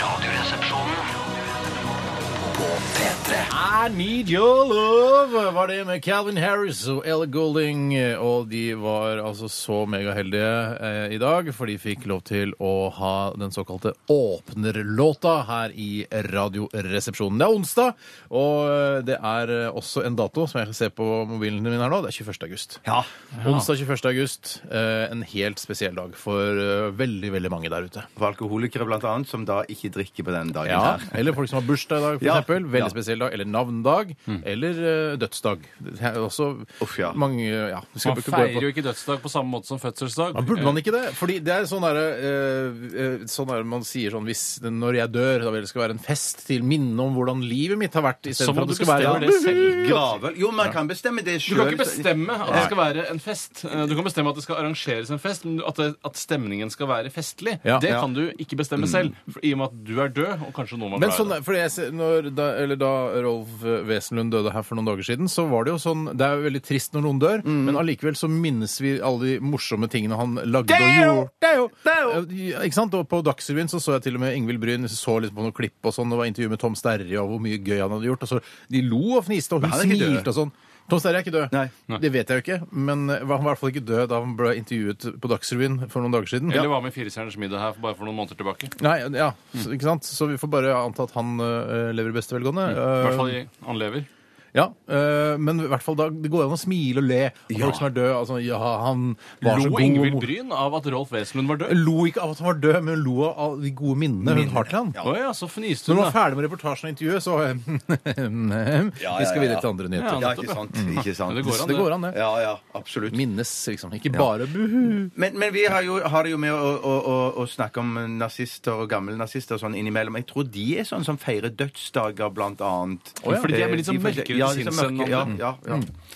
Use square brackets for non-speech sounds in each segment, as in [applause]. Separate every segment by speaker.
Speaker 1: Radioresepsjonen på P3.
Speaker 2: I need your love var det med Calvin Harris og Ella Golding. Og de var altså så megaheldige eh, i dag, for de fikk lov til å ha den såkalte åpnerlåta her i Radioresepsjonen. Det er onsdag, og eh, det er eh, også en dato som jeg ser på mobilen min her nå. Det er 21. august.
Speaker 3: Ja.
Speaker 2: Onsdag 21. august. Eh, en helt spesiell dag for eh, veldig, veldig mange der ute.
Speaker 3: For alkoholikere blant annet, som da ikke drikker på den dagen
Speaker 2: Ja,
Speaker 3: her.
Speaker 2: eller folk som har bursdag i dag, for
Speaker 3: Ja.
Speaker 2: eksempel. Veldig
Speaker 3: Ja. Mm.
Speaker 2: spesiell dag. Eller navndag. Eller eh, dødsdag. Det er også
Speaker 3: Uff, ja.
Speaker 2: mange eh, ja, vi skal
Speaker 4: Man
Speaker 2: ikke gå
Speaker 4: feirer
Speaker 2: på-
Speaker 4: jo ikke dødsdag på samme måte som fødselsdag.
Speaker 2: Men burde man ikke det? Fordi det er sånn derre eh, eh, sånn der man sier sånn hvis, Når jeg dør, da vil det skal være en fest til minne om hvordan livet mitt har vært. i stedet
Speaker 4: Eh, Så
Speaker 2: for
Speaker 4: må
Speaker 2: at
Speaker 4: du
Speaker 2: det skal være
Speaker 4: bestemme det selv.
Speaker 3: Gravøl Jo, man kan bestemme det
Speaker 4: Du
Speaker 3: sjøl.
Speaker 4: kan ikke bestemme at det skal være en fest. Eh, Du kan bestemme at det skal arrangeres en fest, men at, det, at stemningen skal være festlig,
Speaker 2: Ja.
Speaker 4: det
Speaker 2: Ja. Mm.
Speaker 4: kan du ikke bestemme selv. for- I og med at du er død, og kanskje noen var
Speaker 2: Men
Speaker 4: glad i
Speaker 2: sånn,
Speaker 4: deg.
Speaker 2: er- fordi jeg, ser- når, da, eller da Rolf Wesenlund døde her for noen dager siden, så var det jo sånn Det er jo veldig trist når noen dør, men allikevel så minnes vi alle de morsomme tingene han lagde og gjorde. Det er jo! Eh, Ikke sant? Og på Dagsrevyen så så jeg til og med Ingvild Bryn så litt på noen klipp og sånn, det var intervju med Tom Sterri og hvor mye gøy han hadde gjort. Og så, de lo og fniste, og hun
Speaker 3: han er ikke død.
Speaker 2: smilte og sånn. Tom Sterri er ikke død.
Speaker 3: Nei.
Speaker 2: Det vet jeg jo ikke, men eh, han var i hvert fall ikke død da han ble intervjuet på Dagsrevyen for noen dager siden.
Speaker 4: Eller var med i Firestjerners middag her for bare for noen måneder tilbake. I
Speaker 2: Nei, ja, så- ikke sant? Så vi får bare anta at han eh, lever i beste velgående.
Speaker 4: hvert
Speaker 2: Eh,
Speaker 4: fall Mm. i han lever.
Speaker 2: ja, eh, men i hvert fall da, det går an å smile og le av folk som er døde. Altså, ja, han var så
Speaker 4: Lo
Speaker 2: god.
Speaker 4: Ingvild Bryn av at Rolf Wesenlund var død?
Speaker 2: Lo ikke av at han var død, men hun lo av de gode minnene hun har til han.
Speaker 4: Å ja, så fniste
Speaker 2: Så
Speaker 4: hun,
Speaker 2: når man var
Speaker 4: da.
Speaker 2: ferdig med reportasjen og intervjuet, så [laughs] mm,
Speaker 3: Ja,
Speaker 2: Vi skal
Speaker 3: ja, ja.
Speaker 2: videre til andre
Speaker 4: Ja,
Speaker 2: nyheter.
Speaker 3: Ja, ikke sant. Ikke sant.
Speaker 4: Men det går an,
Speaker 2: Det går an, det.
Speaker 3: Ja, ja, absolutt.
Speaker 2: Minnes, liksom. Ikke bare buhu.
Speaker 3: Men, men vi har, jo, har det jo med å, å, å, å snakke om nazister og gamle nazister og sånn innimellom. Jeg tror de er sånn som feirer dødsdager, blant annet.
Speaker 4: Å, ja. Fordi de er
Speaker 3: Eh,
Speaker 4: litt sånn mørkere til
Speaker 3: ja, litt sånn
Speaker 4: sinns enn Mm.
Speaker 3: mørke, ja,
Speaker 4: andre.
Speaker 3: ja,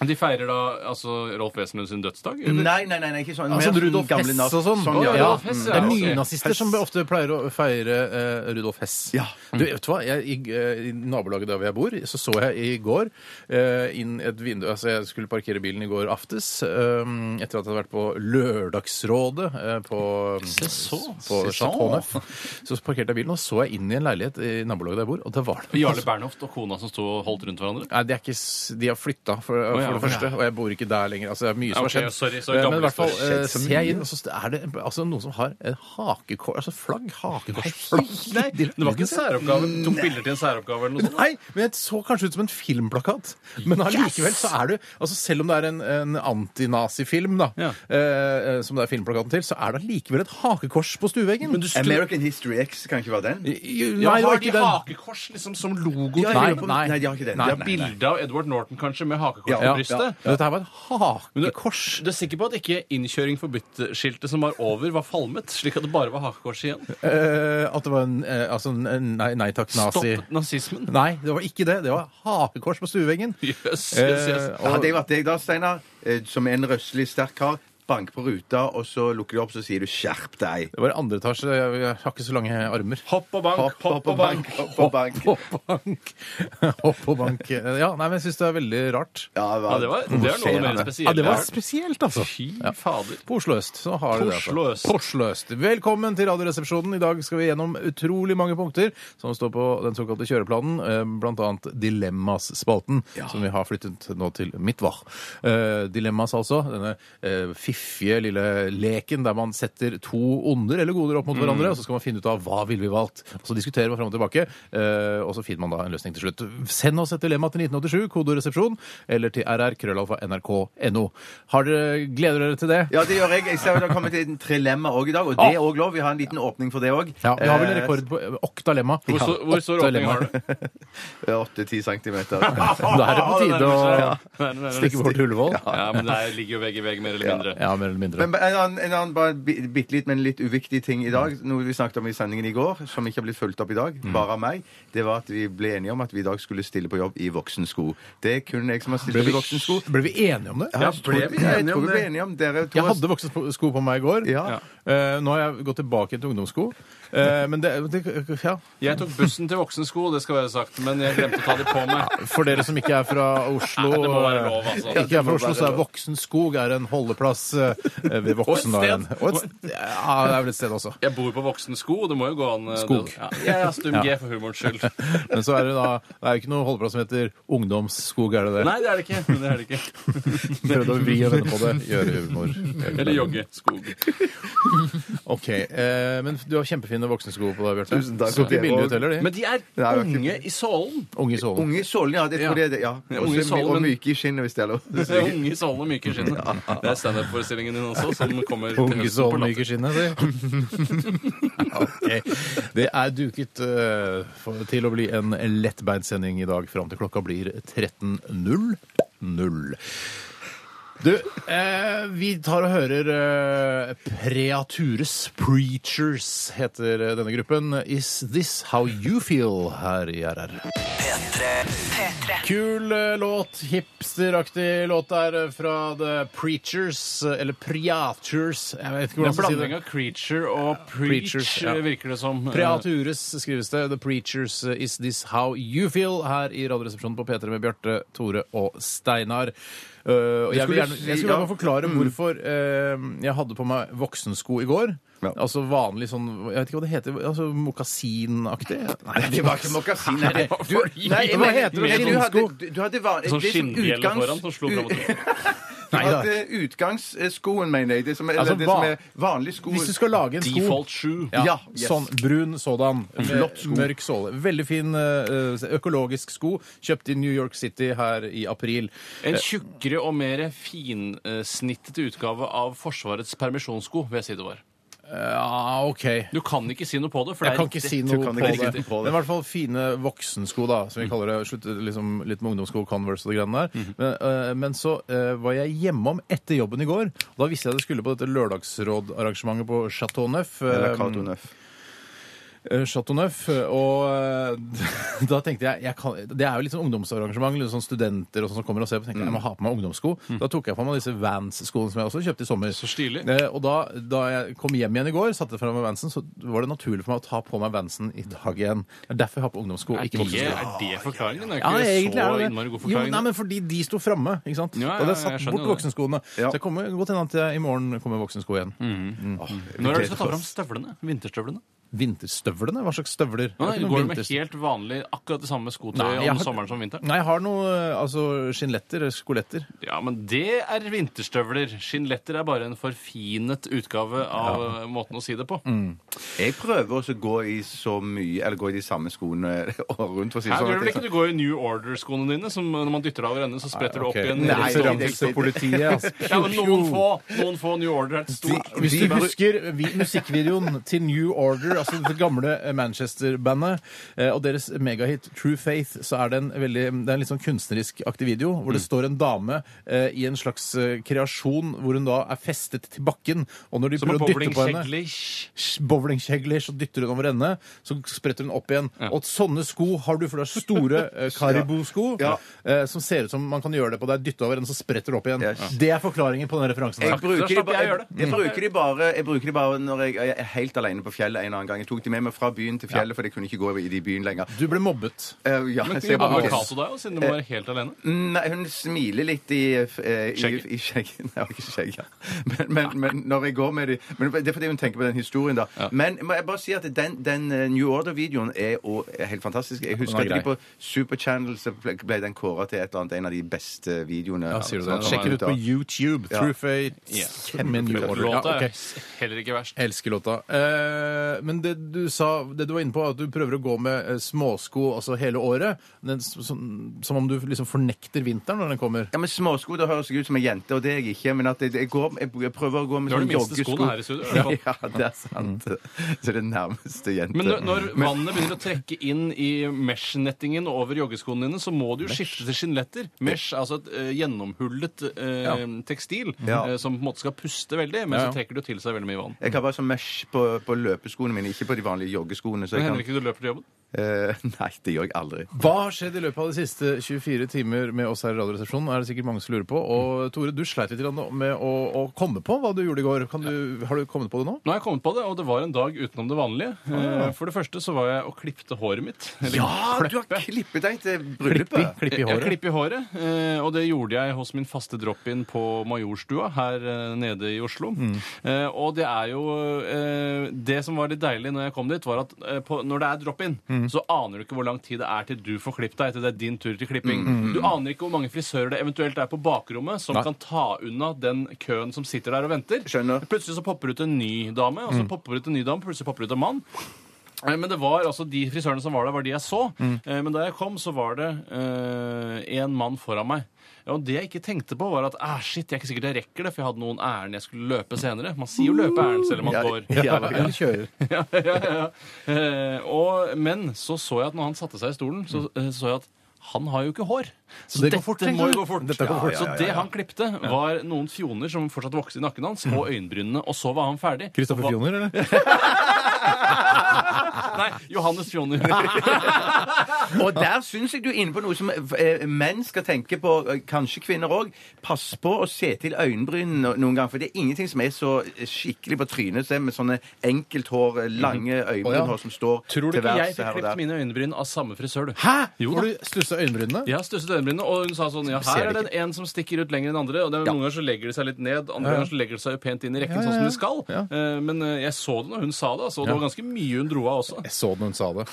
Speaker 3: ja.
Speaker 4: De feirer da altså Rolf Wesenlund sin dødsdag? eller?
Speaker 3: Nei, nei, nei, nei, ikke sånn.
Speaker 2: Altså
Speaker 3: Mer sånn
Speaker 2: Rudolf
Speaker 3: gamle
Speaker 2: Hess
Speaker 3: naz-
Speaker 2: og sånn.
Speaker 4: Å,
Speaker 3: ja.
Speaker 4: ja.
Speaker 3: ja.
Speaker 4: Hess,
Speaker 2: Det er
Speaker 4: ok.
Speaker 2: nynazister som ofte pleier å feire eh, Rudolf Hess.
Speaker 3: Ja.
Speaker 2: Du, vet du hva? Jeg, i, eh, I nabolaget der hvor jeg bor, så så jeg i går eh, inn et vindu Altså, jeg skulle parkere bilen i går aftes eh, etter at jeg hadde vært på Lørdagsrådet eh, på,
Speaker 4: Se så.
Speaker 2: på
Speaker 4: Se så.
Speaker 2: Chateau Neuf. Så parkerte jeg bilen, og så jeg inn i en leilighet i nabolaget der jeg bor, og det var det
Speaker 4: Jarle Bernhoft og kona som sto og holdt rundt hverandre?
Speaker 2: Nei, de, er ikke, s- de har flytta, for, for
Speaker 4: ja,
Speaker 2: det
Speaker 4: ok.
Speaker 2: første. Og jeg bor ikke der lenger. Altså, det er mye som
Speaker 4: Ok,
Speaker 2: har skjedd.
Speaker 4: sorry, sorry,
Speaker 2: Eh, Men
Speaker 4: gammel
Speaker 2: i hvert fall
Speaker 4: historie.
Speaker 2: eh, ser jeg inn, og så er det altså, noen som har en hakekors Altså flagg, hakekorsflagg.
Speaker 4: Nei, det var ikke en særoppgave. Du tok bilder til en særoppgave eller noe sånt?
Speaker 2: Nei, men det så kanskje ut som en filmplakat. Men allikevel så er du altså Selv om det er en, en antinazifilm, da,
Speaker 4: Ja.
Speaker 2: eh, eh, som det er filmplakaten til, så er det allikevel et hakekors på stueveggen.
Speaker 3: American History X kan ikke være den?
Speaker 2: I- i-
Speaker 4: Ja,
Speaker 2: Nei, det var
Speaker 4: har de
Speaker 2: ikke den.
Speaker 4: hakekors liksom som logo?
Speaker 3: Ja,
Speaker 4: til
Speaker 3: jeg
Speaker 2: Nei,
Speaker 3: lurer på-
Speaker 2: nei.
Speaker 3: nei, de har ikke den.
Speaker 2: Nei,
Speaker 4: Det er bilde av Edward Norton kanskje med hakekors
Speaker 3: Ja,
Speaker 4: på
Speaker 3: ja,
Speaker 4: brystet.
Speaker 2: Og Dette her var et
Speaker 4: Men du-
Speaker 2: hakekors.
Speaker 4: Du er sikker på at ikke innkjøring forbudt-skiltet som var over, var falmet? Slik at det bare var hakekors igjen?
Speaker 2: Eh, at det var en, eh, altså en en nei, nei takk, nazi.
Speaker 4: Stoppet nazismen?
Speaker 2: Nei, det var ikke det. Det var hakekors på stueveggen.
Speaker 4: Jøss, jøss, jøss.
Speaker 2: Eh,
Speaker 3: Hadde jeg vært deg da, Steinar, eh, som en røslig sterk kar, bank på ruta, og så lukker de opp, så sier du 'skjerp deg'.
Speaker 2: Det var i andre etasje. Jeg jeg har ikke så lange armer.
Speaker 4: Hopp og bank, hopp, og bank.
Speaker 3: hopp og bank.
Speaker 2: Hopp og bank. [laughs] Hopp og bank. Ja, nei, men jeg syns det er veldig rart.
Speaker 3: Ja,
Speaker 4: Ja, det, var, det er noe av det mer
Speaker 3: provoserende.
Speaker 4: spesielle. jeg har hørt.
Speaker 2: spesielt, altså.
Speaker 4: Fy fader.
Speaker 2: På Oslo øst så har de det. altså.
Speaker 4: Oslo øst.
Speaker 2: På Oslo øst. Velkommen til Radioresepsjonen. I dag skal vi gjennom utrolig mange punkter som står på den såkalte kjøreplanen, eh, blant annet Dilemmas-spalten, som vi har flyttet nå til Midtvar. Eh, Dilemmas, altså. Denne eh, fiffige lille leken der man setter to onder eller goder opp mot hverandre, og så skal man finne ut av hva ville vi valgt. Og så diskuterer man fram og tilbake, eh, og så finner man da en løsning til slutt. Send oss et dilemma til 1987, kodoresepsjon, eller til rr.krøllalfa.nrk.no. Har dere, gleder dere til det?
Speaker 3: Ja, det gjør jeg. Jeg ser jo det har kommet inn trilemma òg i dag, og det
Speaker 4: Ah.
Speaker 3: er òg lov. Vi har en liten åpning for det òg.
Speaker 2: Ja, vi har
Speaker 3: Eh,
Speaker 2: vel en rekord på eh, oktalemma.
Speaker 4: Hvor, så, hvor stor åpning har du?
Speaker 3: Åtte-ti centimeter.
Speaker 2: Da er det på tide å
Speaker 4: Nei, nei, nei, nei.
Speaker 2: stikke bort til Ullevål.
Speaker 4: Ja, men det ligger jo vegg i vegg, mer eller mindre.
Speaker 2: Ja, mer eller mindre.
Speaker 3: Men en annen, en annen bare bi- bitte litt, men litt uviktig ting i dag, noe vi snakket om i sendingen i går, som ikke har blitt fulgt opp i
Speaker 4: Mm.
Speaker 3: dag, bare av meg, det var at vi ble enige om at vi i dag skulle stille på jobb i voksensko. Det er kun jeg som har stilt
Speaker 2: Ble
Speaker 3: opp i
Speaker 2: vi,
Speaker 3: voksensko.
Speaker 2: ble vi enige om det?
Speaker 3: Ja, ble vi enige om det? Jeg tror vi ble enige om dere to.
Speaker 2: Jeg hadde voksne sko på meg i går.
Speaker 3: Ja.
Speaker 2: Eh, Nå har jeg gått tilbake til ungdomssko. Eh, men det, det Ja.
Speaker 4: Jeg tok bussen til voksensko, det skal være sagt, men jeg glemte å ta de på meg.
Speaker 2: For dere som ikke er fra Oslo
Speaker 4: [laughs] Nei, det må være lov, altså.
Speaker 2: eh, Ikke er fra Oslo, så er Voksen Skog er en holdeplass eh, ved Voksendagen.
Speaker 4: sted.
Speaker 2: Og et sted. Ja, det er vel et sted også.
Speaker 4: Jeg bor på voksensko, det må jo gå an eh,
Speaker 2: Skog.
Speaker 4: det- Ja, ja, ja, stum G for humorens skyld.
Speaker 2: Men så er det da Det er jo ikke noen holdeplass som heter Ungdomsskog, er det det?
Speaker 4: Nei, det er det ikke. Det er det ikke.
Speaker 2: Prøvde å vri og vende på det. Gjøre humor.
Speaker 4: Eller joggeskog.
Speaker 2: OK. Eh, men du har kjempefine voksensko på deg, Bjarte.
Speaker 3: Tusen takk.
Speaker 2: Så ikke
Speaker 3: Ok,
Speaker 2: billig
Speaker 3: og-
Speaker 2: ut heller, de.
Speaker 4: Men de er
Speaker 3: Nei, jeg har ikke-
Speaker 4: unge i sålen.
Speaker 2: Unge i sålen.
Speaker 3: Unge i sålen, ja. Det tror jeg det, ja.
Speaker 4: Ja,
Speaker 3: Også
Speaker 4: unge i
Speaker 3: my-
Speaker 4: sålen,
Speaker 3: og
Speaker 4: men-
Speaker 3: myke i skinnet, hvis det er lov.
Speaker 4: Det er Unge i sålen og myke i skinnet. Det er standup-forestillingen din også, som kommer til
Speaker 2: Unge i
Speaker 4: høsten på
Speaker 2: sålen
Speaker 4: latter.
Speaker 2: myker skinnet, si.
Speaker 4: [laughs]
Speaker 2: Ok. Det er duket eh, for, til å bli en lettbeint sending i dag fram til klokka blir 13.00. Du, eh, vi tar og hører eh, Preatures Preachers heter eh, denne gruppen. Is this how you feel? her i RR.
Speaker 1: P3.
Speaker 2: Kul eh, låt, hipsteraktig låt der eh, fra The Preachers, eh, eller Preatures. Jeg vet ikke
Speaker 4: Det
Speaker 2: hvordan
Speaker 4: er en
Speaker 2: man skal si det.
Speaker 4: blanding av creature og preach, eh,
Speaker 2: Preachers, ja.
Speaker 4: virker det som.
Speaker 2: Preatures skrives det. The Preachers uh, Is This How You Feel her i Radioresepsjonen på P3 med Bjarte, Tore og Steinar. Uh, og jeg, vil
Speaker 3: skulle
Speaker 2: gjerne,
Speaker 3: si-
Speaker 2: jeg skulle
Speaker 3: ja. Mm.
Speaker 2: gjerne forklare hvorfor eh, jeg hadde på meg voksensko i går.
Speaker 3: Ja.
Speaker 2: Altså vanlig sånn Jeg vet ikke hva det heter. altså
Speaker 3: [laughs]
Speaker 2: Mokasinaktig? Nei,
Speaker 3: Det var ikke mokasin. Nei, det
Speaker 4: var
Speaker 3: du,
Speaker 4: fordi-
Speaker 3: nei,
Speaker 2: Hva
Speaker 3: men-
Speaker 2: heter det?
Speaker 3: men du hadde,
Speaker 2: Skinnsko?
Speaker 3: du, du hadde van,
Speaker 4: Sånn
Speaker 3: det som
Speaker 4: skinnbjelle
Speaker 3: utgangs-
Speaker 4: foran som slo
Speaker 3: u-
Speaker 4: fram og tilbake.
Speaker 3: Du
Speaker 2: Nei da.
Speaker 3: hadde utgangsskoen, mener jeg. Det som er,
Speaker 2: Altså,
Speaker 3: eller det som
Speaker 2: hva-
Speaker 3: er vanlig sko.
Speaker 2: [laughs] Hvis du skal lage en sko
Speaker 4: Default shoe.
Speaker 2: Ja,
Speaker 3: Ja, yes.
Speaker 2: sånn brun sådan. med
Speaker 3: Flott sko.
Speaker 2: Mørk såle. Veldig fin eh, økologisk sko. Kjøpt i New York City her i april.
Speaker 4: En tjukkere og mer finsnittet utgave av Forsvarets permisjonssko, vil jeg si det var.
Speaker 2: Uh, Ja, OK.
Speaker 4: Du kan ikke si noe på det, for
Speaker 2: Jeg
Speaker 4: det er
Speaker 2: kan ikke
Speaker 4: riktig.
Speaker 2: si noe
Speaker 3: Du
Speaker 2: på
Speaker 3: kan
Speaker 2: det.
Speaker 3: ikke si noe på det. Mm.
Speaker 2: Men i hvert fall fine voksensko, da, som vi kaller det. Slutt, liksom, litt med ungdomssko, Converse og de greiene der.
Speaker 3: Mm-hmm.
Speaker 2: Men, øh, men så øh, var jeg hjemom etter jobben i går. Og da visste jeg at jeg skulle på dette lørdagsrådarrangementet på Chateau Neuf.
Speaker 3: Eller
Speaker 2: øh,
Speaker 3: Cato Neuf.
Speaker 2: eh, Chateau Neuf. Og eh, [laughs] da tenkte jeg, jeg kan, Det er jo litt sånn ungdomsarrangement. Litt sånn studenter og sånn som kommer og ser på. tenkte jeg,
Speaker 4: Mm.
Speaker 2: jeg må ha på meg ungdomssko. Da tok jeg på meg disse Vans-skoene som jeg også kjøpte i sommer.
Speaker 4: Så stilig.
Speaker 2: Eh, Og da, da jeg kom hjem igjen i går, satte fra meg Vansen, så var det naturlig for meg å ta på meg Vansen i dag igjen. Det er derfor jeg har på ungdomssko,
Speaker 4: Er
Speaker 2: ikke
Speaker 4: det,
Speaker 2: voksensko.
Speaker 4: er det forklaringen? Det er
Speaker 2: Ja,
Speaker 4: ikke
Speaker 2: egentlig er
Speaker 4: så
Speaker 2: det
Speaker 4: innmari
Speaker 2: det.
Speaker 4: god
Speaker 2: Jo,
Speaker 4: forklaring.
Speaker 2: nei, men fordi de sto framme, ikke sant.
Speaker 4: Ja, ja,
Speaker 2: og det
Speaker 4: ja,
Speaker 2: satt
Speaker 4: jeg skjønner
Speaker 2: bort
Speaker 4: det.
Speaker 2: voksenskoene.
Speaker 3: Ja.
Speaker 2: Så det kommer godt hende at jeg, i morgen kommer voksensko igjen.
Speaker 4: Mhm.
Speaker 3: Mm.
Speaker 4: Når er det du skal ta fram støvlene? Vinterstøvlene?
Speaker 2: Vinterstøvlene? Hva slags støvler? Jeg
Speaker 4: Nei,
Speaker 2: har ikke
Speaker 4: nei,
Speaker 2: noen
Speaker 4: går du med
Speaker 2: vinterst-
Speaker 4: helt vanlig akkurat det samme
Speaker 2: Nei,
Speaker 4: skotøyet
Speaker 2: jeg
Speaker 4: Eh, om
Speaker 2: har-
Speaker 4: sommeren som vinteren?
Speaker 2: Nei, jeg har noe altså, skinnletter, skoletter.
Speaker 4: Ja, men det er vinterstøvler. Skinnletter er bare en forfinet utgave av eh, måten å si det på.
Speaker 2: Mm.
Speaker 3: Jeg prøver også å gå i så mye Eller gå i de samme skoene [laughs] og rundt, for å si det
Speaker 4: Her gjør det vel ikke
Speaker 3: sånn.
Speaker 4: du går i New Order-skoene dine, som når man dytter av hverandre, så spretter det
Speaker 2: Ok.
Speaker 4: opp igjen.
Speaker 2: Nei,
Speaker 3: Rett
Speaker 2: så
Speaker 3: og
Speaker 2: rammes det [laughs] politiet, altså.
Speaker 4: Ja, men noen få, noen få New Order er et stort
Speaker 3: De-
Speaker 2: Hvis du
Speaker 3: bare-
Speaker 2: husker vi, musikkvideoen til New Order, altså det gamle Manchester-bandet, eh, og deres megahit True Faith, så er det en veldig, det er en litt sånn kunstnerisk-aktig video hvor det
Speaker 4: Mm.
Speaker 2: står en dame eh, i en slags eh, kreasjon hvor hun da er festet til bakken, og når de
Speaker 4: som er
Speaker 2: prøver å dytte
Speaker 4: bowling
Speaker 2: på henne
Speaker 4: Sheglish.
Speaker 2: Bowlingkjegler, så dytter hun over ende, så spretter hun opp igjen. Og sånne sko har du, for det er [laughs] store eh, Karibu-sko
Speaker 3: Ja.
Speaker 2: eh, som ser ut som man kan gjøre det på deg, dytte over ende, så spretter det opp igjen.
Speaker 3: Yes.
Speaker 2: Det er forklaringen på den referansen.
Speaker 3: Jeg
Speaker 2: her.
Speaker 3: bruker,
Speaker 4: Da
Speaker 3: de,
Speaker 4: slapp
Speaker 3: ba-
Speaker 4: jeg å
Speaker 3: jeg,
Speaker 4: gjøre det.
Speaker 3: jeg bruker de bare Jeg bruker de bare når jeg jeg er helt alene på fjellet en eller annen gang. Jeg tok de med meg fra byen til fjellet, for jeg kunne ikke gå i de byen lenger.
Speaker 2: Du ble mobbet.
Speaker 3: Eh, ja,
Speaker 4: Men
Speaker 3: så jeg
Speaker 4: kunne
Speaker 3: bare-
Speaker 4: bare Cato deg, jo, siden du var helt alene.
Speaker 3: Nei, hun smiler litt i eh, i-
Speaker 4: Skjegget?
Speaker 3: I skjegget. Nei, ikke skjegget. Men, men, men når jeg går med de men Det er fordi hun tenker på den historien, da. Men må jeg bare si at den, den eh, New Order-videoen er, og- er helt fantastisk. Jeg husker
Speaker 2: den er
Speaker 3: at de på Superchannel så ble ble den kåra til et eller annet, en av de beste videoene.
Speaker 2: Ja, sier du
Speaker 3: Sånn,
Speaker 2: det? Sjekk det ut på
Speaker 3: da.
Speaker 2: YouTube.
Speaker 3: Ja.
Speaker 2: True Fate.
Speaker 4: Ja.
Speaker 2: Min New Order. Ja,
Speaker 4: Låta
Speaker 2: ok.
Speaker 4: er heller ikke verst.
Speaker 2: Elsker låta. Eh, men det du sa, det du var inne på, at du prøver å gå med eh, småsko altså hele året. Den, som, som om du liksom fornekter vinteren når den kommer.
Speaker 3: Ja, men Småsko det høres jeg ut som ei jente, og det er jeg ikke. Men at jeg, jeg, går, jeg prøver å gå med
Speaker 4: Du har
Speaker 3: sånn
Speaker 4: de minste
Speaker 3: joggesko.
Speaker 4: skoene her i studio, i
Speaker 3: [laughs]
Speaker 4: hvert
Speaker 3: Ja,
Speaker 4: fall.
Speaker 3: ja, det er sant. [laughs] Så det er nærmeste jente.
Speaker 4: Men når- når vannet begynner å trekke inn i mesh-nettingen over joggeskoene dine, så må du jo skifte til skinnletter. Mesh, altså et eh, gjennomhullet eh, tekstil
Speaker 3: Ja.
Speaker 4: eh, som på en måte skal puste veldig, men
Speaker 2: Ja, ja.
Speaker 4: så trekker det jo til seg veldig mye vann.
Speaker 3: Jeg har bare sånn mesh på, på løpeskoene mine, ikke på de vanlige joggeskoene. Så
Speaker 4: Men
Speaker 3: jeg
Speaker 4: hender det
Speaker 3: kan...
Speaker 4: ikke du løper til jobben?
Speaker 3: Eh, [laughs] nei, det gjør jeg aldri.
Speaker 2: Hva har skjedd i løpet av de siste 24 timer med oss her i Radioresepsjonen? er det sikkert mange som lurer på. Og Tore, du sleit litt grann med å, å komme på hva du gjorde i går. Kan du, har du kommet på det nå?
Speaker 4: Nå har jeg kommet på det, og det var en dag utenom det vanlige. Eh, For det første så var jeg og klippte håret mitt. Eller
Speaker 3: Ja, du har klippet deg til bryllupet!
Speaker 2: klipp i
Speaker 4: Jeg-
Speaker 2: håret.
Speaker 4: Jeg klipp i håret, eh, og det gjorde jeg hos min faste drop-in på Majorstua her eh, nede i Oslo.
Speaker 2: Mm.
Speaker 4: Eh, Og det er jo eh, Det som var litt deilig når jeg kom dit, var at eh, på, når det er drop-in,
Speaker 2: Mm.
Speaker 4: så aner du ikke hvor lang tid det er til du får klippet deg, til det er din tur til klipping. Du aner ikke hvor mange frisører det eventuelt er på bakrommet som
Speaker 2: Mm. Nei.
Speaker 4: kan ta unna den køen som sitter der og venter.
Speaker 3: Skjønner.
Speaker 4: Plutselig så popper det ut en ny dame, og så
Speaker 2: Mm.
Speaker 4: popper det ut en ny dame, plutselig popper det ut en mann. Eh, Men det var altså de frisørene som var der, var de jeg så. Eh, Men da jeg kom, så var det eh, en mann foran meg. Ja, Og det jeg ikke tenkte på, var at ah, shit, jeg er ikke sikkert jeg rekker det, for jeg hadde noen ærend jeg skulle løpe senere. Man sier jo løpe ærend selv om man
Speaker 3: Ja,
Speaker 4: går.
Speaker 3: [laughs]
Speaker 4: [laughs]
Speaker 3: ja, ja.
Speaker 2: Eller kjører.
Speaker 4: ja, ja, ja. Eh, og, men så så jeg at når han satte seg i stolen, så eh, så jeg at han har jo ikke hår. Så
Speaker 2: det
Speaker 4: det,
Speaker 2: går fort,
Speaker 4: dette
Speaker 2: tenker
Speaker 4: må
Speaker 2: du?
Speaker 4: jo gå fort.
Speaker 2: Dette går fort.
Speaker 4: Så det han klipte, var noen fjoner som fortsatt vokste i nakken hans, og øyenbrynene, og så var han ferdig. [laughs]
Speaker 2: Kristoffer
Speaker 4: Og hva-
Speaker 2: Fjoner, eller?
Speaker 4: Nei, Johannes [laughs] Fjoner.
Speaker 3: Og der syns jeg du er inne på noe som eh, menn skal tenke på, eh, kanskje kvinner òg. Pass på å se til øyenbrynene no- noen gang, for det er ingenting som er så skikkelig på trynet som med sånne enkelthår, eh, lange øyenbrynhår som står
Speaker 4: Mhm. Tror du
Speaker 3: til
Speaker 4: ikke jeg
Speaker 3: værs
Speaker 4: fikk
Speaker 3: her og
Speaker 4: klippet
Speaker 3: der.
Speaker 4: mine øyenbryn av samme frisør, du?
Speaker 3: [laughs]
Speaker 2: Hæ?
Speaker 4: Jo
Speaker 2: Har
Speaker 4: da.
Speaker 2: du stussa øyenbrynene?
Speaker 4: Jeg har stusset øyenbrynene, og hun sa sånn Ja, her er det en som stikker ut lenger enn andre. Og det er, Noen ganger så legger de seg litt ned, andre ganger så legger de seg jo pent inn i rekken,
Speaker 2: Ja, ja,
Speaker 4: sånn som
Speaker 2: ja.
Speaker 4: de skal.
Speaker 2: Ja.
Speaker 4: Eh, Men eh, jeg så det når hun sa det, altså. Og
Speaker 2: Ja.
Speaker 4: det var ganske mye hun dro av også.
Speaker 2: Jeg så det når hun sa
Speaker 3: [laughs]
Speaker 2: det.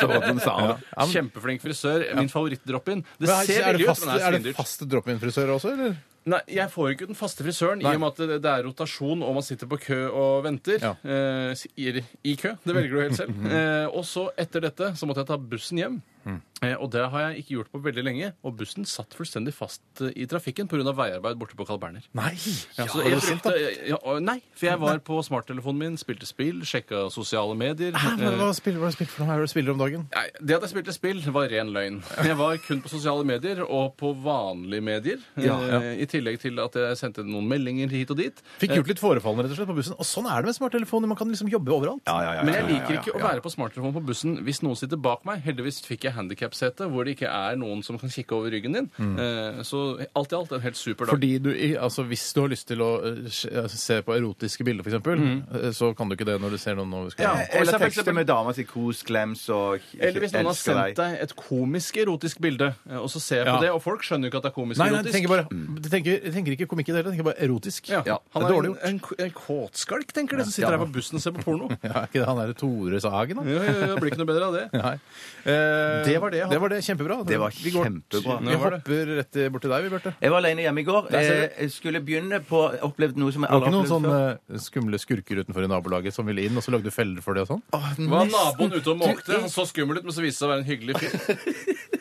Speaker 3: Så den sa han.
Speaker 4: Kjempeflink frisør. Min favorittdrop-in. Det
Speaker 2: Men er-
Speaker 4: ser
Speaker 2: er det
Speaker 4: veldig ut,
Speaker 2: fast-
Speaker 4: men det
Speaker 2: Er
Speaker 4: er
Speaker 2: det
Speaker 4: svindyrt.
Speaker 2: faste drop-in-frisører også, eller?
Speaker 4: Nei, jeg får jo ikke den faste frisøren
Speaker 2: Nei.
Speaker 4: i og med at det, det er rotasjon og man sitter på kø og venter.
Speaker 2: Ja. Mhm.
Speaker 4: Eh, s- i, I kø. Det velger du helt
Speaker 2: [laughs]
Speaker 4: selv. eh, og så, etter dette, så måtte jeg ta bussen hjem.
Speaker 2: Mm.
Speaker 4: Eh, og det har jeg ikke gjort på veldig lenge. Og bussen satt fullstendig fast eh, i trafikken pga. veiarbeid borte på Carl Berner.
Speaker 2: Nei!
Speaker 4: Ja, så jeg brukte, ja, og- nei,
Speaker 2: [laughs]
Speaker 4: for jeg var på smarttelefonen min, spilte spill, sjekka sosiale medier. eh,
Speaker 2: Hva spiller hva spiller for noe? Hva er det du spiller om dagen?
Speaker 4: Nei, Det at jeg spilte spill, var ren løgn. Jeg var kun på sosiale medier og på vanlige medier. eh, I tillegg til at jeg sendte noen meldinger hit og dit.
Speaker 2: Fikk gjort litt forefallende rett og slett på bussen. Og sånn er det med smarttelefoner. Man kan liksom jobbe overalt.
Speaker 3: Ja, ja, ja, ja,
Speaker 4: Men jeg
Speaker 3: ja, ja,
Speaker 4: liker
Speaker 3: ja,
Speaker 4: ikke å
Speaker 3: ja.
Speaker 4: være på smarttelefon på bussen hvis noen sitter bak meg. Heldigvis fikk jeg handikapsete hvor det ikke er noen som kan kikke over ryggen din. Eh, Så alt i alt en helt super dag.
Speaker 2: Fordi du, i- altså Hvis du har lyst til å eh, sj- se på erotiske bilder, f.eks., eksempel eh, så kan du ikke det når du ser noen over skulderen.
Speaker 3: Ja,
Speaker 4: Eller
Speaker 3: Eh, Eller
Speaker 4: for
Speaker 3: tekster
Speaker 4: eksempel-
Speaker 3: med dama si kos, klems og
Speaker 4: Eller hvis noen har
Speaker 3: elsker
Speaker 4: sendt deg et komisk erotisk bilde, eh, og så ser jeg på
Speaker 2: Ja.
Speaker 4: det, og folk skjønner jo ikke at det er komisk
Speaker 2: Nei, nei, jeg
Speaker 4: erotisk.
Speaker 2: tenker bare Mm. jeg tenker, jeg tenker ikke komikk i det hele, jeg tenker bare erotisk.
Speaker 4: ja.
Speaker 2: det
Speaker 4: Han er
Speaker 2: er dårlig
Speaker 4: en,
Speaker 2: gjort.
Speaker 4: en, en kåtskalk, tenker de, som sitter her på bussen og ser på porno. [laughs]
Speaker 2: Ja, er ikke det han derre Tore Sagen, da?
Speaker 4: Ja, ja, ja, Blir ikke noe bedre av det.
Speaker 2: Nei. Eh,
Speaker 4: Det var det jeg hadde.
Speaker 2: det var det. Kjempebra.
Speaker 3: Det var
Speaker 2: Vi går-
Speaker 3: kjempebra.
Speaker 2: Vi hopper rett til- bort til deg, vi, Bjarte.
Speaker 3: Jeg var alene hjemme i går.
Speaker 2: Der ser du.
Speaker 3: Eh, Jeg skulle begynne på opplevd noe som jeg
Speaker 2: Det var
Speaker 3: aldri
Speaker 2: ikke
Speaker 3: har
Speaker 2: noen
Speaker 3: opplevd
Speaker 2: sånne
Speaker 4: sånn,
Speaker 3: før.
Speaker 2: eh, skumle skurker utenfor i nabolaget som ville inn, og så lagde du feller for det og sånn?
Speaker 4: eh,
Speaker 3: Åh,
Speaker 4: Var
Speaker 3: nesten.
Speaker 4: naboen ute og måkte?
Speaker 3: Du,
Speaker 4: Han så skummel ut, men så viste det seg å være en hyggelig [laughs] fyr.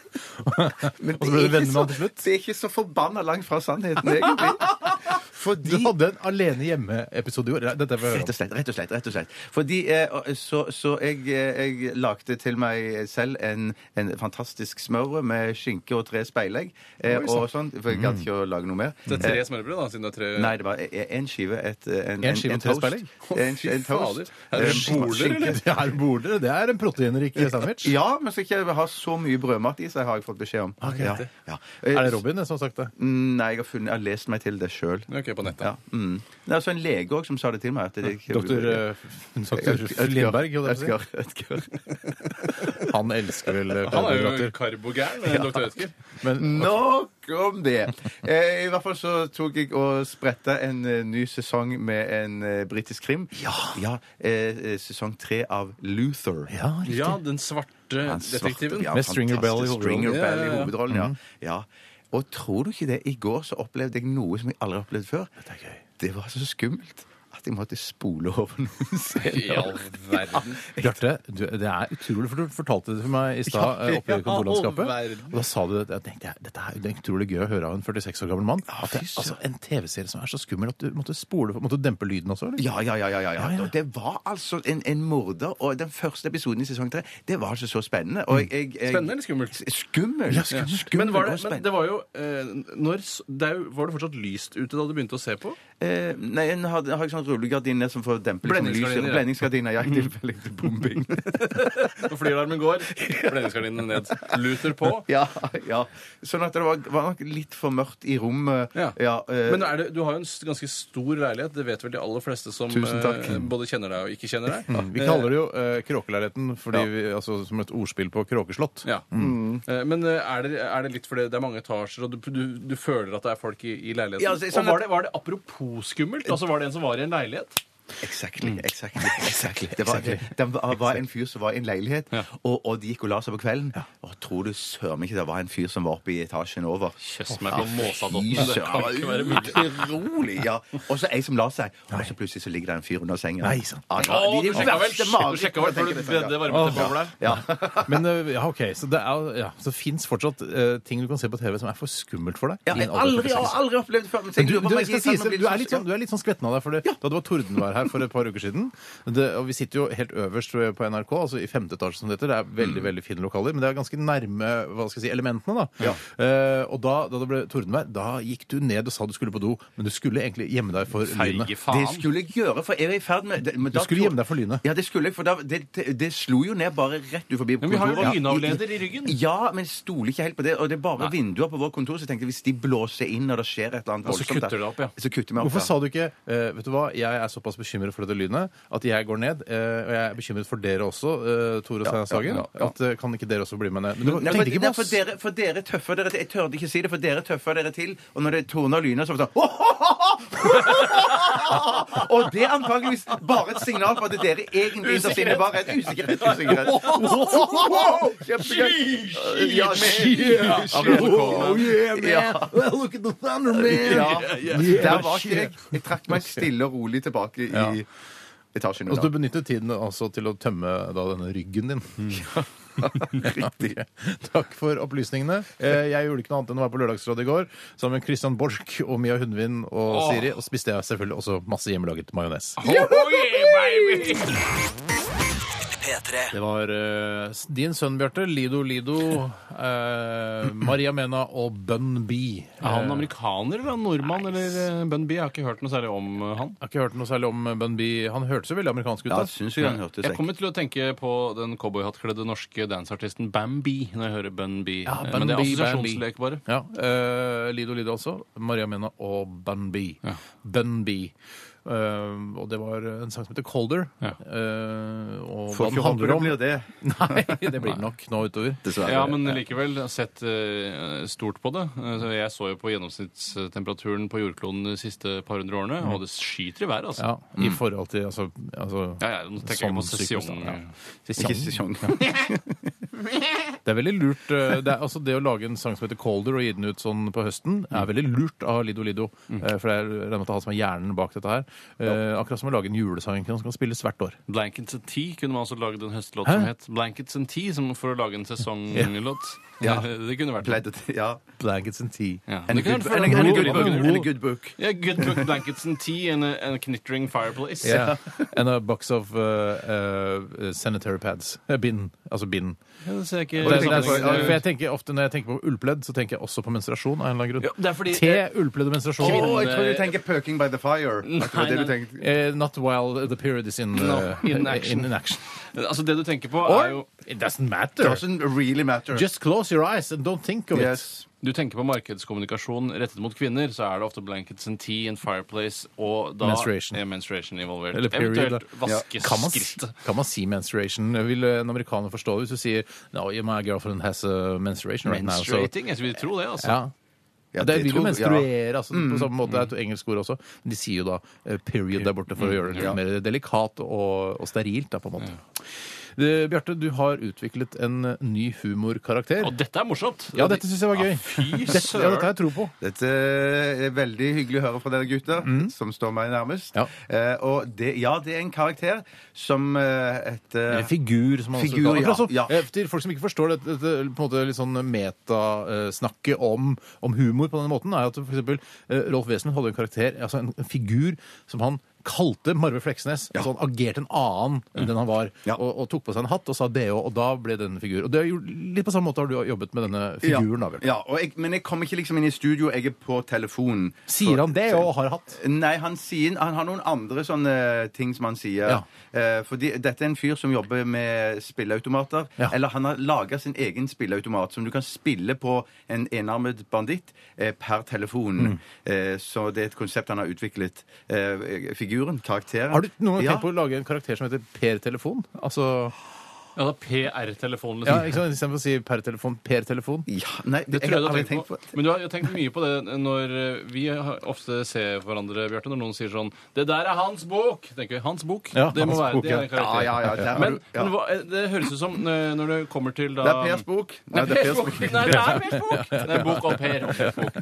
Speaker 3: Men
Speaker 2: Og så ble
Speaker 3: det
Speaker 2: du [laughs] venner
Speaker 3: er ikke
Speaker 2: med han
Speaker 3: så-
Speaker 2: til slutt?
Speaker 3: Det er ikke så forbanna langt fra sannheten, egentlig.
Speaker 2: Du hadde en alene hjemme-episode i år. Nei, Dette er for å høre
Speaker 3: Rett og slett. rett og slett, rett og slett. Fordi eh, Så, så jeg, eh, jeg lagde til meg selv en, en fantastisk smørbrød med skinke og tre speilegg. Eh, og sånn, For jeg
Speaker 2: Mm.
Speaker 3: gadd ikke å lage noe mer. Eh,
Speaker 4: Det er tre smørbrød, da, siden det er tre
Speaker 3: Nei, det var én skive. Et, eh, en,
Speaker 2: En skive og tre
Speaker 3: toast.
Speaker 2: speilegg?
Speaker 3: En, en
Speaker 4: fader.
Speaker 3: toast.
Speaker 4: Er det
Speaker 3: Eh,
Speaker 4: boler,
Speaker 3: skinke.
Speaker 2: om. Det er bordere. Det er en proteinrik sandwich.
Speaker 3: Ja, men skal ikke ha så mye brødmat i seg, har jeg fått beskjed om. ja. Ja. Eh,
Speaker 2: Er det Robin som har sagt det?
Speaker 3: Mm, Nei, jeg har, funnet, jeg har lest meg til det sjøl.
Speaker 4: Ok, på nettet.
Speaker 3: Ja. Mm. Det er altså en lege òg som sa det til meg. At det,
Speaker 2: Doktor, eh,
Speaker 4: eh,
Speaker 2: [laughs] doktor Lindberg, jo, det er det.
Speaker 3: Ødgar.
Speaker 2: [laughs]
Speaker 3: Ødgar.
Speaker 2: han elsker vel eh,
Speaker 4: Han er jo
Speaker 2: karbohydrater.
Speaker 4: karbogæren, eh, doktor Ødsker.
Speaker 2: Men
Speaker 3: Nok om det! Eh, I hvert fall så tok jeg og spretta en eh, ny sesong med en eh, britisk krim. Ja, eh, eh, Sesong tre av Luther.
Speaker 2: ja, riktig.
Speaker 4: Ja, den svarte
Speaker 3: Han svarte-
Speaker 4: detektiven.
Speaker 3: ja,
Speaker 2: Med Stringer
Speaker 3: fantastisk
Speaker 2: Bell i hovedrollen. Mm.
Speaker 3: Stringer
Speaker 4: Ja, ja,
Speaker 3: Bell i
Speaker 4: ja.
Speaker 3: hovedrollen, ja. ja. Og tror du ikke det? I går så opplevde jeg noe som jeg aldri har opplevd før. Det var så skummelt at jeg måtte spole over noen
Speaker 4: I all
Speaker 3: scener.
Speaker 4: verden.
Speaker 2: Bjarte, du, det er utrolig, for du fortalte det for meg i stad.
Speaker 3: Ja,
Speaker 2: eh, oppe i
Speaker 4: ja,
Speaker 2: kontorlandskapet.
Speaker 4: all verden.
Speaker 2: Og da sa du at jeg tenkte, jeg, dette er jo utrolig gøy å høre av en 46 år gammel mann. At det, altså, en TV-serie som er så skummel at du måtte spole Måtte du dempe lyden også? Eller?
Speaker 3: Ja, ja, ja. ja, ja,
Speaker 2: Ja, ja.
Speaker 3: Og Det var altså en, en morder, og den første episoden i sesong tre, det var altså så spennende. Og jeg, jeg, jeg,
Speaker 4: Mm. Spennende eller skummelt?
Speaker 3: Skummel!
Speaker 2: Ja, skummelt.
Speaker 4: Men var det,
Speaker 3: og
Speaker 4: men
Speaker 3: spennende.
Speaker 4: det var jo eh, når, s- det er jo- Var det fortsatt lyst ute da du begynte å se på?
Speaker 3: Eh, nei, nå har, har jeg sånn sånn rullegardiner som får dempe liksom lyset.
Speaker 4: Blendingsgardiner, ja. Mm.
Speaker 3: Blendingsgardiner. Ja, jeg tilfeller litt
Speaker 4: [laughs]
Speaker 3: bombing.
Speaker 4: Når
Speaker 3: [laughs]
Speaker 4: flylarmen går, blendingsgardinene ned. Luther på.
Speaker 3: Ja, ja. Sånn at det var, var nok litt for mørkt i rommet.
Speaker 4: Ja.
Speaker 3: eh,
Speaker 4: Men er det, du har jo en s- ganske stor leilighet. Det vet vel de aller fleste som
Speaker 3: Tusen takk.
Speaker 4: eh, både kjenner deg og ikke kjenner deg.
Speaker 2: Vi kaller det jo eh, Kråkelerreten fordi vi, altså, som et ordspill på kråkeslott.
Speaker 4: Ja. Eh, Men eh, er det, er det litt fordi det er mange etasjer, og du, du, du føler at det er folk i, i leiligheten?
Speaker 3: Ja, altså, sånn
Speaker 4: og
Speaker 3: at-
Speaker 4: var det, var det apropos skummelt? Altså, var det en som var i en leilighet?
Speaker 3: Exactly,
Speaker 4: Mm. [laughs]
Speaker 3: exactly, exactly. Det var, det var- var en fyr som var i en leilighet, og, og de gikk og la seg på kvelden. Og tror du søren meg ikke det var en fyr som var oppe i etasjen over?
Speaker 4: Kjøss meg på
Speaker 3: Fy
Speaker 4: måsadotten. Det kan ikke være
Speaker 3: søren,
Speaker 4: mulig.
Speaker 3: utrolig! Ja. Og så ei som la seg, og så plutselig så ligger det en fyr under senga.
Speaker 2: Nei, sant.
Speaker 3: Ja, det
Speaker 4: Å,
Speaker 3: var- de-
Speaker 4: du
Speaker 3: de
Speaker 4: sjekka vel
Speaker 3: verste
Speaker 4: du sjekka vel
Speaker 3: marerittene,
Speaker 4: før
Speaker 3: tenker jeg på,
Speaker 4: du bredde
Speaker 3: ja.
Speaker 4: varmtepåler der?
Speaker 3: Ja.
Speaker 2: Men eh, ja, ok, så det, er, ja, så finnes fortsatt eh, ting du kan se på TV som er for skummelt for deg.
Speaker 3: Ja,
Speaker 2: I
Speaker 3: jeg
Speaker 2: en
Speaker 3: har
Speaker 2: alder for
Speaker 3: aldri, jeg har
Speaker 2: seks.
Speaker 3: aldri opplevd det før. men
Speaker 2: Men
Speaker 3: tenk
Speaker 2: du,
Speaker 3: om
Speaker 2: du,
Speaker 3: man
Speaker 2: jeg skal
Speaker 3: gir seg,
Speaker 2: si,
Speaker 3: man
Speaker 2: så
Speaker 3: blir
Speaker 2: du, er litt
Speaker 3: sånn-
Speaker 2: sånn, du er litt sånn skvetten av deg for det, da det var tordenvær her for et par uker siden. Det, og vi sitter jo helt øverst på NRK, altså i femte etasje som det heter. Det er
Speaker 3: Mm.
Speaker 2: veldig veldig fine lokaler, men det er ganske nærme hva skal jeg si, elementene. da. Eh, og da, da det ble tordenvær, da gikk du ned og sa du skulle på do, men du skulle egentlig gjemme deg for lynet.
Speaker 4: Feige
Speaker 3: Det
Speaker 4: faen.
Speaker 3: skulle jeg gjøre, for jeg var i ferd med det, men
Speaker 2: Du
Speaker 3: da
Speaker 2: skulle
Speaker 3: tror-
Speaker 2: gjemme deg for lynet.
Speaker 3: Ja, det skulle jeg, for da, det, det, det slo jo ned bare rett ut forbi
Speaker 4: Men vi har jo
Speaker 3: kontoret.
Speaker 4: lynavleder i ryggen.
Speaker 3: Ja, men jeg stoler ikke helt på det. Og det er bare vinduer på vårt kontor, så jeg tenkte hvis de blåser inn når det skjer et eller annet
Speaker 4: Ja, så kutter det opp, ja.
Speaker 3: Så kutter vi opp,
Speaker 2: Hvorfor
Speaker 3: ja.
Speaker 2: sa du ikke eh, Vet du hva, jeg er såpass bekymret for dette lynet at jeg går ned, eh, og jeg er bekymret for dere også, eh, Tore og
Speaker 3: Ja,
Speaker 2: Steinar Sagen.
Speaker 3: ja, ja, ja.
Speaker 2: At eh, kan ikke dere også bli med ned? Men du
Speaker 3: Nei, for,
Speaker 2: tenkte ikke
Speaker 3: nei,
Speaker 2: på
Speaker 3: for,
Speaker 2: oss.
Speaker 3: dere, for dere tøffer dere til. Jeg tørde ikke si det, for dere tøffer dere til. Og når det torner lyner, så er det sånn Og det er antakeligvis bare et signal på at dere egentlig innerst inne bare er usikkerhet. usikkerhet. Kjempe- kjempe- Ja,
Speaker 4: Oh,
Speaker 3: Ja.
Speaker 2: Look at the thunder, man!
Speaker 3: Ja. Der var ikke jeg. Jeg trakk meg stille og rolig tilbake i etasjen. i
Speaker 2: Altså,
Speaker 3: dag.
Speaker 2: du benyttet tiden altså til å tømme da, denne ryggen din.
Speaker 3: Mm.
Speaker 2: [laughs] Riktig. Takk for opplysningene. Eh, Jeg gjorde ikke noe annet enn å være på Lørdagsrådet i går sammen med Christian Borch og Mia Hundvin og
Speaker 4: Åh.
Speaker 2: Siri. Og så spiste jeg selvfølgelig også masse hjemmelaget majones.
Speaker 4: yeah, baby!
Speaker 1: P3.
Speaker 2: Det var eh, din sønn, Bjarte. Lido Lido, eh, Maria Mena og Bun B. Eh,
Speaker 4: Er han amerikaner eller han nordmann eller eh, Bun B? Jeg har ikke hørt noe særlig om eh, han.
Speaker 2: Jeg har ikke hørt noe særlig om eh, Bun B. Han hørtes jo veldig amerikansk ut.
Speaker 3: Ja,
Speaker 2: da.
Speaker 3: det syns jeg han hørtes
Speaker 4: Jeg
Speaker 3: vekk.
Speaker 4: kommer til å tenke på den cowboyhattkledde norske danseartisten Bambi når jeg hører Bun B.
Speaker 2: Ja,
Speaker 4: Eh,
Speaker 2: Bun
Speaker 4: Men det er
Speaker 2: B, Bun B.
Speaker 4: assosiasjonslek, bare.
Speaker 2: Ja, eh, Lido Lido altså. Maria Mena og Bun B. Bun B. Eh, og det var en sang som heter Colder.
Speaker 4: Ja.
Speaker 2: Eh, og hva
Speaker 3: Får
Speaker 2: den
Speaker 3: ikke håpe
Speaker 2: handler
Speaker 3: det
Speaker 2: om
Speaker 3: blir det.
Speaker 2: [laughs] Nei, det blir det nok nå utover.
Speaker 3: Dessverre.
Speaker 4: Ja, men likevel jeg har sett eh, stort på det. Eh, så Jeg så jo på gjennomsnittstemperaturen på jordkloden de siste par hundre årene, og det skyter i været, altså.
Speaker 2: Mm. Ja, I forhold til altså, altså
Speaker 4: Ja, ja, nå tenker jeg på
Speaker 2: Sommersykehus,
Speaker 4: sesong.
Speaker 2: da. Ja.
Speaker 3: Ikke
Speaker 2: sesong.
Speaker 3: sesong.
Speaker 2: Det er veldig lurt. eh, Det, er, altså, det å lage en sang som heter Colder og gi den ut sånn på høsten, er
Speaker 4: Mm.
Speaker 2: veldig lurt av Lido Lido. eh, For det er regner med at det er han som er hjernen bak dette her. Eh, Akkurat som å lage en julesang som kan spilles hvert år.
Speaker 4: Blankets and Tea kunne man også laget en høstlåt som
Speaker 2: Hæ?
Speaker 4: het Blankets and Tea, som for å lage
Speaker 2: [laughs]
Speaker 4: en sesonglåt.
Speaker 3: Ja.
Speaker 4: [laughs] Det kunne vært
Speaker 3: Pleide til- Ja.
Speaker 2: Blankets and tea.
Speaker 4: Ja.
Speaker 3: And a
Speaker 4: Det kunne
Speaker 3: good,
Speaker 4: vært
Speaker 3: and
Speaker 4: for-
Speaker 3: a, and a good
Speaker 4: Norge,
Speaker 3: book.
Speaker 4: Norge.
Speaker 3: And a good book.
Speaker 4: Yeah, good book, blankets and tea and a, and a knittering fireplace.
Speaker 2: Yeah. And a box of uh, uh, sanitary pads. Eh, Bind. Altså bind.
Speaker 4: Ja, det sånn ser jeg ikke
Speaker 2: Det er- det er-
Speaker 4: sammenhengen der.
Speaker 2: For jeg tenker ofte Når jeg tenker på ullpledd, så tenker jeg også på menstruasjon. av en eller annen grunn.
Speaker 4: Ja, det er fordi-
Speaker 2: Te, ullpledd og menstruasjon.
Speaker 3: Å, jeg tror du tenker 'Pøking by the Fire'. At det var det du
Speaker 4: nei.
Speaker 3: tenkte.
Speaker 2: Eh, not while the period is in,
Speaker 4: No,
Speaker 2: eh,
Speaker 4: in action.
Speaker 2: In, in action.
Speaker 4: Altså, det du tenker på, er jo
Speaker 2: Or it doesn't matter.
Speaker 3: Doesn't really matter.
Speaker 2: Just close your eyes and don't think of it.
Speaker 3: yes.
Speaker 4: Du tenker på markedskommunikasjon rettet mot kvinner, så er det ofte blankets and tea and fireplace og da
Speaker 2: Menstruation.
Speaker 4: er menstruation involvert.
Speaker 2: Eller period,
Speaker 4: Eventuelt
Speaker 2: da. Kan man,
Speaker 4: vaskeskritt.
Speaker 2: kan man si menstruation? Vil en amerikaner forstå det hvis du sier no, my girlfriend has uh, menstruation right now? Så,
Speaker 4: Menstruating? Jeg vil tro det, altså.
Speaker 2: ja.
Speaker 3: Ja,
Speaker 2: det,
Speaker 3: det
Speaker 2: vil jo
Speaker 3: tror-
Speaker 2: menstruere, altså, på samme måte. Det er et engelsk ord også. Men de sier jo da eh, 'period' der borte for å gjøre det litt
Speaker 3: Ja.
Speaker 2: mer delikat og, og sterilt, da, på en måte. Det- Bjarte, du har utviklet en ny humorkarakter.
Speaker 4: Og dette er morsomt.
Speaker 2: Ja, dette syns jeg var gøy.
Speaker 4: fy
Speaker 2: Dette, ja, dette har
Speaker 4: søren.
Speaker 2: jeg tro på.
Speaker 3: Dette er veldig hyggelig å høre fra dere gutter, som står meg nærmest.
Speaker 2: Mm. Ja.
Speaker 3: Eh, og det, ja, det er en karakter som eh, heter
Speaker 2: Eller figur, som han også
Speaker 3: Figur,
Speaker 2: kaller det.
Speaker 3: ja,
Speaker 2: Akkurat som-
Speaker 3: ja.
Speaker 2: eh, Til folk som ikke forstår det, dette på en måte litt sånn metasnakket om, om humor på denne måten, er at for eksempel eh, Rolf Wesenlund hadde en karakter, altså en figur som han kalte Marve Fleksnes altså han agerte en annen enn den han var,
Speaker 5: Ja.
Speaker 2: og, og tok på seg en hatt og sa DH, og da ble det en figur. Og det er jo litt på samme måte har du jobbet med denne figuren. da, vel?
Speaker 3: Ja, og jeg, men jeg kommer ikke liksom inn i studio, jeg er på telefonen.
Speaker 2: Sier han det, og har hatt?
Speaker 3: Nei, han, sier, han har noen andre sånne ting som han sier.
Speaker 2: Ja.
Speaker 3: Eh, fordi dette er en fyr som jobber med spilleautomater.
Speaker 2: Ja.
Speaker 3: Eller han har laga sin egen spilleautomat som du kan spille på en enarmet banditt eh, per telefon.
Speaker 2: Mm.
Speaker 3: Eh, så det er et konsept han har utviklet. Eh, figuren, karakteren.
Speaker 2: Har du noen gang
Speaker 3: ja.
Speaker 2: tenkt på å lage en karakter som heter Per Telefon? Altså,
Speaker 4: Ja, da PR-telefonen,
Speaker 2: ja,
Speaker 4: liksom.
Speaker 2: ikke sant? Istedenfor å si Per Telefon, Per Telefon.
Speaker 3: Ja, nei,
Speaker 4: Det tror jeg du har
Speaker 3: aldri
Speaker 4: tenkt på. Men du har jo tenkt mye på det når eh, vi har- ofte ser hverandre, Bjarte, når noen sier sånn 'Det der er hans bok!' tenker vi. Hans bok?
Speaker 2: Ja,
Speaker 4: det må
Speaker 2: hans
Speaker 4: være
Speaker 2: bok,
Speaker 4: det er en
Speaker 2: ja.
Speaker 3: Ja,
Speaker 4: karakter.
Speaker 3: ja, ja, der har
Speaker 4: men
Speaker 3: du- ja.
Speaker 4: men hva, eh, det høres ut som eh, når det kommer til da
Speaker 3: Det er Pers bok.
Speaker 4: Nei, det er
Speaker 3: Pers
Speaker 4: bok. Nei, det er Pers bok! Det er bok om Per. og Pers bok.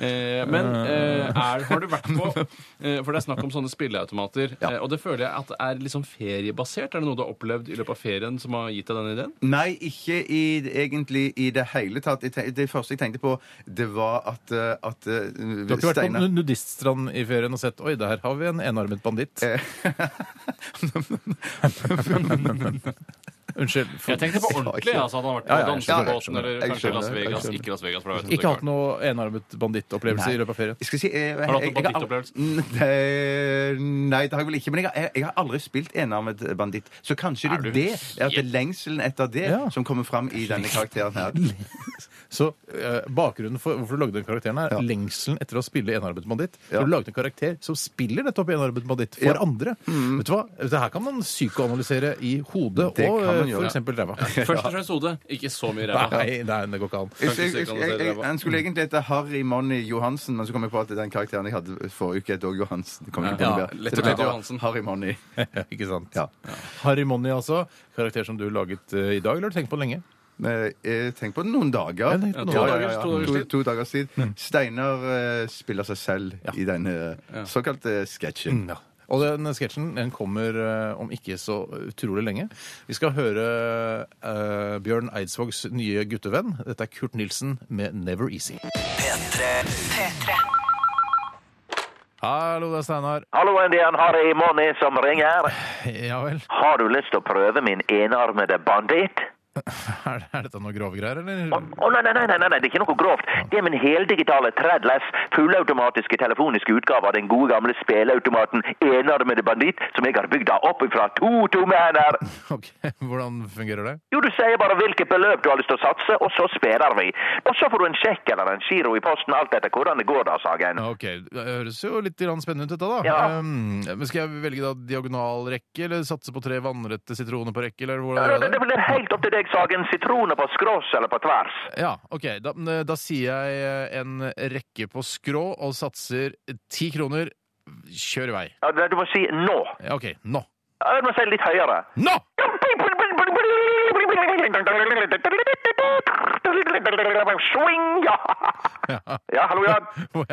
Speaker 4: Eh, men eh, er, har du vært på eh, For det er snakk om sånne spilleautomater. Eh, og det føler jeg at er liksom feriebasert. Er det noe du har opplevd i løpet av ferien som har gitt deg den ideen?
Speaker 3: Nei, ikke i, egentlig i det hele tatt. Jeg ten- Det første jeg tenkte på, det var at, eh, at
Speaker 2: Du har ikke vært på nudiststrand i ferien og sett Oi, der har vi en enarmet banditt.
Speaker 3: Eh.
Speaker 2: [laughs] Unnskyld. for-
Speaker 4: Jeg
Speaker 3: [laughs]
Speaker 4: tenkte på ordentlig. altså At han har vært på
Speaker 2: Ja, ja, jeg
Speaker 4: dansebåten
Speaker 3: skjønner, jeg
Speaker 4: eller
Speaker 3: skjønner.
Speaker 4: kanskje
Speaker 3: Jeg
Speaker 4: Las
Speaker 3: skjønner, jeg
Speaker 4: Vegas.
Speaker 3: skjønner.
Speaker 4: Ikke Las Vegas. for da vet du
Speaker 2: Ikke
Speaker 4: det
Speaker 2: hatt noe enarmet banditt-opplevelse i løpet av ferien?
Speaker 3: Jeg skal si, eh,
Speaker 4: Har du hatt
Speaker 3: jeg-
Speaker 4: noen
Speaker 3: jeg al-
Speaker 4: bandittopplevelse?
Speaker 3: Nei, Nei, det har jeg vel ikke. Men jeg har, jeg, jeg har aldri spilt enarmet banditt. Så kanskje
Speaker 4: Er
Speaker 3: det
Speaker 4: du
Speaker 3: er det, er at det er lengselen etter det
Speaker 2: Ja.
Speaker 3: som kommer fram i denne karakteren her.
Speaker 2: Så eh, bakgrunnen for hvorfor du lagde den karakteren, er lengselen etter å spille enarmet banditt. For Du lagde en karakter som spiller nettopp enarmet banditt for
Speaker 3: Ja. Mm.
Speaker 2: andre. Vet du hva? Det her kan man psykoanalysere i hodet
Speaker 3: Det
Speaker 2: og
Speaker 3: kan man
Speaker 2: eh,
Speaker 3: gjøre.
Speaker 2: for eksempel ræva.
Speaker 3: [laughs]
Speaker 4: Først og fremst hodet, ikke så mye ræva.
Speaker 2: Nei, nei, det går ikke an.
Speaker 3: Jeg,
Speaker 4: Kanskje
Speaker 3: jeg, jeg, jeg, jeg,
Speaker 4: psykoanalyse
Speaker 3: han skulle egentlig hete Harry Money Johansen, men så kom jeg på at den karakteren jeg hadde forrige uke, het òg Johansen. Det kom ikke på
Speaker 4: Ja,
Speaker 3: noe bedre.
Speaker 4: lett
Speaker 3: Så det
Speaker 4: å
Speaker 3: ble
Speaker 4: lete
Speaker 3: bare
Speaker 4: Johansen.
Speaker 3: Harry Money.
Speaker 2: [laughs] ikke sant?
Speaker 3: Ja.
Speaker 2: Harry Money, altså. Karakter som du laget eh, i dag, eller har du tenkt på den lenge?
Speaker 3: Men, eh, Tenk på noen
Speaker 2: Ja,
Speaker 3: dager.
Speaker 2: tenk på noen
Speaker 3: Ja,
Speaker 4: dager.
Speaker 3: ja, ja, ja.
Speaker 4: To dagers tid.
Speaker 3: To, to dagers tid. Steinar eh, spiller seg selv i denne eh, såkalte sketsjen.
Speaker 2: Og den sketsjen den kommer eh, om ikke så utrolig lenge. Vi skal høre eh, Bjørn Eidsvågs nye guttevenn. Dette er Kurt Nilsen med 'Never Easy'.
Speaker 1: P3.
Speaker 6: P3.
Speaker 2: Hallo, det er Steinar.
Speaker 1: Halloen, det er en Harry Money som ringer.
Speaker 2: Ja vel.
Speaker 1: Har du lyst til å prøve min enarmede banditt?
Speaker 2: Er, er dette noe grove greier,
Speaker 1: Å,
Speaker 2: eller?
Speaker 1: å, nei, nei, nei, nei, nei, det er ikke noe grovt. Det er min heldigitale tredless, fullautomatiske telefoniske utgave av den gode gamle speleautomaten Enarmede banditt, som jeg har bygd da opp fra to tomme hender.
Speaker 2: Ok, Hvordan fungerer det?
Speaker 1: Jo, du sier bare hvilket beløp du har lyst til å satse, og så spiller vi. Og så får du en sjekk eller en giro i posten, alt etter hvordan det går da, Sagen.
Speaker 2: Ok, Det høres jo litt grann spennende ut, dette, da.
Speaker 1: Ja.
Speaker 2: Um, men Skal jeg velge da diagonal rekke, eller satse på tre vannrette sitroner på rekke, eller hvordan
Speaker 1: Ja,
Speaker 2: gjør
Speaker 1: Det,
Speaker 2: jeg
Speaker 1: det
Speaker 2: det?
Speaker 1: blir helt opp til deg, Sagen. Sitroner på skrås eller på tvers.
Speaker 2: Ja, ok. Da, men, eh, da sier jeg eh, en rekke på skrå og satser ti kroner. Kjør i vei.
Speaker 1: Ja, det- Du må si nå.
Speaker 2: Ja, Ok, nå.
Speaker 1: Ja, Du må si litt høyere.
Speaker 2: Nå! [laughs]
Speaker 1: Swing, ja!
Speaker 2: Ja.
Speaker 1: Ja, hallo, ja.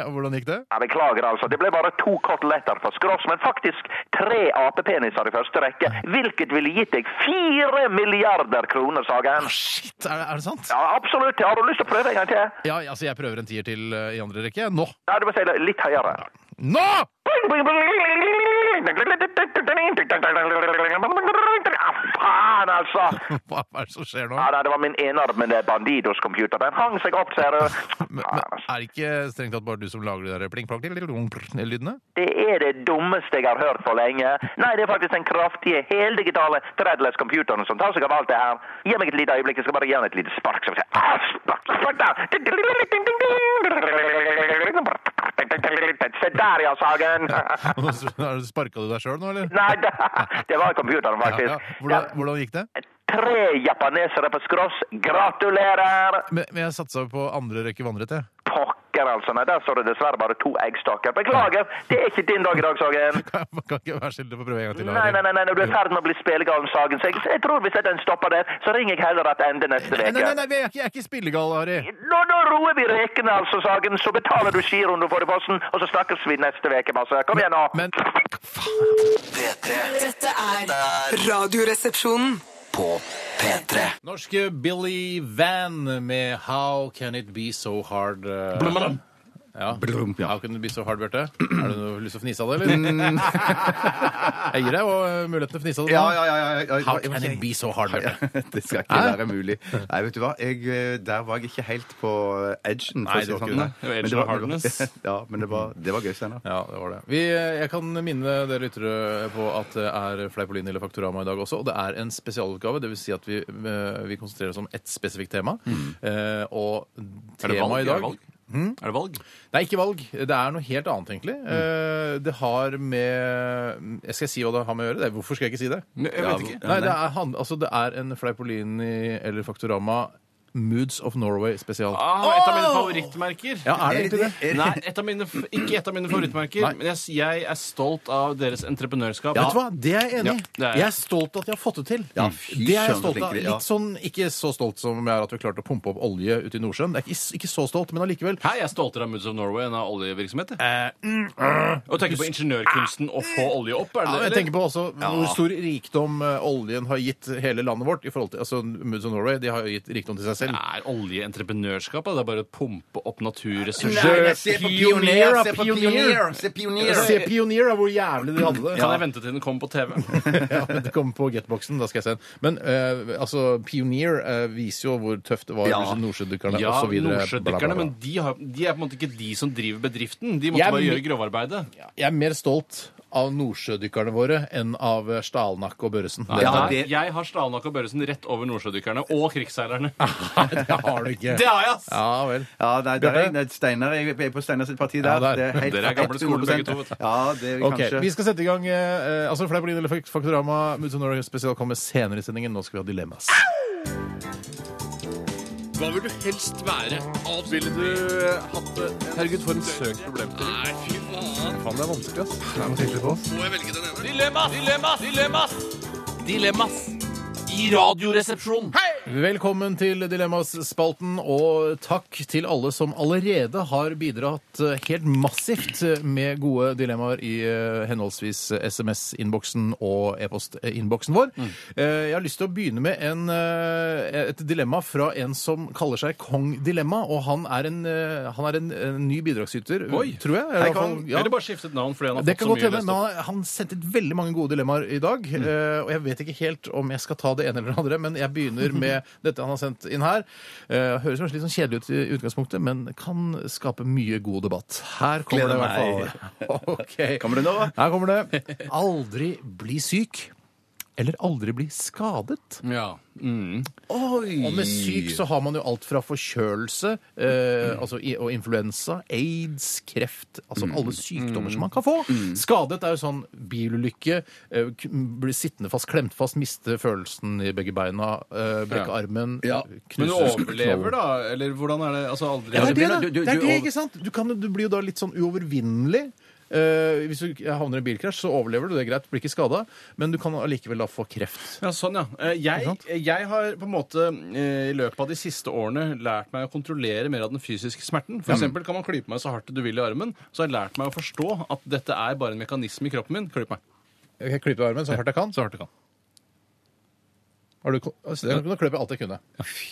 Speaker 2: Hvordan gikk det?
Speaker 1: ja. Beklager, altså. Det ble bare to koteletter for skross, men faktisk tre apepeniser i første rekke, hvilket ville gitt deg fire milliarder kroner, Sagen.
Speaker 2: Shit, er det, er det sant?
Speaker 1: Ja, absolutt. Har du lyst til å prøve en gang til?
Speaker 2: Ja, altså, jeg prøver en tier til eh, i andre rekke. Nå!
Speaker 1: Ja, du må si det litt høyere.
Speaker 2: Nå! [laughs]
Speaker 1: Ah, faen, altså!
Speaker 2: Hva er det som skjer nå?
Speaker 1: Ja, nei, det var min enarmede bandidos-computer. Den hang seg opp, ser du.
Speaker 2: [laughs] Men, men
Speaker 1: Faen, altså.
Speaker 2: er det ikke strengt tatt bare du som lager de der pling-plong-lydene?
Speaker 1: [laughs] Det er det dummeste jeg har hørt på lenge. Nei, det er faktisk den kraftige, heldigitale threadless-computeren som tar seg av alt det her. Gi meg et lite øyeblikk, jeg skal bare gi han et lite spark. Så vi ser. Ah, spark, spark
Speaker 2: [laughs]
Speaker 1: der! Se der, ja, Sagen!
Speaker 2: Sparka du deg sjøl nå, eller?
Speaker 1: [laughs] Nei, det, det var computeren,
Speaker 2: Ja, ja.
Speaker 1: faktisk.
Speaker 2: Hvordan, hvordan gikk det?
Speaker 1: Tre japanesere på skross. Gratulerer!
Speaker 2: Men, men jeg satsa jo på andre rekke vannrett, jeg.
Speaker 1: Pokker, altså. Nei, der står det dessverre bare to eggstokker. Beklager, det er ikke din dag i dag, Sagen.
Speaker 2: [laughs] Kan, jeg- kan ikke være skyldig på å prøve en gang til.
Speaker 1: Nei,
Speaker 2: Ari?
Speaker 1: nei, nei, nei, du er i ferd med å bli spillegal, Sagen. Så jeg, jeg tror hvis den stopper der, så ringer jeg heller at ende neste
Speaker 2: Nei, nei, nei,
Speaker 1: uke.
Speaker 2: nei, jeg er ikke, jeg er ikke spillegal, Ari.
Speaker 1: Nå, nå roer vi rekene, altså, Sagen. Så betaler du giroen du får i posten, og så snakkes vi neste uke, Basse. Kom igjen, nå.
Speaker 2: Men
Speaker 6: Dette er Radioresepsjonen.
Speaker 2: norske Billy Van med How Can It Be So Hard eh,
Speaker 4: Blum, blum.
Speaker 2: Ja.
Speaker 3: Blum, ja.
Speaker 2: Ja, kunne det bli så hard, Bjarte? Har du noe lyst til å fnise av det, eller?
Speaker 4: Mm.
Speaker 2: [laughs] Jeg gir deg jo eh, muligheten til å fnise av det.
Speaker 3: Ja,
Speaker 2: nå.
Speaker 3: ja, ja, ja, ja.
Speaker 2: How can it be so hard, Bjarte?
Speaker 3: Ja, [laughs] det skal ikke være mulig. Nei, vet du hva? Jeg, eh, der var jeg ikke helt på edgen. for
Speaker 2: Nei,
Speaker 3: å si
Speaker 2: det var
Speaker 3: sånn.
Speaker 2: ikke det.
Speaker 4: Det var edge
Speaker 3: Men
Speaker 4: og hardness.
Speaker 3: [laughs] Ja, men det var, det var gøy scener.
Speaker 2: [laughs] Ja, det var det. Vi, eh, jeg kan minne dere lyttere på at det er Fleipolini eller Faktorama i dag også, og det er en spesialutgave. Det vil si at vi, eh, vi konsentrerer oss om ett spesifikt tema. Eh, og
Speaker 4: Mm. Er det
Speaker 2: temaet
Speaker 4: valg?
Speaker 2: i
Speaker 4: Er det
Speaker 2: dag
Speaker 4: valg? Er det valg?
Speaker 2: Nei, ikke valg. Det er noe helt annet, egentlig. Eh, det har med Jeg skal si hva det har med å gjøre. Det. Hvorfor skal jeg ikke si det?
Speaker 4: Nei, jeg vet ikke.
Speaker 2: Nei, det er, han, altså, det er en Fleipolini eller Faktorama Moods of Norway-spesial.
Speaker 4: Ah, et av mine favorittmerker.
Speaker 2: Ja, er det egentlig det? [laughs]
Speaker 4: Nei, et av mine, f- ikke et av mine favorittmerker.
Speaker 2: Nei.
Speaker 4: Men jeg, s- jeg er stolt av deres entreprenørskap.
Speaker 2: Vet du hva? Det er jeg enig i.
Speaker 4: Ja, det er jeg.
Speaker 2: jeg er stolt av at jeg har fått det til.
Speaker 3: Ja, fy
Speaker 2: det er jeg
Speaker 3: søren,
Speaker 2: stolt av.
Speaker 3: flinke de- ja.
Speaker 2: Litt sånn, Ikke så stolt som jeg er at vi klarte å pumpe opp olje ute i Nordsjøen. Det er ikke, ikke så stolt, men allikevel.
Speaker 4: Hei, jeg er stoltere av Moods of Norway enn av oljevirksomhet. jeg.
Speaker 2: Eh,
Speaker 4: Og tenker på ingeniørkunsten å få olje opp, er
Speaker 2: mm,
Speaker 4: det
Speaker 2: Ja,
Speaker 4: det?
Speaker 2: jeg
Speaker 4: eller?
Speaker 2: tenker på også hvor stor rikdom eh, oljen har gitt hele landet vårt. i forhold til, altså Moods of Norway de har jo gitt rikdom til seg selv.
Speaker 4: Er oljeentreprenørskap da? Det er bare å pumpe opp
Speaker 3: Nei,
Speaker 4: naturressurser?
Speaker 3: nei, se på pioner, se på
Speaker 2: Pioneer.
Speaker 3: pioner, se pioner.
Speaker 2: Se Pioneer, da, hvor jævlig de hadde det.
Speaker 4: Kan jeg vente til den kommer på TV?
Speaker 2: [laughs] ja, det kom på getboxen, da skal jeg se den. Men eh, altså, Pioneer eh, viser jo hvor tøft det var.
Speaker 3: Ja.
Speaker 2: Ja. Nordsjødykkerne
Speaker 4: Ja,
Speaker 2: osv.
Speaker 4: nordsjødykkerne, men de, har, de er på en måte ikke de som driver bedriften. De måtte
Speaker 2: Jeg-
Speaker 4: bare gjøre grovarbeidet.
Speaker 2: Jeg er mer stolt av nordsjødykkerne våre enn av eh, Stalnakk og Børresen. Det-
Speaker 3: Ja,
Speaker 4: Nei,
Speaker 3: det-
Speaker 4: Jeg har Stalnak og Børresen rett over nordsjødykkerne og krigsseilerne.
Speaker 2: [laughs]
Speaker 4: [laughs]
Speaker 2: det har du ikke.
Speaker 4: Det har jeg, ass!
Speaker 2: Ja vel.
Speaker 3: Ja, nei, der er, nei, Steinar jeg er på Steinar sitt parti der.
Speaker 2: Ja, der.
Speaker 3: Det helt-
Speaker 4: Dere er gamle skoler, begge to, vet du.
Speaker 3: [laughs] Ja, det er
Speaker 2: Ok,
Speaker 3: [laughs] kanskje.
Speaker 2: Vi skal sette i gang eh, eh, altså Fleipolin eller Fak- Faktorama Moods of Norway spesial kommer senere i sendingen. Nå skal vi ha dilemmas.
Speaker 4: Hva vil du helst være? Ville du hatt det? Herregud, for en søk problemstilling. Nei, fy faen.
Speaker 2: Faen, det er vanskelig, ass.
Speaker 4: Må jeg velge den ene? Dilemmas! Dilemmas! Dilemmas! Dilemmas! I radioresepsjonen. Hei!
Speaker 2: Velkommen til Dilemmas-spalten, og takk til alle som allerede har bidratt eh, helt massivt eh, med gode dilemmaer i eh, henholdsvis eh, SMS-innboksen og e-post-innboksen vår.
Speaker 4: Mm.
Speaker 2: Eh, Jeg har lyst til å begynne med en, eh, et dilemma fra en som kaller seg Kong Dilemma, og han er en, eh, han er en, en ny bidragsyter,
Speaker 4: Oi.
Speaker 2: tror jeg.
Speaker 4: Hei,
Speaker 2: I hvert fall-
Speaker 4: Kong.
Speaker 2: ja.
Speaker 4: Eller bare skiftet navn fordi han har
Speaker 2: Det
Speaker 4: fått
Speaker 2: kan
Speaker 4: så
Speaker 2: godt
Speaker 4: mye
Speaker 2: hende, men
Speaker 4: lest opp. Mm.
Speaker 2: han, han sendte inn veldig mange gode dilemmaer i dag. eh, og jeg vet ikke helt om jeg skal ta det ene eller det andre, men jeg begynner
Speaker 4: [laughs]
Speaker 2: med dette han har sendt inn her. Eh, høres kanskje litt sånn kjedelig ut i utgangspunktet, men kan skape mye god debatt. Her kommer det
Speaker 3: Gleder
Speaker 2: i hvert fall. [laughs] Ok.
Speaker 3: Kommer det nå, da?
Speaker 2: Her kommer det. Aldri bli syk. Eller aldri bli skadet.
Speaker 4: Ja.
Speaker 3: mm.
Speaker 2: Og med syk så har man jo alt fra forkjølelse eh,
Speaker 3: Mm.
Speaker 2: altså, i- og influensa, aids, kreft Altså alle sykdommer
Speaker 3: Mm.
Speaker 2: som man kan få. Skadet er jo sånn bilulykke, eh, k- bli sittende fast, klemt fast, miste følelsen i begge beina, eh, brekke
Speaker 4: Ja.
Speaker 2: armen
Speaker 3: Ja.
Speaker 4: Men du overlever, da? Eller hvordan er det? Altså, aldri
Speaker 2: Ja, det er det, da.
Speaker 3: Du- du-
Speaker 2: det, er
Speaker 3: du
Speaker 2: det,
Speaker 3: over-
Speaker 2: ikke sant? Du, kan, du blir jo da litt sånn uovervinnelig. Eh, hvis du havner i en bilkrasj, så overlever du, det er greit, blir ikke skada, men du kan allikevel da få kreft.
Speaker 4: Ja, sånn, ja. Eh, Jeg, jeg har på en måte eh, i løpet av de siste årene lært meg å kontrollere mer av den fysiske smerten. For eksempel kan man klype meg så hardt du vil i armen, så har jeg lært meg å forstå at dette er bare en mekanisme i kroppen min. Klyp meg.
Speaker 2: Jeg klipper armen så hardt jeg kan.
Speaker 4: Så hardt du kan.
Speaker 2: Har du, altså, nå kløp jeg alt jeg kunne.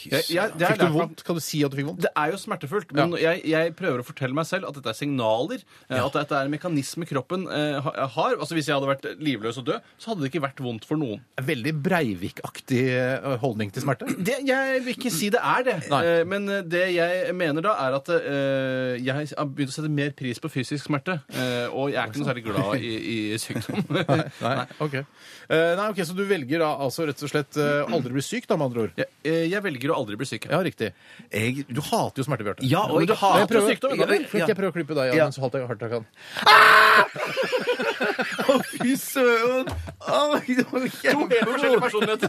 Speaker 4: Jeg, jeg,
Speaker 2: Fikk
Speaker 4: det, har jeg
Speaker 2: du
Speaker 4: lært meg,
Speaker 2: vondt? Kan du si at du fikk vondt?
Speaker 4: det er jo smertefullt, men jeg, jeg prøver å fortelle meg selv at dette er signaler. eh, At dette er en mekanisme kroppen eh, ha- har. Altså Hvis jeg hadde vært livløs og død, så hadde det ikke vært vondt for noen.
Speaker 2: Veldig Breivik-aktig eh, holdning til smerte.
Speaker 4: Det, jeg vil ikke si det er det.
Speaker 2: Nei.
Speaker 4: Eh, Men eh, det jeg mener da, er at eh, jeg har begynt å sette mer pris på fysisk smerte. eh, og jeg er ikke noe særlig glad i, i sykdom.
Speaker 2: [laughs] Nei,
Speaker 4: [laughs]
Speaker 2: ok. Eh, nei, ok, Så du velger da altså rett og slett eh, aldri bli syk, da, med andre ord?
Speaker 4: Jeg, eh, jeg velger å aldri bli syk.
Speaker 2: Ja, riktig.
Speaker 3: Jeg,
Speaker 2: Du hater jo smerte, Bjarte.
Speaker 3: Ja, og
Speaker 2: Men
Speaker 3: jeg
Speaker 2: du hater
Speaker 3: hater
Speaker 2: prøver,
Speaker 3: sykdom,
Speaker 2: sykdom.
Speaker 3: ja,
Speaker 2: Ja,
Speaker 3: ja.
Speaker 2: Fikk jeg prøve å klippe deg, ja,
Speaker 3: Ja.
Speaker 2: men så hardt jeg, hardt jeg kan.
Speaker 3: Fy søren! Oi, det var kjempevondt.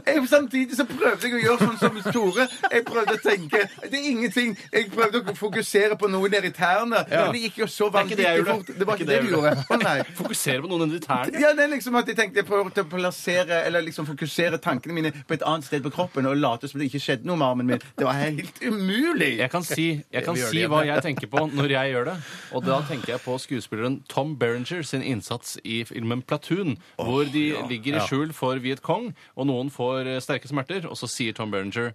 Speaker 4: [laughs]
Speaker 3: Jeg, samtidig så prøvde jeg å gjøre sånn som Tore. Jeg prøvde å tenke Det er ingenting. Jeg prøvde å fokusere på noe nedi tærne. Men det gikk jo så
Speaker 4: er ikke
Speaker 3: vanvittig
Speaker 4: det jeg gjorde.
Speaker 3: fort. Det var
Speaker 4: Det
Speaker 3: ikke
Speaker 4: er
Speaker 3: det
Speaker 4: ikke
Speaker 3: du
Speaker 4: det
Speaker 3: gjorde. Å nei.
Speaker 4: Fokusere på noen enn de tærne.
Speaker 3: Ja, det er liksom at jeg tenkte jeg prøvde å plassere Eller liksom fokusere tankene mine på et annet sted på kroppen og late som det ikke skjedde noe med armen min. Det var helt umulig.
Speaker 4: Jeg kan si, jeg kan
Speaker 2: Vi gjør det
Speaker 4: si
Speaker 2: igjen.
Speaker 4: hva jeg tenker
Speaker 2: [laughs]
Speaker 4: på når jeg gjør det. Og da tenker jeg på skuespilleren Tom Berenger sin innsats i filmen Platoon, hvor de ligger i skjul for Viet Cong, og noen får eh, sterke smerter, og så sier Tom Berenger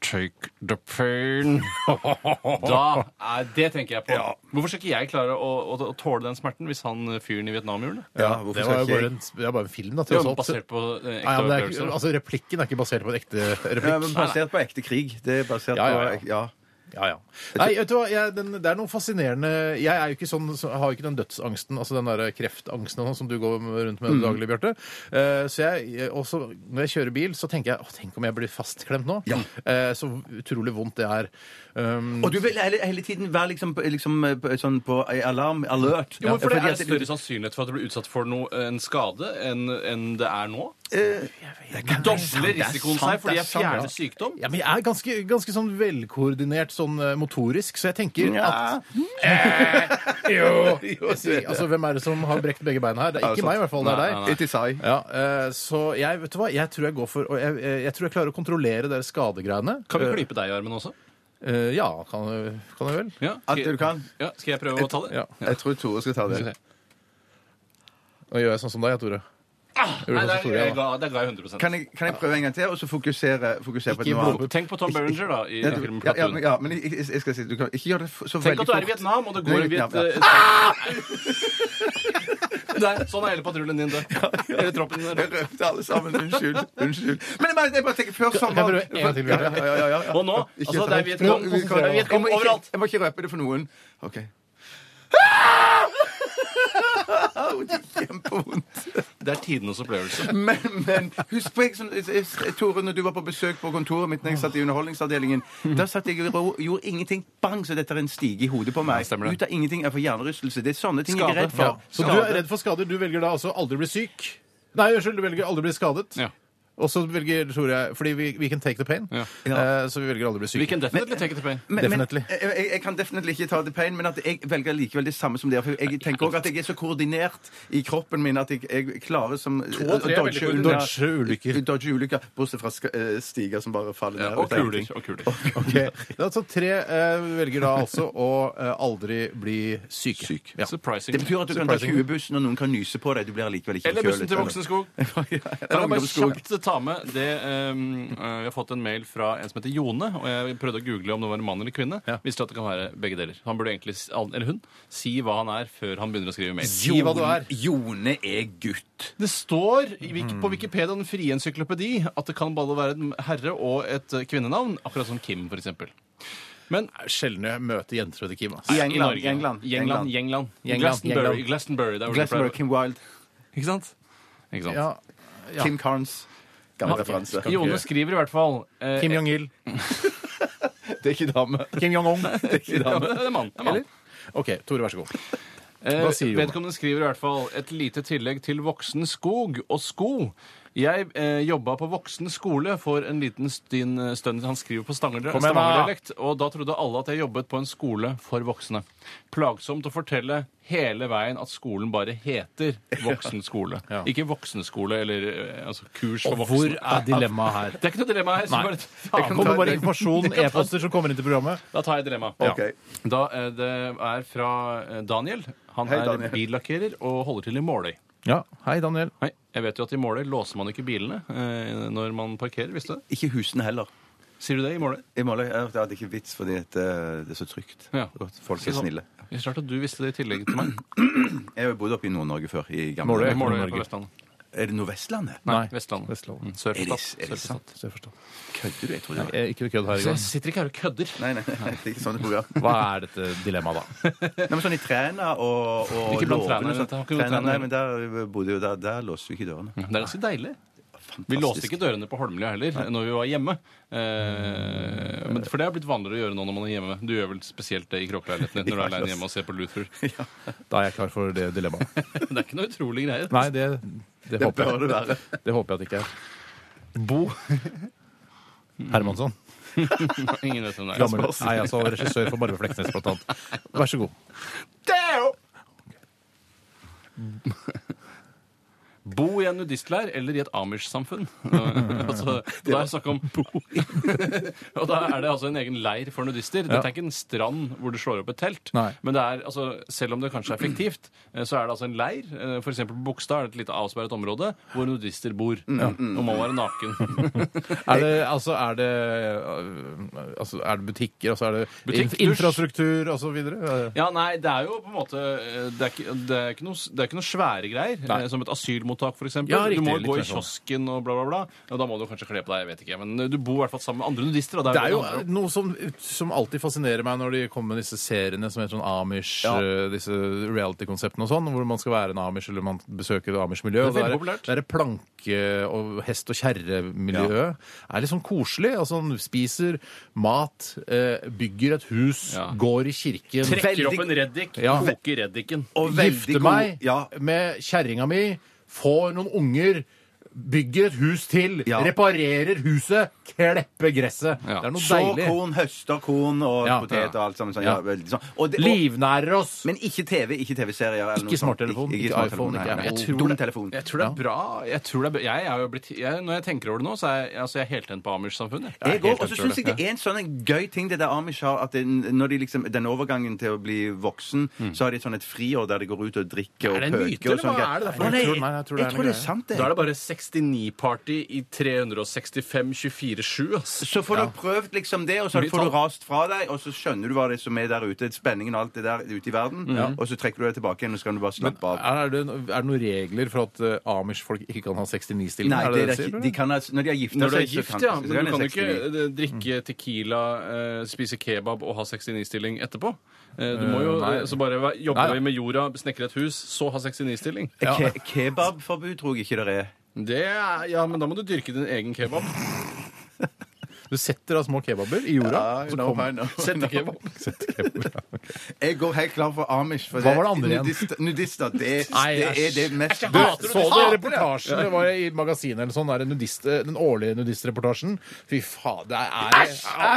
Speaker 4: Take the
Speaker 2: [laughs]
Speaker 4: pain. da er Det tenker jeg på. Hvorfor skal ikke jeg klare å, å, å tåle den smerten hvis han eh, fyren i Vietnam gjorde det?
Speaker 2: Ja,
Speaker 3: hvorfor
Speaker 2: det
Speaker 3: skal
Speaker 2: var jo
Speaker 3: ikke jeg-
Speaker 2: bare en, det er bare en film, da.
Speaker 4: Det
Speaker 2: Til
Speaker 4: er jo
Speaker 2: oss alt.
Speaker 4: basert på eh, ekte
Speaker 2: Nei, ja, men det er, ikke-
Speaker 4: opplevelser.
Speaker 2: altså, replikken er ikke basert på en ekte
Speaker 3: Ja, men
Speaker 2: replikk.
Speaker 3: basert på ekte krig. Det er basert
Speaker 2: Ja, ja, ja.
Speaker 3: på ja.
Speaker 2: Ja, ja. Nei, vet du hva, jeg, den, det er noe fascinerende Jeg er jo ikke sånn, så- har jo ikke den dødsangsten, altså den der kreftangsten og sånn som du går rundt med daglig, Bjarte. Eh, så jeg, også når jeg kjører bil, så tenker jeg åh, tenk om jeg blir fastklemt nå? Eh, så utrolig vondt det er. Um,
Speaker 3: Og du vil hele, hele tiden være liksom, på- liksom eh, på- sånn på alarm, alert.
Speaker 4: Jo, men for
Speaker 3: Fordi
Speaker 4: det er
Speaker 3: at-
Speaker 4: større sannsynlighet for at du blir utsatt for noe, eh, en skade enn enn det er nå.
Speaker 3: det
Speaker 4: Dobler
Speaker 3: er
Speaker 4: risikoen
Speaker 3: sant,
Speaker 4: seg
Speaker 3: det
Speaker 4: fordi
Speaker 3: er
Speaker 4: jeg
Speaker 3: sant, ja.
Speaker 4: fjerner sykdom.
Speaker 2: ja, men jeg er ganske, ganske sånn velkoordinert sånn eh, motorisk, så jeg tenker
Speaker 3: Ja. [laughs]
Speaker 2: at Jo! Jeg sier, altså, hvem er det som har brekt begge beina her? Det er
Speaker 3: det
Speaker 2: ikke
Speaker 3: sant?
Speaker 2: meg, i hvert fall. Det er
Speaker 4: Nei,
Speaker 2: deg.
Speaker 4: nei, nei.
Speaker 3: It is I.
Speaker 2: Ja, eh, så jeg, vet du hva, jeg tror jeg går for og jeg, eh, jeg tror jeg klarer å kontrollere de skadegreiene.
Speaker 4: Kan vi klype deg i armen også?
Speaker 2: Eh, ja, kan, kan jeg vel?
Speaker 4: Ja.
Speaker 3: At du kan.
Speaker 4: Ja, skal jeg prøve å ta det?
Speaker 2: Ja.
Speaker 3: Jeg tror Tore skal ta det.
Speaker 2: Nå gjør jeg sånn som deg, Tore.
Speaker 4: Nei,
Speaker 2: Gjorde
Speaker 4: det
Speaker 2: sånn som
Speaker 4: er, jeg
Speaker 2: Tore, da.
Speaker 4: ga, det ga jeg 100
Speaker 3: Kan jeg, kan jeg prøve en gang til, og så fokusere, fokusere på
Speaker 2: Ikke
Speaker 3: noe annet?
Speaker 2: blod-
Speaker 4: Tenk på Tom Berenger, da. i
Speaker 3: Ja, du-
Speaker 4: filmen
Speaker 3: ja, ja, men,
Speaker 4: Platoon.
Speaker 3: ja, men jeg, jeg- jeg skal si, du kan ikke gjøre det f- så
Speaker 4: Tenk
Speaker 3: veldig
Speaker 4: at du er i
Speaker 3: fort.
Speaker 4: Vietnam, og det
Speaker 3: Du er
Speaker 4: går
Speaker 3: i
Speaker 4: en viet...
Speaker 3: Vietnam, ja.
Speaker 4: Der, sånn er hele patruljen din der. Hele troppen
Speaker 3: Jeg
Speaker 4: der.
Speaker 3: røpte alle sammen. Unnskyld. Unnskyld. Men jeg, bare- jeg bare tenker før
Speaker 2: Kan
Speaker 3: sommeren
Speaker 2: jeg prøve en gang til, Bjarte?
Speaker 3: Ja, ja, ja, ja.
Speaker 4: Og nå? Altså, det er Vietnam,
Speaker 3: Prøv-
Speaker 4: det
Speaker 3: Jeg
Speaker 4: er
Speaker 3: må
Speaker 4: Vietnam
Speaker 3: ikke-
Speaker 4: overalt. Ah!
Speaker 3: Jeg må ikke røpe det for noen. OK. Au, Det er kjempevondt.
Speaker 4: Det er tidenes opplevelse.
Speaker 3: Men, men husk på, jeg, som, Tore, når du var på besøk på kontoret mitt når jeg satt i underholdningsavdelingen,
Speaker 4: Mm.
Speaker 3: da satt jeg i ro gjorde ingenting. Bang, så dette er en stige i hodet på meg.
Speaker 4: stemmer det.
Speaker 3: Ut av ingenting. Jeg får hjernerystelse. Det er sånne ting jeg
Speaker 4: Skade.
Speaker 3: er redd for.
Speaker 2: Så du er redd for skader. Du velger da altså aldri bli syk. Nei, unnskyld, du velger aldri bli skadet.
Speaker 4: Ja.
Speaker 2: Og så velger, tror jeg, fordi vi, vi can take the pain,
Speaker 4: Ja.
Speaker 2: Eh, så vi velger aldri bli syke.
Speaker 4: We can definitely take it to pain.
Speaker 3: Men, men,
Speaker 2: Definitely.
Speaker 3: jeg, jeg- jeg kan definitivt ikke ta the pain, men at jeg velger likevel det samme som dere. For jeg tenker også at jeg er så koordinert i kroppen min at jeg, jeg klarer som
Speaker 2: og tre er veldig koordinert. Dodge ulykker.
Speaker 3: Dodge ulykker, Bortsett fra sk- eh, stiger som bare faller ned.
Speaker 4: Og
Speaker 3: Det er
Speaker 4: kuler.
Speaker 3: ingenting.
Speaker 4: Og kuler.
Speaker 2: Ok, det er altså Tre eh, velger da altså å eh, aldri bli syke. Syk. Ja.
Speaker 4: Surprising.
Speaker 3: Det betyr at du kan ta 20-bussen, og noen kan nyse på deg. Du blir allikevel ikke
Speaker 4: Eller bussen til
Speaker 3: forkjølet. [laughs]
Speaker 4: Voksenskog.
Speaker 3: Eller
Speaker 4: Kan jeg bare
Speaker 3: ungdomsskog.
Speaker 4: kjapt ta med det ehm, eh, Vi har fått en mail fra en som heter Jone, og jeg prøvde å google om det var en mann eller kvinne. Visste at det kan være begge deler. Han burde egentlig, s- eller hun, si hva han er før han begynner å skrive mail.
Speaker 2: Si hva du er.
Speaker 3: Jone er gutt.
Speaker 4: Det står i Wik- på Wikipedia den frie encyklopedi at det kan både være en herre og et eh, kvinnenavn, akkurat som Kim, for eksempel. Men
Speaker 2: Det er Sjelden jeg møter jenter som heter Kim. ass.
Speaker 3: I England,
Speaker 4: Norge.
Speaker 3: i England,
Speaker 4: England, England.
Speaker 2: England,
Speaker 4: Glastonbury.
Speaker 2: England.
Speaker 4: Glastonbury, der hvor det
Speaker 3: Glassmore,
Speaker 4: pleier å-
Speaker 3: Kim Wilde,
Speaker 4: Ikke sant? Ikke sant?
Speaker 2: Ja. Ja.
Speaker 3: Kim Carnes. Gammel referanse.
Speaker 2: Skal-
Speaker 4: Jone skriver i hvert fall eh,
Speaker 2: Kim Jong-il.
Speaker 3: Det er ikke dame.
Speaker 2: Kim [laughs] Jong-ong.
Speaker 4: ja, men Det er mann. Det er mann.
Speaker 2: OK, Tore, vær så god.
Speaker 4: Eh,
Speaker 2: Hva sier Jonas?
Speaker 4: vedkommende skriver i hvert fall et lite tillegg til voksen skog og sko. Jeg eh, jobba på voksen skole for en liten stinn stund Han skriver på Stavanger-
Speaker 2: Kom igjen, da!
Speaker 4: stavangerdialekt, og da trodde alle at jeg jobbet på en skole for voksne. Plagsomt å fortelle hele veien at skolen bare heter voksen skole.
Speaker 2: [laughs] Ja.
Speaker 4: Ikke voksenskole eller eh, altså, kurs for
Speaker 2: Og
Speaker 4: voksne.
Speaker 2: hvor er dilemmaet her?
Speaker 4: Det er ikke noe dilemma her. så
Speaker 2: Nei.
Speaker 4: Bare,
Speaker 2: Det kommer bare informasjon, [laughs]
Speaker 4: Jeg kan ta-
Speaker 2: e-poster som kommer inn til programmet.
Speaker 4: Da tar jeg dilemmaet.
Speaker 3: Ok.
Speaker 4: Da, eh, det er fra eh, Daniel. Han
Speaker 3: Hei,
Speaker 4: er
Speaker 3: Daniel.
Speaker 4: billakkerer og holder til i Måløy.
Speaker 2: Ja, Hei, Daniel.
Speaker 4: Nei, jeg vet jo at i Måløy låser man ikke bilene eh, når man parkerer, visste du det?
Speaker 3: Ikke husene heller.
Speaker 4: Sier du det i Måløy?
Speaker 3: I Måløy er det hadde ikke vits, fordi at, eh, det er så trygt.
Speaker 4: Ja.
Speaker 3: Og at Folk er snille.
Speaker 4: Det er Rart at du visste det i tillegg til meg.
Speaker 3: Jeg har jo bodd oppe i Nord-Norge før. i gamle
Speaker 2: Måløy.
Speaker 4: I
Speaker 3: dager.
Speaker 4: Måløy er
Speaker 2: Norge.
Speaker 4: på Vestlandet.
Speaker 3: Er det Nordvestlandet?
Speaker 4: Nei,
Speaker 2: Nei,
Speaker 4: Vestlandet.
Speaker 2: Vestlandet.
Speaker 4: Mm,
Speaker 3: Er det,
Speaker 4: Sørfestat.
Speaker 3: er det sant?
Speaker 2: Så jeg forstår.
Speaker 3: Kødder du? Jeg tror det var
Speaker 2: Eh, Ikke kødd her i
Speaker 4: Så jeg
Speaker 2: gang.
Speaker 4: sitter ikke her og kødder.
Speaker 3: Nei, nei, nei, det er ikke sånne
Speaker 4: [laughs]
Speaker 3: program.
Speaker 2: Hva er dette dilemmaet, da?
Speaker 3: Nei, men sånn i Træna og, og
Speaker 4: Ikke blant
Speaker 3: Låven
Speaker 4: Træna,
Speaker 3: og sånt.
Speaker 4: dette har ikke noe med
Speaker 3: Træna,
Speaker 4: Træna
Speaker 3: Nei,
Speaker 4: å
Speaker 3: men der bodde jo der, der låste vi ikke dørene.
Speaker 4: Det er ganske deilig.
Speaker 3: Fantastisk.
Speaker 4: Vi låste ikke dørene på Holmlia heller når vi var hjemme. Eh, men for det har blitt vanligere å gjøre nå når man er hjemme. Du gjør vel spesielt det i kråkeleiligheten din når du er alene hjemme og ser på Luther.
Speaker 2: Da er jeg klar for det dilemmaet.
Speaker 4: Det er ikke noe utrolig greier.
Speaker 2: Nei, det, det, håper,
Speaker 3: bør det
Speaker 2: jeg.
Speaker 3: være.
Speaker 2: det håper jeg at det ikke er. Bo Hermansson.
Speaker 4: Ingen vet hvem det
Speaker 2: Gammel.
Speaker 4: er.
Speaker 2: Nei, altså regissør for Barve Fleksnes, blant annet. Vær så god.
Speaker 4: Deo! Bo i en nudistleir eller i et amish-samfunn. [laughs] altså, da er det snakk om [laughs] Og da er det altså en egen leir for nudister. Dette er ikke en strand hvor du slår opp et telt.
Speaker 2: Nei.
Speaker 4: Men det er, altså, selv om det kanskje er fiktivt, eh, så er det altså en leir. Eh, For eksempel på Bogstad er det et lite avsperret område hvor nudister bor. Og må være
Speaker 2: [laughs]
Speaker 4: naken.
Speaker 2: Er det, altså, er det, øh, altså, er det butikker, altså er det
Speaker 4: Butikk,
Speaker 2: in- infrastruktur og så videre?
Speaker 4: Ja, nei, det er jo på en måte eh, Det er ikke, det er ikke, noe, det er ikke noe svære greier. eh, Som et asylmottak, for eksempel.
Speaker 2: Ja, riktig,
Speaker 4: du må
Speaker 2: litt
Speaker 4: gå i
Speaker 2: mer sånn.
Speaker 4: kiosken og bla, bla, bla. Og da må du kanskje kle på deg, jeg vet ikke. Men eh, du bor i hvert fall sammen med andre nudister. Og
Speaker 2: Det er jo
Speaker 4: det handler om.
Speaker 2: noe som, som alltid fascinerer meg når de kommer med disse seriene som heter sånn Amish, eh, disse reality-konseptene og sånn, hvor man skal være en Amish eller man besøker det Amish-miljø.
Speaker 4: Det er veldig
Speaker 2: og
Speaker 4: populært.
Speaker 2: Det er et planke- og hest- og kjerremiljøet. Er litt sånn koselig. Altså, man spiser mat, eh, bygger et hus,
Speaker 4: Ja.
Speaker 2: går i kirken.
Speaker 4: Trekker
Speaker 3: Veldig-
Speaker 4: opp en reddik,
Speaker 2: Ja.
Speaker 4: koker reddiken.
Speaker 3: Og
Speaker 2: Gifte
Speaker 3: veldig god-
Speaker 2: meg
Speaker 3: Ja,
Speaker 2: med kjerringa mi, får noen unger, bygger et hus til,
Speaker 3: Ja.
Speaker 2: reparerer huset, klepper gresset.
Speaker 4: Ja.
Speaker 2: Det er noe
Speaker 3: så
Speaker 2: deilig.
Speaker 3: korn, høster korn og
Speaker 2: Ja.
Speaker 3: potet og alt sammen. Sånn, ja.
Speaker 2: Ja.
Speaker 3: veldig sånn. Og det, og,
Speaker 2: Livnærer oss.
Speaker 3: men ikke TV, ikke TV-serier. eller noe
Speaker 2: Ikke
Speaker 3: sånt.
Speaker 2: smarttelefon, ikke
Speaker 3: smarttelefon,
Speaker 2: iPhone,
Speaker 3: nei,
Speaker 2: ikke
Speaker 3: nei,
Speaker 2: Apple.
Speaker 3: nei.
Speaker 4: Jeg tror
Speaker 3: Dum
Speaker 4: det-
Speaker 3: telefon.
Speaker 4: Jeg tror det er bra. Jeg tror det er, bra- jeg er jo blitt, jeg, når jeg tenker over det nå, så er jeg, altså, jeg er helt hen på Amish-samfunnet. Jeg er
Speaker 3: Jeg
Speaker 4: helt
Speaker 3: går, og så
Speaker 4: hen på
Speaker 3: synes jeg det er en sånn en gøy ting det der Amish har, at det, når de liksom, den overgangen til å bli voksen, så har de et sånn et friår der de går ut og drikker og
Speaker 4: det en
Speaker 3: pøker.
Speaker 4: myte,
Speaker 3: og
Speaker 4: eller hva
Speaker 3: sånn
Speaker 4: er det
Speaker 2: derfor?
Speaker 3: Å, nei,
Speaker 2: Jeg tror- nei, jeg tror det er
Speaker 3: jeg tror
Speaker 2: en
Speaker 3: det er
Speaker 2: greie.
Speaker 3: sant, det.
Speaker 4: Da er det bare 69-party i 365-24-7, ass.
Speaker 3: Så får du prøvd liksom det, og så
Speaker 4: Mye
Speaker 3: får du
Speaker 4: tall.
Speaker 3: rast fra deg, og så skjønner du hva det er som er der ute, spenningen og alt det der ute i verden, og så trekker du deg tilbake igjen, og så kan du bare slappe av.
Speaker 2: Er det, er det noen regler for at eh, Amish-folk ikke kan ha 69-stilling?
Speaker 3: Nei,
Speaker 2: Er
Speaker 3: det
Speaker 2: det
Speaker 3: er
Speaker 2: det du sier,
Speaker 3: ikke,
Speaker 2: eller?
Speaker 3: de kan, ha- når de har gifta
Speaker 4: Når du er
Speaker 3: seg, så
Speaker 4: gift, ja.
Speaker 3: så
Speaker 4: Men du kan
Speaker 3: de
Speaker 4: jo ikke
Speaker 3: 69.
Speaker 4: eh, drikke tequila, eh, spise kebab og ha 69-stilling etterpå. Eh, Du må jo
Speaker 2: Eh, nei.
Speaker 4: eh, så bare være- jobbe
Speaker 2: Nei, ja.
Speaker 4: med jorda, snekre et hus, så ha 69-stilling.
Speaker 3: Ke Kebabforbud tror jeg ikke det er.
Speaker 4: Det er, ja, men da må du dyrke din egen kebab.
Speaker 2: Du setter av små kebaber i jorda.
Speaker 3: I
Speaker 2: så
Speaker 3: know,
Speaker 2: kommer-
Speaker 3: I know.
Speaker 4: Sette kebab.
Speaker 2: [laughs] Setter kebaber, ja, ok.
Speaker 3: Jeg går helt klar for Amish. For
Speaker 2: Hva var det andre igjen?
Speaker 3: Nudist, nudister, det,
Speaker 2: Nei,
Speaker 3: det er det mest
Speaker 2: Du, så du reportasjen det var i magasinet eller sånn, der, en nudist, den årlige nudistreportasjen? Fy faen, det er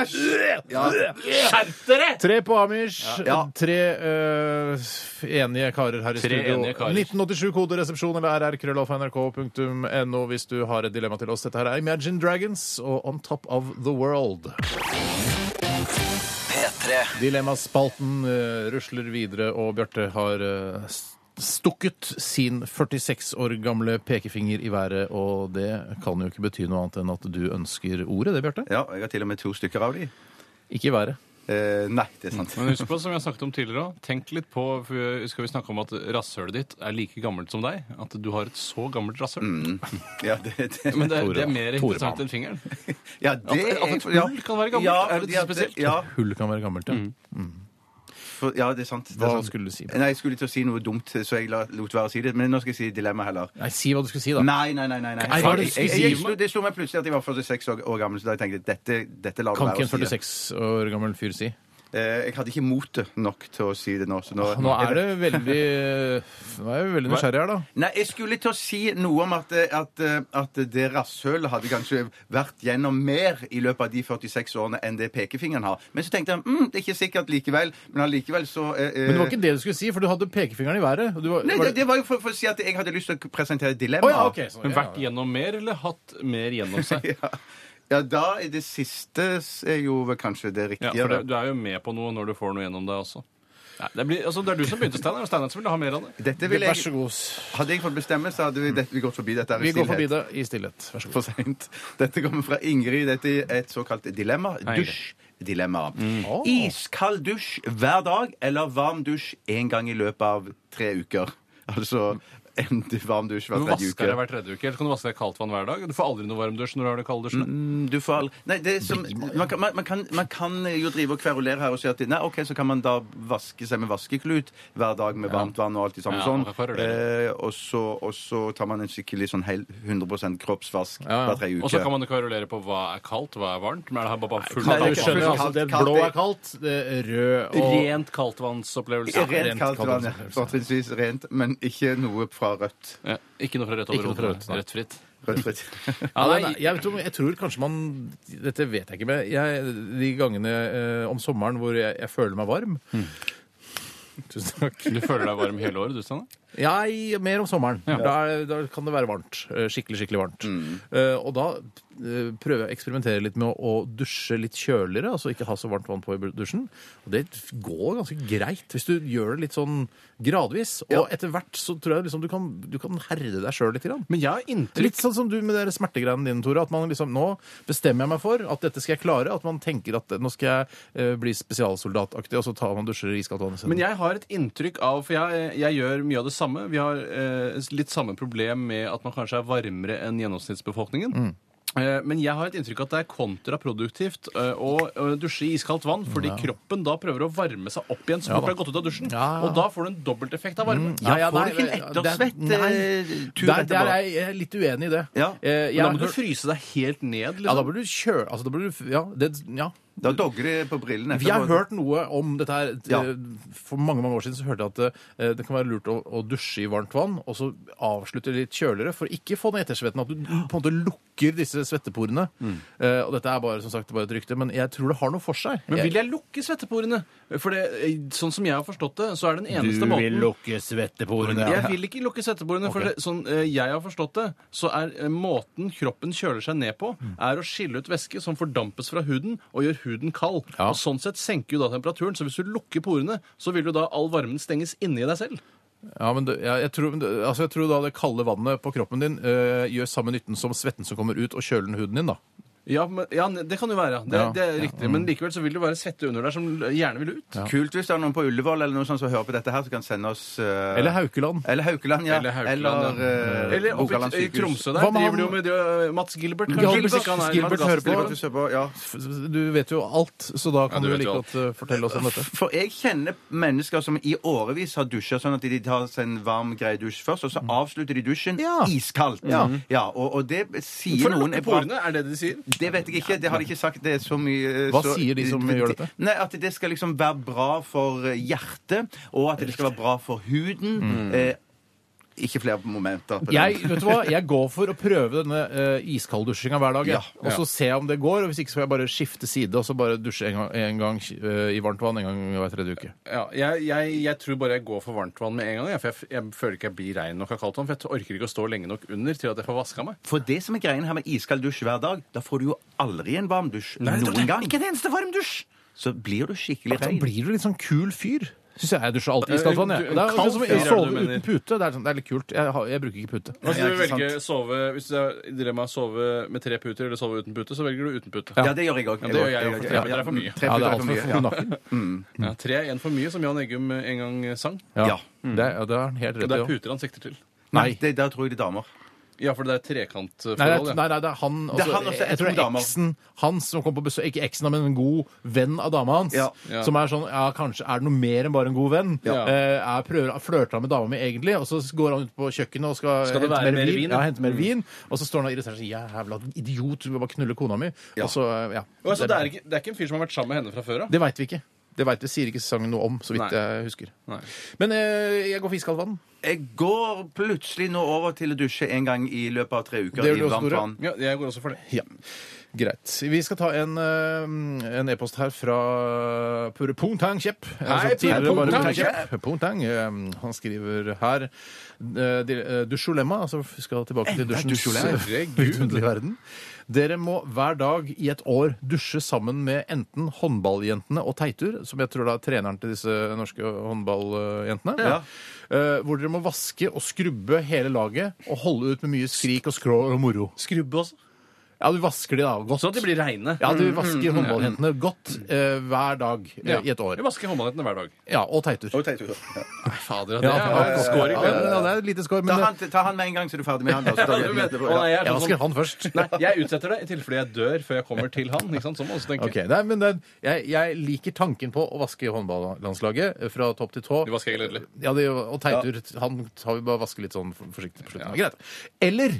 Speaker 4: Skjerp dere!
Speaker 2: Tre på Amish,
Speaker 3: Ja.
Speaker 2: tre øh, enige karer her i
Speaker 4: Tre enige
Speaker 2: studio.
Speaker 4: karer.
Speaker 2: 1987 kode resepsjon eller rrkrøllalfa.nrk.no hvis du har et dilemma til oss. Dette her er Imagine Dragons og On Top of the World.
Speaker 1: P3.
Speaker 2: Dilemmaspalten eh, rusler videre, og Bjarte har eh, s- stukket sin 46 år gamle pekefinger i været, og det kan jo ikke bety noe annet enn at du ønsker ordet, det, Bjarte?
Speaker 3: Ja, jeg har til og med to stykker av de.
Speaker 2: Ikke i været.
Speaker 3: Eh, nei, det er sant.
Speaker 4: Men husk på, som jeg snakket om tidligere også, tenk litt på for Skal vi snakke om at rasshølet ditt er like gammelt som deg? At du har et så gammelt rasshøl?
Speaker 3: Mm. Ja, det,
Speaker 2: [laughs]
Speaker 3: det.
Speaker 4: Men det,
Speaker 2: Tore,
Speaker 4: det er mer
Speaker 2: Tore,
Speaker 4: interessant
Speaker 2: mann.
Speaker 4: enn fingeren.
Speaker 3: ja, det
Speaker 4: At- at et
Speaker 3: er- ja.
Speaker 4: hull kan være gammelt,
Speaker 3: Ja,
Speaker 4: er det
Speaker 3: fordi at
Speaker 4: spesielt?
Speaker 3: Ja, Mm.
Speaker 2: Hull kan være gammelt, ja.
Speaker 3: for, ja, det er sant. Det er
Speaker 2: Hva
Speaker 3: sant.
Speaker 2: skulle du si?
Speaker 3: Nei, Jeg skulle til å si noe dumt, så jeg la- lot være å si det. Men nå skal jeg si dilemma heller.
Speaker 2: Nei, si hva du skulle si, da.
Speaker 3: Nei, nei, nei. nei, nei.
Speaker 2: Nei, hva er det du
Speaker 3: Jeg-
Speaker 2: skulle
Speaker 3: jeg- jeg
Speaker 2: si?
Speaker 3: slo- Det slo meg plutselig at jeg var 46 år, år gammel, så da tenkte jeg dette, dette lar du
Speaker 2: Kan
Speaker 3: være
Speaker 2: ikke
Speaker 3: å
Speaker 2: en
Speaker 3: si. det.
Speaker 2: 46 år gammel fyr si.
Speaker 3: Eh, jeg hadde ikke motet nok til å si det nå. Så nå,
Speaker 2: Nå er det veldig eh, Nå er vi veldig nysgjerrig her, da.
Speaker 3: Nei, jeg skulle til å si noe om at, eh, at, at det rasshølet hadde kanskje vært gjennom mer i løpet av de 46 årene enn det pekefingeren har. Men så tenkte jeg mm, det er ikke sikkert likevel. Men allikevel så eh, eh,
Speaker 2: Men det var ikke det du skulle si, for du hadde pekefingeren i været. Og du var,
Speaker 3: Nei,
Speaker 2: var
Speaker 3: det, det var jo for, for å si at jeg hadde lyst til å presentere
Speaker 2: Å
Speaker 3: dilemmaet.
Speaker 2: ja, ok. sånn,
Speaker 4: Men
Speaker 2: ja,
Speaker 4: vært
Speaker 2: ja.
Speaker 4: gjennom mer, eller hatt mer gjennom seg?
Speaker 3: [laughs] ja. ja, da er det siste er jo vel kanskje det
Speaker 4: Ja,
Speaker 3: riktige.
Speaker 4: for
Speaker 3: da.
Speaker 4: det, Du er jo med på noe når du får noe gjennom deg også. Nei, det, blir, altså, det er du som begynte, Steinar. og Steinar som ville ha mer av det.
Speaker 3: Dette vil
Speaker 2: Vær så
Speaker 3: jeg,
Speaker 2: god.
Speaker 3: hadde jeg fått bestemme, så hadde vi, dette, vi gått forbi dette. her i
Speaker 2: Vi går
Speaker 3: stillhet.
Speaker 2: forbi det i stillhet. Vær så god.
Speaker 3: for sent. Dette kommer fra Ingrid. Dette er et såkalt dilemma. Dusjdilemma.
Speaker 4: Mm.
Speaker 3: Iskald dusj hver dag eller varm dusj én gang i løpet av tre uker. Altså en du- varm dusj hver tredje
Speaker 4: Du vasker deg
Speaker 3: uke.
Speaker 4: hver tredje uke, eller kan du vaske deg i kaldt vann hver dag? Du får aldri noe varmdusj når du har det kalde dusjene.
Speaker 3: Du får all... Nei, det er som, man, kan, man, man, kan, man kan jo drive og kverulere her og si at nei, ok, så kan man da vaske seg med vaskeklut hver dag med varmt vann og alt det samme
Speaker 4: Ja,
Speaker 3: sånn.
Speaker 4: man kan kverulere.
Speaker 3: Eh, og, så, og så tar man en skikkelig sånn hel, 100 kroppsvask
Speaker 2: ja.
Speaker 3: hver tredje uke.
Speaker 4: Og så kan man kverulere på hva er kaldt, hva er varmt. Men er det her bare full
Speaker 2: Nei, du
Speaker 3: Kaldt vann.
Speaker 2: skjønner, altså,
Speaker 4: kaldt
Speaker 3: Kaldt,
Speaker 2: det
Speaker 3: kaldt,
Speaker 2: blå
Speaker 3: det-
Speaker 2: er kaldt, det er rød og
Speaker 4: Rent kaldtvannsopplevelse.
Speaker 3: Rent,
Speaker 2: rent
Speaker 3: kaldt
Speaker 2: kaldt
Speaker 3: vann,
Speaker 2: vann,
Speaker 3: ja. Fortrinnsvis rent, men ikke noe fra rødt.
Speaker 4: Ja, ikke noe fra rødt
Speaker 2: Ikke
Speaker 4: over
Speaker 2: noe fra rødt,
Speaker 4: hodet.
Speaker 2: nei.
Speaker 4: Rødt fritt.
Speaker 3: Rødt fritt.
Speaker 2: Ja,
Speaker 4: Ja,
Speaker 2: den er-
Speaker 4: nei,
Speaker 2: jeg, tror, jeg tror kanskje man Dette vet jeg ikke, men jeg, de gangene eh, om Mm. sommeren hvor jeg, jeg føler meg varm Tusen takk.
Speaker 4: Du føler deg varm hele året, du, Steinar?
Speaker 2: Ja, i- mer om sommeren. Da, er- da kan det være varmt. eh, Skikkelig, skikkelig varmt. Eh, og da eh, prøver jeg å eksperimentere litt med å, å dusje litt kjøligere, altså ikke ha så varmt vann på i br- dusjen. Og det f- går ganske greit hvis du gjør det litt sånn gradvis. Og etter hvert så tror jeg liksom du kan, du kan herde deg sjøl litt. Grann.
Speaker 4: Men jeg har inntrykk
Speaker 2: Litt sånn som du med de smertegreiene dine, Tore. At man liksom nå bestemmer jeg meg for at dette skal jeg klare. At man tenker at nå skal jeg eh, bli spesialsoldataktig, og så tar man dusjer i iskaldt vann isteden.
Speaker 4: Men jeg har et inntrykk av For jeg, eh, jeg gjør mye av det samme. Vi har eh, litt samme problem med at man kanskje er varmere enn gjennomsnittsbefolkningen.
Speaker 2: Mm.
Speaker 4: Eh, Men jeg har et inntrykk av at det er kontraproduktivt eh, å eh, dusje i iskaldt vann, fordi kroppen da prøver å varme seg opp igjen så fort
Speaker 2: da.
Speaker 4: det har gått ut av dusjen.
Speaker 2: Ja. Mm.
Speaker 4: Og da får du en dobbelteffekt av varme.
Speaker 2: Ja, ja,
Speaker 3: Får
Speaker 2: nei,
Speaker 3: du ikke en
Speaker 2: det-
Speaker 3: ettersvett
Speaker 2: nei.
Speaker 3: eh, tur
Speaker 2: Der, der
Speaker 3: etterpå?
Speaker 2: er jeg- jeg er litt uenig i det.
Speaker 3: Ja.
Speaker 2: Eh, jeg
Speaker 4: Men da
Speaker 2: har
Speaker 4: må du
Speaker 2: hørt-
Speaker 4: fryse deg helt ned.
Speaker 2: Ja, da
Speaker 4: Liksom.
Speaker 2: burde du kjøre altså, da burde du, f- ja, det, ja.
Speaker 3: Da dogger det på brillene.
Speaker 2: Vi har hørt noe om dette her.
Speaker 3: Ja.
Speaker 2: eh, For mange mange år siden så hørte jeg at eh, det kan være lurt å, å dusje i varmt vann, og så avslutte litt kjøligere, for ikke få den ettersvetten. At du på en måte lukker disse svetteporene. Eh, og dette er bare som sagt bare et rykte, men jeg tror det har noe for seg.
Speaker 4: Men vil
Speaker 2: jeg...
Speaker 4: jeg lukke svetteporene? For det, eh, sånn som jeg har forstått det, så er den eneste måten
Speaker 2: lukke svetteporene.
Speaker 4: Jeg vil ikke lukke setteborene, for det, sånn eh, jeg har forstått det, så er eh, måten kroppen kjøler seg ned på,
Speaker 2: Mm.
Speaker 4: er å skille ut væske som fordampes fra huden og gjør huden kald.
Speaker 2: Ja.
Speaker 4: Og Sånn sett senker jo da temperaturen, så hvis du lukker porene, så vil jo da all varmen stenges inni deg selv.
Speaker 2: Ja, men det, ja, jeg, tror, men det, altså, jeg tror da det kalde vannet på kroppen din eh, gjør samme nytten som svetten som kommer ut og kjøler den huden din, da.
Speaker 4: Ja, men, ja det kan jo være. ja. Det,
Speaker 2: Ja. Mm.
Speaker 4: det er riktig. Men likevel så vil det være svette under der som gjerne vil ut.
Speaker 3: Kult hvis det er noen på Ullevål eller noe sånt som hører på dette her, som kan sende oss eh,
Speaker 2: Eller Haukeland.
Speaker 3: Eller Haukeland, ja.
Speaker 4: Eller
Speaker 3: Eller,
Speaker 4: Haukeland, ja.
Speaker 3: eh,
Speaker 4: Eller oppe
Speaker 3: Rogaland
Speaker 4: i- i
Speaker 3: sykehus.
Speaker 4: Tromsø der
Speaker 2: Hva med
Speaker 4: driver de jo
Speaker 2: han-
Speaker 4: med det, eh, Mats Gilbert. kanskje,
Speaker 2: Gilbert-
Speaker 4: hvis ikke han er-
Speaker 2: Gilbert hører på.
Speaker 3: Eller at du ser på. Ja.
Speaker 2: Du vet jo alt, så da kan
Speaker 4: du
Speaker 2: du,
Speaker 4: vet
Speaker 2: like
Speaker 4: jo
Speaker 2: godt eh, fortelle oss om dette.
Speaker 3: For jeg kjenner mennesker som i årevis har dusja sånn at de tar seg en varm, grei dusj først, og så avslutter de dusjen
Speaker 2: Ja.
Speaker 3: iskaldt. Ja. og, og det sier
Speaker 4: For å
Speaker 3: noen
Speaker 4: lukke
Speaker 3: er bra.
Speaker 4: porene, er det det de sier?
Speaker 3: Det vet jeg ikke. Det har de ikke sagt. Det er så mye eh,
Speaker 2: Hva
Speaker 3: så,
Speaker 2: sier de som gjør dette?
Speaker 3: Nei, At det skal liksom være bra for eh, hjertet, og at det skal være bra for huden.
Speaker 2: Mm.
Speaker 3: Eh, ikke flere momenter. På
Speaker 2: Jeg,
Speaker 3: den.
Speaker 2: vet du hva? jeg går for å prøve denne uh, iskalddusjinga hver dag. jeg.
Speaker 3: Ja,
Speaker 2: Og så ser jeg om det går. og Hvis ikke så får jeg bare skifte side og så bare dusje en gang, en gang eh, i varmt vann en gang hver tredje uke.
Speaker 4: Ja, jeg, jeg, jeg tror bare jeg går for varmt vann med en gang. jeg, For jeg, f- jeg føler ikke jeg blir rein nok av kaldt vann. For jeg orker ikke å stå lenge nok under til at jeg får vaska meg.
Speaker 3: For det som er greien her med iskald dusj hver dag, da får du jo aldri en varm dusj noen gang. Ikke en eneste varm dusj! Så blir du skikkelig
Speaker 2: Da
Speaker 3: rein.
Speaker 2: blir du litt sånn kul fyr. Syns jeg jeg dusjer alltid i iskaldt vann. jeg.
Speaker 4: Eh, Du-
Speaker 2: Det er
Speaker 4: kald
Speaker 2: akkurat som
Speaker 4: fyr, er
Speaker 2: å
Speaker 4: det du
Speaker 2: sove
Speaker 4: mener?
Speaker 2: uten pute. Det er, sånn, det er litt kult. Jeg, har, jeg bruker ikke pute.
Speaker 4: Altså, du
Speaker 3: ikke sant.
Speaker 4: velger sove, Hvis du er i dilemma å sove med tre puter eller sove uten pute, så velger du uten pute.
Speaker 3: Ja, det gjør jeg òg.
Speaker 4: Ja, det gjør jeg også, for tre puter er for mye.
Speaker 2: Ja, det er altfor nakken.
Speaker 4: Ja, tre er en for mye, som Jan Eggum en gang sang.
Speaker 2: Ja.
Speaker 3: Ja.
Speaker 2: Det er, ja, det er han helt
Speaker 4: Og
Speaker 2: rett
Speaker 4: det
Speaker 2: i.
Speaker 4: er
Speaker 2: også.
Speaker 4: puter han sikter til.
Speaker 2: Nei.
Speaker 3: Nei, det, der tror jeg det er damer.
Speaker 4: Ja, for det er
Speaker 2: Nei, det er,
Speaker 4: trekantforhold.
Speaker 2: nei, nei, det er han også.
Speaker 3: Det er han også,
Speaker 2: jeg, jeg tror det er
Speaker 3: to damer.
Speaker 2: eksen hans som kom på besøk. Ikke eksen, men en god venn av dama hans.
Speaker 3: Ja.
Speaker 4: Ja.
Speaker 2: Som er sånn Ja, kanskje er det noe mer enn bare en god venn.
Speaker 4: Ja.
Speaker 2: Eh, er prøver, flørter han med dama mi egentlig, og så går han ut på kjøkkenet og skal,
Speaker 4: Skal det
Speaker 2: hente
Speaker 4: være
Speaker 2: mer
Speaker 4: mer
Speaker 2: vin.
Speaker 4: vin, ja?
Speaker 2: Ja, hente mer vin. Og så står han og irriterer seg Jævla idiot, du vil bare knulle kona mi.
Speaker 3: Ja.
Speaker 2: Og så, eh, ja.
Speaker 4: Ja, så det, er ikke, det er ikke en fyr som har vært sammen med henne fra før av?
Speaker 2: Det veit vi ikke. Det vet, det sier ikke sangen noe om, så vidt
Speaker 4: Nei.
Speaker 2: jeg husker.
Speaker 4: Nei.
Speaker 2: Men eh, jeg går for iskaldt vann.
Speaker 3: Jeg går plutselig nå over til å dusje en gang i løpet av tre uker.
Speaker 2: Det gjør du
Speaker 3: i
Speaker 2: også,
Speaker 3: varmt
Speaker 2: Tore.
Speaker 3: vann.
Speaker 4: Ja, jeg går også for det.
Speaker 2: Ja. Greit. Vi skal ta en, eh, en e-post her fra Pure Pungtang Kjepp. Altså,
Speaker 4: Hei,
Speaker 2: tidligere
Speaker 4: Pure
Speaker 2: bare
Speaker 4: Pungtang
Speaker 2: Pungtang Kjepp. Pungtang, eh, han skriver her eh, de- eh, Dusjolemma, altså vi skal tilbake
Speaker 4: Eh,
Speaker 2: til dusjens
Speaker 3: dusjolem.
Speaker 2: vidunderlige verden. Dere må hver dag i et år dusje sammen med enten håndballjentene og Teitur, som jeg tror da er treneren til disse norske håndballjentene,
Speaker 3: Ja.
Speaker 2: eh, hvor dere må vaske og skrubbe hele laget og holde ut med mye skrik og skrål og moro.
Speaker 4: Skrubbe også.
Speaker 2: Ja, du vasker de da godt.
Speaker 4: Så at de blir reine.
Speaker 2: Mm, Ja, du vasker håndballjentene godt eh, hver dag eh, i et år.
Speaker 4: Jeg vasker håndballnettene hver dag.
Speaker 2: Ja, og teitur.
Speaker 3: Og tenkte jeg, ja.
Speaker 4: Fader,
Speaker 2: Ja,
Speaker 4: det er
Speaker 2: ja,
Speaker 4: skår i
Speaker 2: ja,
Speaker 4: gleden.
Speaker 2: ja, det er et lite skår,
Speaker 3: Ta,
Speaker 2: men eh,
Speaker 3: han, ta han med en gang, så er du ferdig med han. Da, så tar vi
Speaker 4: Du
Speaker 3: den
Speaker 4: vet-
Speaker 3: etterpå,
Speaker 4: Å,
Speaker 3: ja.
Speaker 4: nei, jeg er
Speaker 2: jeg
Speaker 4: sånn som-
Speaker 2: vasker han først.
Speaker 4: Nei, jeg utsetter det i tilfelle jeg dør før jeg kommer til han. ikke sant? Som også tenker.
Speaker 2: Ok, nei, men det, jeg, jeg liker tanken på å vaske håndballandslaget eh, fra topp til tå.
Speaker 4: Du vasker helt ledelig.
Speaker 2: Ja, det, og Teitur han har vi bare vaske litt sånn for- forsiktig på slutten. Greit. Eller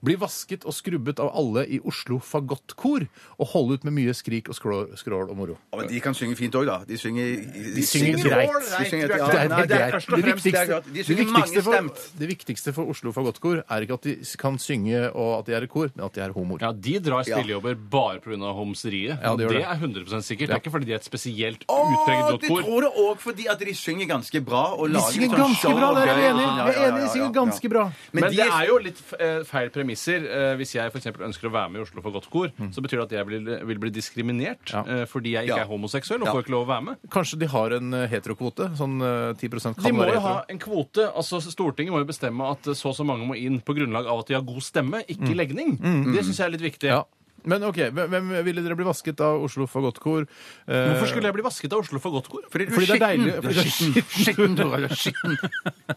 Speaker 2: bli vasket og skrubbet av alle i Oslo fagottkor, og holde ut med mye skrik og skrål, skrål og moro.
Speaker 3: Ja, men de kan synge fint òg, da. De synger De
Speaker 2: synger greit.
Speaker 3: De synger,
Speaker 2: Det
Speaker 3: ja,
Speaker 2: er helt
Speaker 3: nei, det er
Speaker 2: greit.
Speaker 3: først og
Speaker 2: Det
Speaker 3: fremst det er
Speaker 2: viktigste-
Speaker 3: godt. De
Speaker 2: det
Speaker 3: synger
Speaker 2: viktigste for-
Speaker 3: mangestemt.
Speaker 2: Det viktigste for Oslo fagottkor er ikke at de kan synge og at de er i kor, men at de er homoer.
Speaker 4: Ja, De drar spillejobber bare pga. homseriet.
Speaker 2: Ja, de gjør det.
Speaker 4: det. er 100 sikkert. Det er ikke fordi de er et spesielt
Speaker 3: Å,
Speaker 4: utpreget
Speaker 3: det
Speaker 4: godt kor.
Speaker 3: tror jeg òg fordi at de synger ganske bra. Og
Speaker 2: De
Speaker 3: lager
Speaker 2: synger
Speaker 3: sånn
Speaker 2: ganske
Speaker 3: show
Speaker 2: bra,
Speaker 3: og
Speaker 2: der er vi
Speaker 3: greier og
Speaker 2: enige.
Speaker 3: sånn, ja,
Speaker 2: Vi er
Speaker 3: ja,
Speaker 2: enige,
Speaker 3: ja,
Speaker 2: de synger
Speaker 3: ja.
Speaker 2: ganske bra.
Speaker 3: Men,
Speaker 4: Men
Speaker 3: de
Speaker 4: det er jo litt eh, feil premisser. Eh, Hvis jeg for eksempel ønsker å være med i Oslo for godt kor, så betyr det at jeg vil, vil bli diskriminert
Speaker 2: Mm. Ja.
Speaker 4: eh, fordi jeg ikke
Speaker 3: Ja.
Speaker 4: er homoseksuell og
Speaker 3: Ja.
Speaker 4: får ikke lov å være med.
Speaker 2: Kanskje de har en eh, heterokvote? Sånn eh, 10 kan
Speaker 4: De må
Speaker 2: være hetero.
Speaker 4: jo ha en kvote. altså Stortinget må jo bestemme at eh, så og så mange må inn på grunnlag av at de har god stemme, ikke legning. Det syns jeg er litt viktig.
Speaker 2: Mm. Ja. Men OK, hvem, hvem ville dere bli vasket av Oslo fagottkor? Eh,
Speaker 4: Hvorfor skulle jeg bli vasket av Oslo for godt kor?
Speaker 3: Fordi du
Speaker 2: Fordi det er deilig.
Speaker 3: skitten.
Speaker 2: Fordi det er [laughs]
Speaker 3: Skitten, Tore. du er Skitten.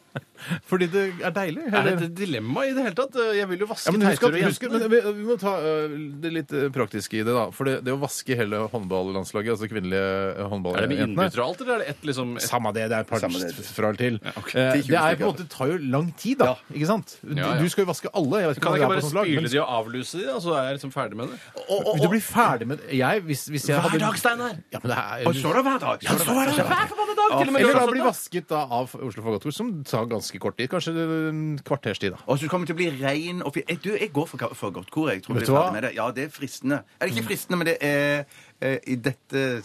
Speaker 2: Fordi det er deilig?
Speaker 4: Er
Speaker 2: eller?
Speaker 4: det et dilemma i det hele tatt? Jeg vil jo
Speaker 2: Ja,
Speaker 4: vaske
Speaker 2: men husk
Speaker 4: teiter
Speaker 2: at,
Speaker 4: og
Speaker 2: husk,
Speaker 4: jenter.
Speaker 2: men vi, vi må ta ø, det litt ø, praktiske i det, da. For det, det å vaske hele håndballandslaget, altså kvinnelige
Speaker 4: Er det med
Speaker 2: håndballjentene
Speaker 4: innbyttere og alt, eller er det ett liksom et
Speaker 2: Samme det, det er et par
Speaker 3: Samme det.
Speaker 2: fra eller til. Eh,
Speaker 3: ok. Ti,
Speaker 2: Det er på en
Speaker 3: tjue stykker.
Speaker 2: måte, det tar jo lang tid, da. Ikke sant? Du,
Speaker 4: Ja, ja.
Speaker 2: du skal jo vaske alle. Jeg vet ikke
Speaker 4: Kan jeg
Speaker 2: hvordan det er
Speaker 4: ikke bare
Speaker 2: på sånt lag,
Speaker 4: spyle
Speaker 2: men-
Speaker 4: de og avluse de, da, så er jeg liksom ferdig med det?
Speaker 3: Og- og-
Speaker 2: Du blir ferdig med jeg, hvis, hvis jeg hadde-
Speaker 4: Steinar!
Speaker 2: Ja, men det er,
Speaker 3: Og så er det hver dag. Så er det hver dag.
Speaker 4: Hver forbanna dag! Til og med
Speaker 2: eller da
Speaker 4: lørdag.
Speaker 2: bli vasket da, av Oslo Fagottkor, som tar ganske kort tid. Kanskje en kvarters tid, da.
Speaker 3: Og så kommer det til å bli rein og fin. Eh, Du, jeg går for, ka- for godt kor. jeg tror
Speaker 2: Vet
Speaker 3: jeg
Speaker 2: du
Speaker 3: blir
Speaker 2: hva? Mm.
Speaker 3: ferdig med det. Ja, det er fristende. Eller ikke fristende, men det er eh, i dette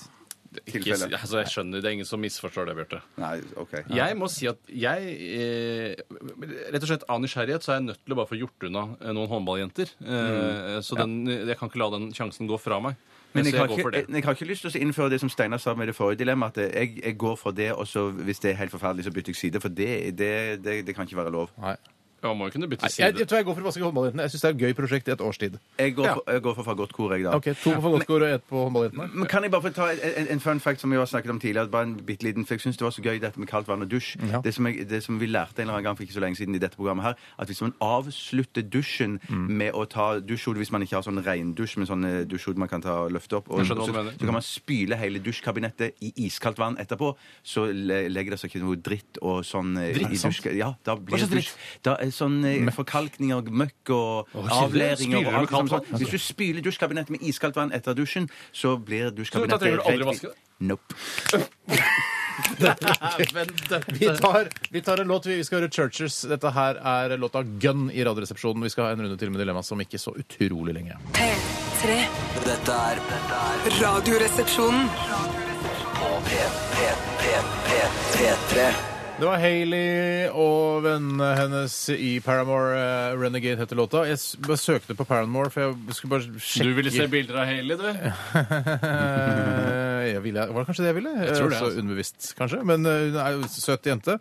Speaker 4: Ikke,
Speaker 3: tilfellet.
Speaker 4: altså, jeg skjønner, Det er ingen som misforstår det, Bjarte.
Speaker 3: Nei, OK.
Speaker 4: Jeg må si at jeg eh, Rett og slett av nysgjerrighet så er jeg nødt til å bare få gjort unna eh, noen håndballjenter. Eh, så den, jeg kan ikke la den sjansen gå fra meg.
Speaker 3: Men
Speaker 4: så
Speaker 3: jeg har,
Speaker 4: jeg går
Speaker 3: ikke,
Speaker 4: for
Speaker 3: jeg,
Speaker 4: det.
Speaker 3: jeg har ikke lyst til å innføre det som Steinar sa med det forrige dilemmaet, at jeg, jeg går for det, og så hvis det er helt forferdelig, så bytter jeg side. For det, det, det, det kan ikke være lov.
Speaker 2: Nei.
Speaker 4: Man må jo kunne bytte
Speaker 2: Jeg, jeg,
Speaker 4: side.
Speaker 2: tror jeg går for å vaske håndballjentene. Jeg syns det er et gøy prosjekt i et års tid.
Speaker 3: Jeg går, for, jeg går for fagottkor, jeg, da.
Speaker 2: Ok, To på fagottkor og ett på håndballjentene.
Speaker 3: Men Kan jeg bare få ta en, en fun fact som vi har snakket om tidligere? Bare en bitte liten, for Jeg syns det var så gøy dette med kaldt vann og dusj.
Speaker 2: Ja.
Speaker 3: Det, som jeg, det som vi lærte en eller annen gang for ikke så lenge siden i dette programmet her, at hvis man avslutter dusjen
Speaker 4: Mm.
Speaker 3: med å ta dusjhode hvis man ikke har sånn regndusj med sånne dusjhode man kan ta og løfte opp, og
Speaker 4: Jeg skjønner
Speaker 3: så,
Speaker 4: hva du mener. Mm.
Speaker 3: så kan man spyle hele dusjkabinettet i iskaldt vann etterpå, så le, legger det seg ikke noe dritt og sånn eh,
Speaker 2: Dritt?
Speaker 3: i dusj... Ja, da blir
Speaker 4: slags
Speaker 3: det dusj. Da er sånn eh, forkalkninger, møkk og
Speaker 4: Å, kilder.
Speaker 3: avleiringer
Speaker 4: Spyler
Speaker 3: og
Speaker 4: du
Speaker 3: alt sånn.
Speaker 4: kaldt
Speaker 3: sånt.
Speaker 4: vann?
Speaker 3: sånt. Hvis du spyler dusjkabinettet med iskaldt vann etter dusjen, så blir
Speaker 4: Så da
Speaker 3: dusjkabinettet
Speaker 4: trenger du aldri
Speaker 3: rent-
Speaker 4: vaske det?
Speaker 3: Nope.
Speaker 2: Vi tar, vi tar en låt. Vi vi skal høre Churches. Dette her er låta Gun i Radioresepsjonen. Vi skal ha en runde til med Dilemma som ikke så utrolig lenge.
Speaker 6: P3
Speaker 5: Dette er dette er
Speaker 6: Radioresepsjonen
Speaker 5: på P, P, P, P, P3.
Speaker 2: Det var Hailey og vennene hennes i Paramore. eh, Renegade heter låta. Jeg s- bare søkte på Paramore, for jeg skulle bare sjekke
Speaker 4: Du ville se bilder av Haley, du?
Speaker 2: Eh, [laughs] jeg ville, var det kanskje det jeg ville? Jeg
Speaker 4: tror det,
Speaker 2: Også
Speaker 4: altså.
Speaker 2: Underbevisst, kanskje. Men eh, hun er jo en søt jente.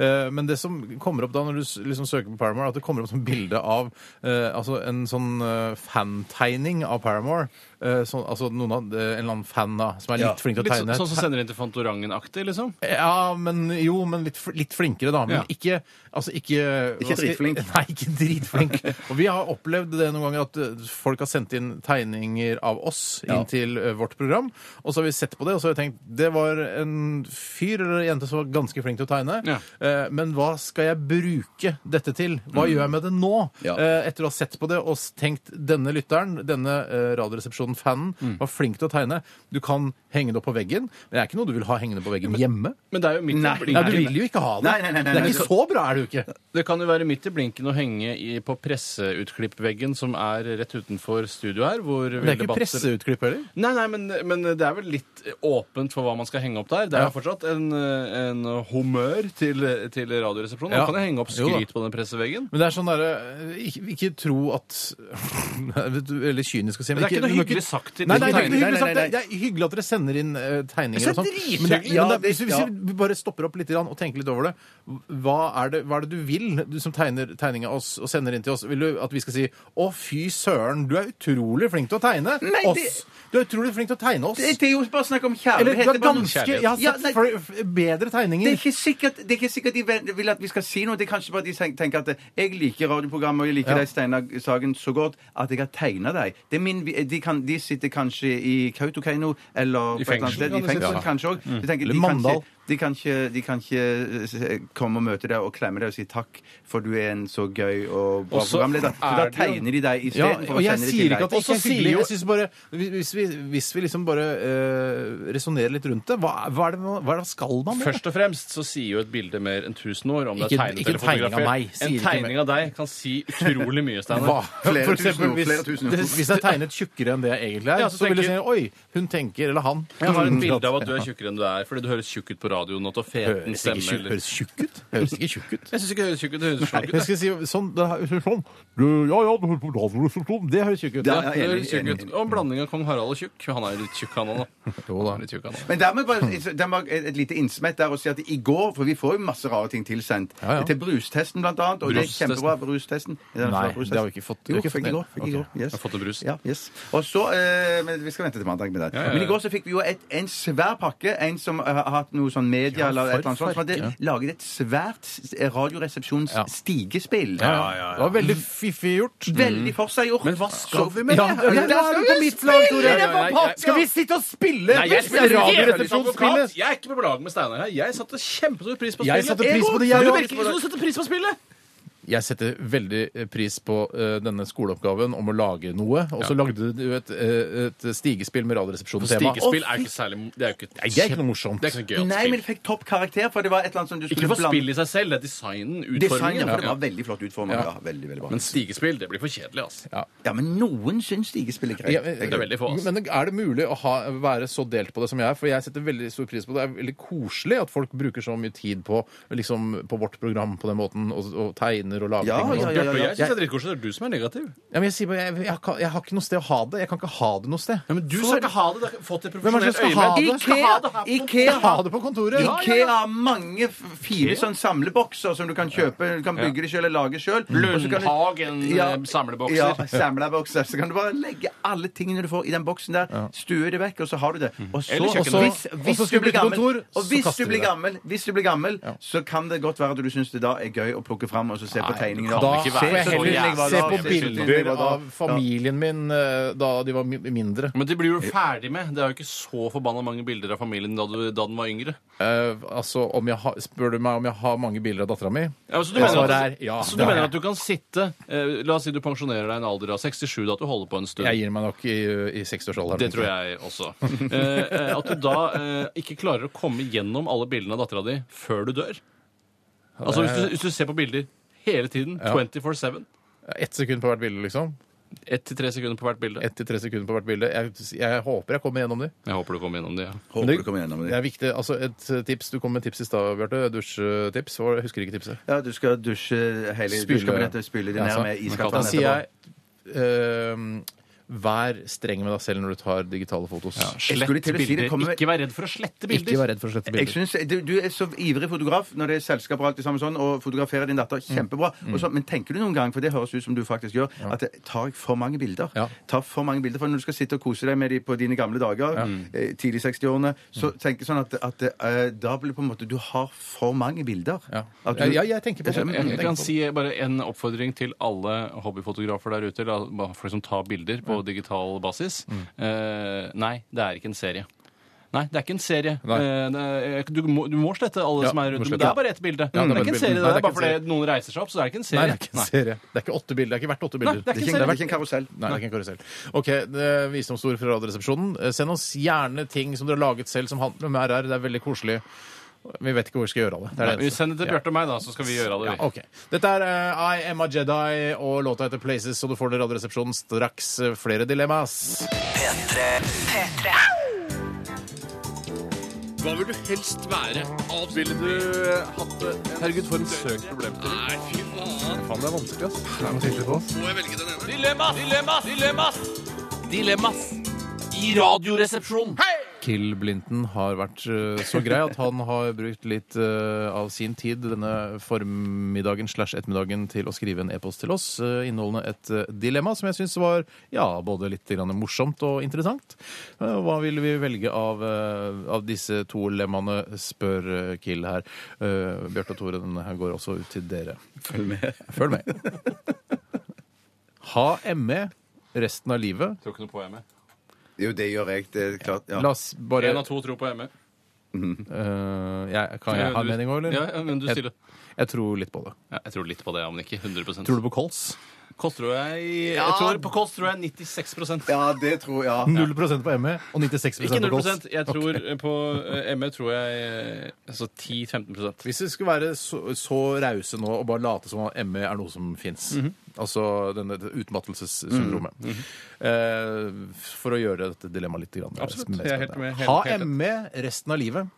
Speaker 2: Eh, Men det som kommer opp da når du s- liksom søker på Paramore, er at det kommer opp sånn bilde av eh, altså en sånn eh, fantegning av Paramore. Eh, sånn- altså noen av, eh, en eller annen fan da, som er litt
Speaker 3: Ja,
Speaker 2: flink til å
Speaker 4: Litt sånn,
Speaker 2: tegne.
Speaker 4: sånn som sender inn til Fantorangen-aktig, liksom?
Speaker 2: Ja, men jo, men litt, fl- litt flinkere, da. Men
Speaker 4: Ja.
Speaker 2: ikke, altså, ikke
Speaker 3: Ikke
Speaker 2: hva skal jeg-
Speaker 3: dritflink.
Speaker 2: [laughs] Nei, ikke dritflink. Og vi har opplevd det noen ganger at eh, folk har sendt inn tegninger av oss inn
Speaker 3: Ja.
Speaker 2: til eh, vårt program. Og så har vi sett på det, og så har vi tenkt det var en fyr eller en jente som var ganske flink til å tegne.
Speaker 4: Ja.
Speaker 2: Eh, Men hva skal jeg bruke dette til? Hå gjør jeg med det nå?
Speaker 3: Mm. Ja.
Speaker 2: Eh, Etter å ha sett på det og s- tenkt denne lytteren, denne eh, Radioresepsjonen-fanen,
Speaker 3: Mm.
Speaker 2: var flink til å tegne. Du kan henge det opp på veggen. men Det er ikke noe du vil ha hengende på veggen hjemme.
Speaker 4: Men det er jo midt i
Speaker 3: Nei.
Speaker 2: Nei, du
Speaker 4: blinken.
Speaker 2: vil jo ikke ha det.
Speaker 3: Nei, nei, nei, nei,
Speaker 2: det er
Speaker 3: nei.
Speaker 2: ikke så bra, er det jo ikke.
Speaker 4: Det kan jo være midt i blinken å henge i, på presseutklippveggen som er rett utenfor studio her. Hvor
Speaker 2: Det er ikke presseutklipp heller.
Speaker 4: Nei, nei, men, men det er vel litt åpent for hva man skal henge opp der. Det er
Speaker 2: Ja.
Speaker 4: jo fortsatt en, en humør til, til Radioresepsjonen.
Speaker 2: Ja.
Speaker 4: Man kan jo henge opp
Speaker 2: Jo da.
Speaker 4: skryt på den presseveggen.
Speaker 2: Men det er sånn derre ikke, ikke tro at [laughs] Vet du, Veldig kynisk å si.
Speaker 4: Men det er ikke noe
Speaker 2: du må ikke-
Speaker 4: hyggelig sagt til
Speaker 2: Nei, det er
Speaker 4: de
Speaker 2: ikke noe
Speaker 4: tegningene.
Speaker 2: hyggelig sagt. Det er,
Speaker 3: Nei, nei, nei.
Speaker 2: det er hyggelig at dere sender inn eh, tegninger
Speaker 3: Det er
Speaker 2: og sånn.
Speaker 3: drithyggelig.
Speaker 2: Men det er-
Speaker 3: Ja,
Speaker 2: men det er-
Speaker 3: det-
Speaker 2: hvis, hvis vi bare stopper opp litt grann og tenker litt over det Hva er det, hva er det du vil, du som tegner tegning av oss og sender inn til oss? Vil du at vi skal si 'Å, fy søren, du er utrolig flink til å tegne
Speaker 3: Nei, det-
Speaker 2: oss'? Du er utrolig flink til å tegne oss.
Speaker 3: Det, det er jo bare snakk om
Speaker 2: Eller du
Speaker 3: kjærlighet.
Speaker 2: er
Speaker 3: Det er bare noe-
Speaker 2: ganske Jeg har
Speaker 3: Ja,
Speaker 2: sett
Speaker 3: nei,
Speaker 2: fl- f- bedre tegninger.
Speaker 3: det er ikke sikkert, det er ikke sikkert de ven- vil at vi skal si noe. Det er kanskje bare at de ten- tenker at eh, jeg liker radioprogrammet og jeg liker
Speaker 2: Ja.
Speaker 3: deg, Steinar Sagen, så godt at jeg har tegna deg. Det er min, vi- de, kan, de sitter kanskje i Kautokeino eller
Speaker 4: I
Speaker 3: på et eller annet
Speaker 4: fengsel,
Speaker 3: sted.
Speaker 4: kan
Speaker 3: I
Speaker 4: du
Speaker 3: fengsel
Speaker 4: sitte.
Speaker 3: kanskje også. De tenker,
Speaker 2: Eller
Speaker 3: de kan si-
Speaker 2: Mandal.
Speaker 3: De kan ikke, de kan ikke eh, s- komme og møte deg og klemme deg og si takk, for du er en så gøy og bra
Speaker 4: Og så
Speaker 3: programleder. Så
Speaker 4: er
Speaker 3: da
Speaker 4: det jo-
Speaker 3: tegner de deg
Speaker 2: Ja,
Speaker 3: isteden. for
Speaker 2: og
Speaker 3: å
Speaker 2: jeg
Speaker 3: sende det til
Speaker 2: sier ikke
Speaker 3: deg.
Speaker 2: at det ikke
Speaker 4: Og
Speaker 2: er
Speaker 4: så sier
Speaker 2: hyggelig.
Speaker 4: jo-
Speaker 2: Jeg synes bare, hvis, vi, hvis vi liksom bare eh, resonnerer litt rundt det, hva, hva, er det, man- hva er det skal man med?
Speaker 4: Først og fremst så sier jo et bilde mer enn tusen år om det
Speaker 2: Ikke-
Speaker 4: er tegnet
Speaker 2: ikke
Speaker 4: eller
Speaker 2: en tegning av meg,
Speaker 4: fotografert.
Speaker 2: sier
Speaker 4: En
Speaker 2: ikke
Speaker 4: tegning av deg kan si utrolig mye, Steinar.
Speaker 3: Flere
Speaker 2: For
Speaker 3: tusen
Speaker 2: eksempel,
Speaker 3: ord,
Speaker 2: hvis,
Speaker 3: flere tusen ord.
Speaker 2: det- hvis det er tegnet tjukkere enn det jeg egentlig er,
Speaker 4: Ja,
Speaker 2: så,
Speaker 4: så
Speaker 2: vil jeg si
Speaker 4: tenker-
Speaker 2: oi, hun tenker, eller han. Mm.
Speaker 4: Jeg har et bilde av
Speaker 2: [laughs]
Speaker 4: at du er tjukkere enn du er, fordi du høres tjukk ut på radioen og til feten
Speaker 2: Høres ikke
Speaker 4: stemme.
Speaker 2: tjukk-
Speaker 4: eller-
Speaker 2: høres tjukk ut? Høres ikke tjukk ut.
Speaker 4: Jeg syns ikke det høres tjukk ut. Det høres slank ut.
Speaker 2: Jeg skal si sånn, det her, sånn. Du, ja, ja, du hører på radioresepsjonen. Det høres tjukk ut.
Speaker 3: Ja,
Speaker 4: Ja,
Speaker 3: jeg er
Speaker 4: det
Speaker 3: enig,
Speaker 4: høres tjukk
Speaker 3: enig,
Speaker 4: ut. Og en blanding av kong Harald og tjukk. Han er jo litt tjukk, [laughs] han òg, da.
Speaker 2: Jo da.
Speaker 4: Han er litt tjukk, han også.
Speaker 3: Men der må jeg bare der må jeg et lite innsmett der og si at i går, for vi får jo masse rare ting tilsendt,
Speaker 2: Ja, ja.
Speaker 3: til brustesten blant annet, og det er
Speaker 4: Brustesten.
Speaker 3: kjempebra, brustesten. Ja,
Speaker 2: Nei,
Speaker 3: brustesten.
Speaker 2: det har vi ikke fått- vi
Speaker 3: Jo,
Speaker 2: har ikke
Speaker 3: fikk
Speaker 2: fått
Speaker 3: i går.
Speaker 2: det.
Speaker 3: Fikk
Speaker 2: Ok.
Speaker 3: i går, yes.
Speaker 4: Jeg har fått en brus.
Speaker 3: Ja, yes. Og så, eh, men Vi skal vente til mandag med det.
Speaker 4: ja, ja.
Speaker 3: Men i går så fikk vi jo et, en svær pakke. En som har hatt noe sånn media
Speaker 2: Ja,
Speaker 3: eller et eller
Speaker 2: for
Speaker 3: annet sånt. Som hadde
Speaker 2: farken.
Speaker 3: laget et svært s-
Speaker 2: Ja.
Speaker 3: Radioresepsjons-stigespill.
Speaker 2: Ja, ja, ja. Mm. Det var veldig fiffig gjort.
Speaker 3: Veldig forseggjort. Men hva skal vi
Speaker 2: Ja, det er på mitt lag, Tore. Skal vi sitte og spille?
Speaker 4: Nei, jeg,
Speaker 2: spiller
Speaker 4: jeg,
Speaker 2: radioresepsjonsspillet.
Speaker 4: jeg er ikke på lag med Steinar her. Jeg satte kjempestor pris på spillet.
Speaker 2: Jeg satte pris på det, jeg
Speaker 4: Du
Speaker 2: også.
Speaker 4: virker ikke som du setter pris på spillet.
Speaker 2: Jeg setter veldig pris på eh, denne skoleoppgaven om å lage noe. Og så lagde du et, eh, et stigespill med Radioresepsjonen-tema.
Speaker 4: Stigespill er jo ikke særlig Det er jo ikke,
Speaker 2: Det er ikke noe morsomt.
Speaker 4: det er ikke noe gøyalt
Speaker 3: Nei, men
Speaker 4: spill.
Speaker 3: det fikk topp karakter, for det var et eller annet som du skulle
Speaker 4: Ikke for
Speaker 3: blande-
Speaker 4: spillet i seg selv, det er designen,
Speaker 3: Designet,
Speaker 4: utformingen.
Speaker 3: for det
Speaker 4: Ja.
Speaker 3: var veldig flott utformet. Ja. veldig, veldig bra.
Speaker 4: Men stigespill, det blir for kjedelig, altså.
Speaker 3: Ja, men noen syns stigespill er greit.
Speaker 2: Ja, men-
Speaker 4: Det er veldig få, altså.
Speaker 2: Men er det mulig å ha, være så delt på det som jeg er? For jeg setter veldig stor pris på det. Det er veldig koselig at folk bruker så mye tid på, liksom, på vårt program på den måten, og, og tegner og lager
Speaker 3: Ja,
Speaker 2: ting. Og
Speaker 3: ja,
Speaker 2: sånn.
Speaker 4: Bjarte, og jeg
Speaker 3: ja.
Speaker 4: syns det er dritkoselig. Det er du som er negativ.
Speaker 2: Ja, men jeg, sier bare, jeg, jeg, kan- jeg har ikke noe sted å ha det. Jeg kan ikke ha det noe sted.
Speaker 4: Ja, men du skal ikke ha det. Du har ikke fått et
Speaker 2: Hvem er det som
Speaker 4: profesjonelt
Speaker 2: skal ha
Speaker 4: øyemed.
Speaker 2: det?
Speaker 3: Ikea, Ikea,
Speaker 2: Ha det på kontoret!
Speaker 3: Ikea har mange f- fine sånn samlebokser som du kan kjøpe. Du kan bygge det sjøl eller lage sjøl.
Speaker 4: Lundhagen eh, samlebokser.
Speaker 3: Ja, samlebokser. Så kan du bare legge alle tingene du får i den boksen der, stue det vekk, og så har du det. Og så,
Speaker 4: Eller
Speaker 3: og
Speaker 4: kjøkkenet.
Speaker 3: så, hvis,
Speaker 2: Mhm. Og så skal
Speaker 3: hvis du
Speaker 2: du bytte
Speaker 3: blir gammel,
Speaker 2: kontor, så
Speaker 3: og hvis
Speaker 2: kaster
Speaker 3: du
Speaker 2: du
Speaker 3: blir
Speaker 2: det.
Speaker 3: gammel, hvis du blir gammel så kan det godt være at du syns det da er gøy å plukke fram og så se på tegningene.
Speaker 4: kan
Speaker 2: Da
Speaker 4: ikke
Speaker 2: får jeg
Speaker 4: så
Speaker 2: heller
Speaker 4: jævla
Speaker 2: se på
Speaker 4: jævlig.
Speaker 2: bilder av familien min eh, da de var mi- mindre.
Speaker 4: Men det blir du ferdig med. Det er jo ikke så forbanna mange bilder av familien da, du, da den var yngre.
Speaker 2: Eh, altså, om jeg har, Spør du meg om jeg har mange bilder av dattera mi?
Speaker 4: Ja, så du
Speaker 2: Ja,
Speaker 4: mener,
Speaker 2: svaret
Speaker 4: at,
Speaker 2: er ja,
Speaker 4: så
Speaker 2: det
Speaker 4: du
Speaker 2: har
Speaker 4: mener
Speaker 2: jeg.
Speaker 4: at du kan sitte eh, La oss si du pensjonerer deg i en alder av 67, da at du holder på en stund.
Speaker 2: Jeg gir meg nok i, i seksårsalderen.
Speaker 4: Det tror jeg også.
Speaker 2: [laughs]
Speaker 4: Eh, eh, at du da eh, ikke klarer å komme gjennom alle bildene av dattera di før du dør. Altså hvis du, hvis du ser på bilder hele tiden, 24-7,
Speaker 2: Eh, Ett sekund på hvert bilde, liksom.
Speaker 4: ett til tre sekunder på hvert bilde
Speaker 2: Ett til tre sekunder på hvert bilde. Jeg, jeg håper jeg kommer gjennom de.
Speaker 4: Jeg håper du kommer gjennom det. Ja.
Speaker 3: Håper du kommer gjennom
Speaker 2: Det er viktig. Altså, et tips. Du kom med tips i stad, Bjarte. Dusjtips. Og Jeg husker ikke tipset.
Speaker 3: Ja, du skal dusje hele
Speaker 2: Spyle-
Speaker 3: dusjkabinettet, spyle det
Speaker 2: Ja,
Speaker 3: ned
Speaker 2: sant.
Speaker 3: med
Speaker 2: Da
Speaker 3: iskaldt vann
Speaker 2: sier
Speaker 3: etterpå.
Speaker 2: jeg ehm, Vær streng med deg selv når du tar digitale fotos.
Speaker 4: Slett
Speaker 3: skulle til å si det
Speaker 4: bilder.
Speaker 3: kommer-
Speaker 4: Ikke vær redd for å slette
Speaker 2: Ikke
Speaker 4: bilder.
Speaker 2: vær redd for å slette
Speaker 3: Jeg
Speaker 2: bilder.
Speaker 3: synes, du, du er så ivrig fotograf når det er selskaper og alt det samme sånn, og fotograferer din datter
Speaker 2: Mm.
Speaker 3: kjempebra. Og så, men tenker du noen gang, for det høres ut som du faktisk gjør, at det- tar jeg for mange bilder?
Speaker 2: Ja.
Speaker 3: Tar for mange bilder, for når du skal sitte og kose deg med de på dine gamle dager, eh, tidlig
Speaker 2: Mm.
Speaker 3: 60-årene, så tenker jeg sånn at, at eh, da blir det på en måte Du har for mange bilder.
Speaker 2: Ja.
Speaker 3: At du, sånn,
Speaker 2: ja, jeg tenker på det.
Speaker 4: Jeg
Speaker 2: tenker
Speaker 4: kan
Speaker 2: på det.
Speaker 4: si bare en oppfordring til alle hobbyfotografer der ute, eller bare folk som tar bilder på digital basis.
Speaker 2: Mm.
Speaker 4: Eh, nei, det er ikke en serie. Nei, det er ikke en serie.
Speaker 2: Nei.
Speaker 4: Eh, det er- du, må, du må slette alle
Speaker 2: Ja,
Speaker 4: som er
Speaker 2: du må
Speaker 4: rundt, men
Speaker 2: slette.
Speaker 4: det er bare ett bilde.
Speaker 2: Ja,
Speaker 4: det er ikke en serie.
Speaker 2: bilde.
Speaker 4: Det,
Speaker 2: Nei,
Speaker 4: er bare fordi noen reiser seg opp, så det er ikke en serie.
Speaker 2: Nei, det er ikke en
Speaker 4: Nei.
Speaker 2: serie. Det er ikke åtte bilder. Det er ikke hvert åtte
Speaker 4: Nei,
Speaker 2: bilder.
Speaker 4: det er ikke en
Speaker 3: det
Speaker 4: serie.
Speaker 3: er ikke en karusell.
Speaker 2: Nei, det er ikke en karusell. OK, det er visdomsord fra Radioresepsjonen. Eh, Send oss gjerne ting som dere har laget selv som handler om RR. Det er veldig koselig. Vi vet ikke hvor vi skal gjøre av det. det, er
Speaker 4: Nei,
Speaker 2: det
Speaker 4: vi
Speaker 2: eneste.
Speaker 4: sender det til Bjarte og meg, da, så skal vi gjøre det.
Speaker 2: Ja,
Speaker 4: vi.
Speaker 2: ok. Dette er eh, I Am A Jedi og låta heter Places, så du får det i Radioresepsjonen straks. eh, Flere dilemmas.
Speaker 5: P3
Speaker 6: P3.
Speaker 4: Hva vil du helst være? Ville du eh, hatt det? Herregud, for en søk problemstilling. Nei, fy faen. Faen, det er vanskelig, ass. Må jeg velge den ene? Dilemmas! Dilemmas! Dilemmas! Dilemmas! I radioresepsjonen!
Speaker 2: Kill Blinton har vært eh, så grei at han har brukt litt eh, av sin tid denne formiddagen slash ettermiddagen til å skrive en e-post til oss eh, inneholdende et eh, dilemma som jeg syns var ja, både litt grann morsomt og interessant. Eh, Hva vil vi velge av, eh, av disse to dilemmaene, spør eh, Kill her. Eh, Bjarte og Tore, denne her går også ut til dere. [laughs] Følg med. Følg med. Ha ME resten av livet.
Speaker 4: Tror ikke noe på ME.
Speaker 3: Jo, det gjør jeg. Det er klart. Ja.
Speaker 2: La oss bare
Speaker 4: En av to tror på ME.
Speaker 2: Eh, jeg, kan jeg ha en mening òg, eller?
Speaker 4: Ja, ja, men du
Speaker 2: jeg,
Speaker 4: stiller.
Speaker 2: Jeg tror litt på det.
Speaker 4: Ja, jeg tror litt på det, om ikke 100
Speaker 2: Tror du på kols?
Speaker 4: Kols tror jeg,
Speaker 3: Ja.
Speaker 4: jeg tror, På Kols tror jeg 96
Speaker 3: Ja, det tror jeg.
Speaker 2: 0 på ME og 96
Speaker 4: Ikke
Speaker 2: på
Speaker 4: 0
Speaker 2: kols.
Speaker 4: Jeg tror på eh, ME tror jeg eh, altså 10-15
Speaker 2: Hvis vi skulle være så, så rause nå og bare late som at ME er noe som fins, altså denne utmattelsessyndromet
Speaker 4: Mm,
Speaker 2: eh, For å gjøre dette dilemmaet litt grann,
Speaker 4: Absolutt.
Speaker 2: mer
Speaker 4: Jeg er helt
Speaker 2: spennende.
Speaker 4: med, helt-
Speaker 2: ha
Speaker 4: helt enig.
Speaker 2: ME resten av livet,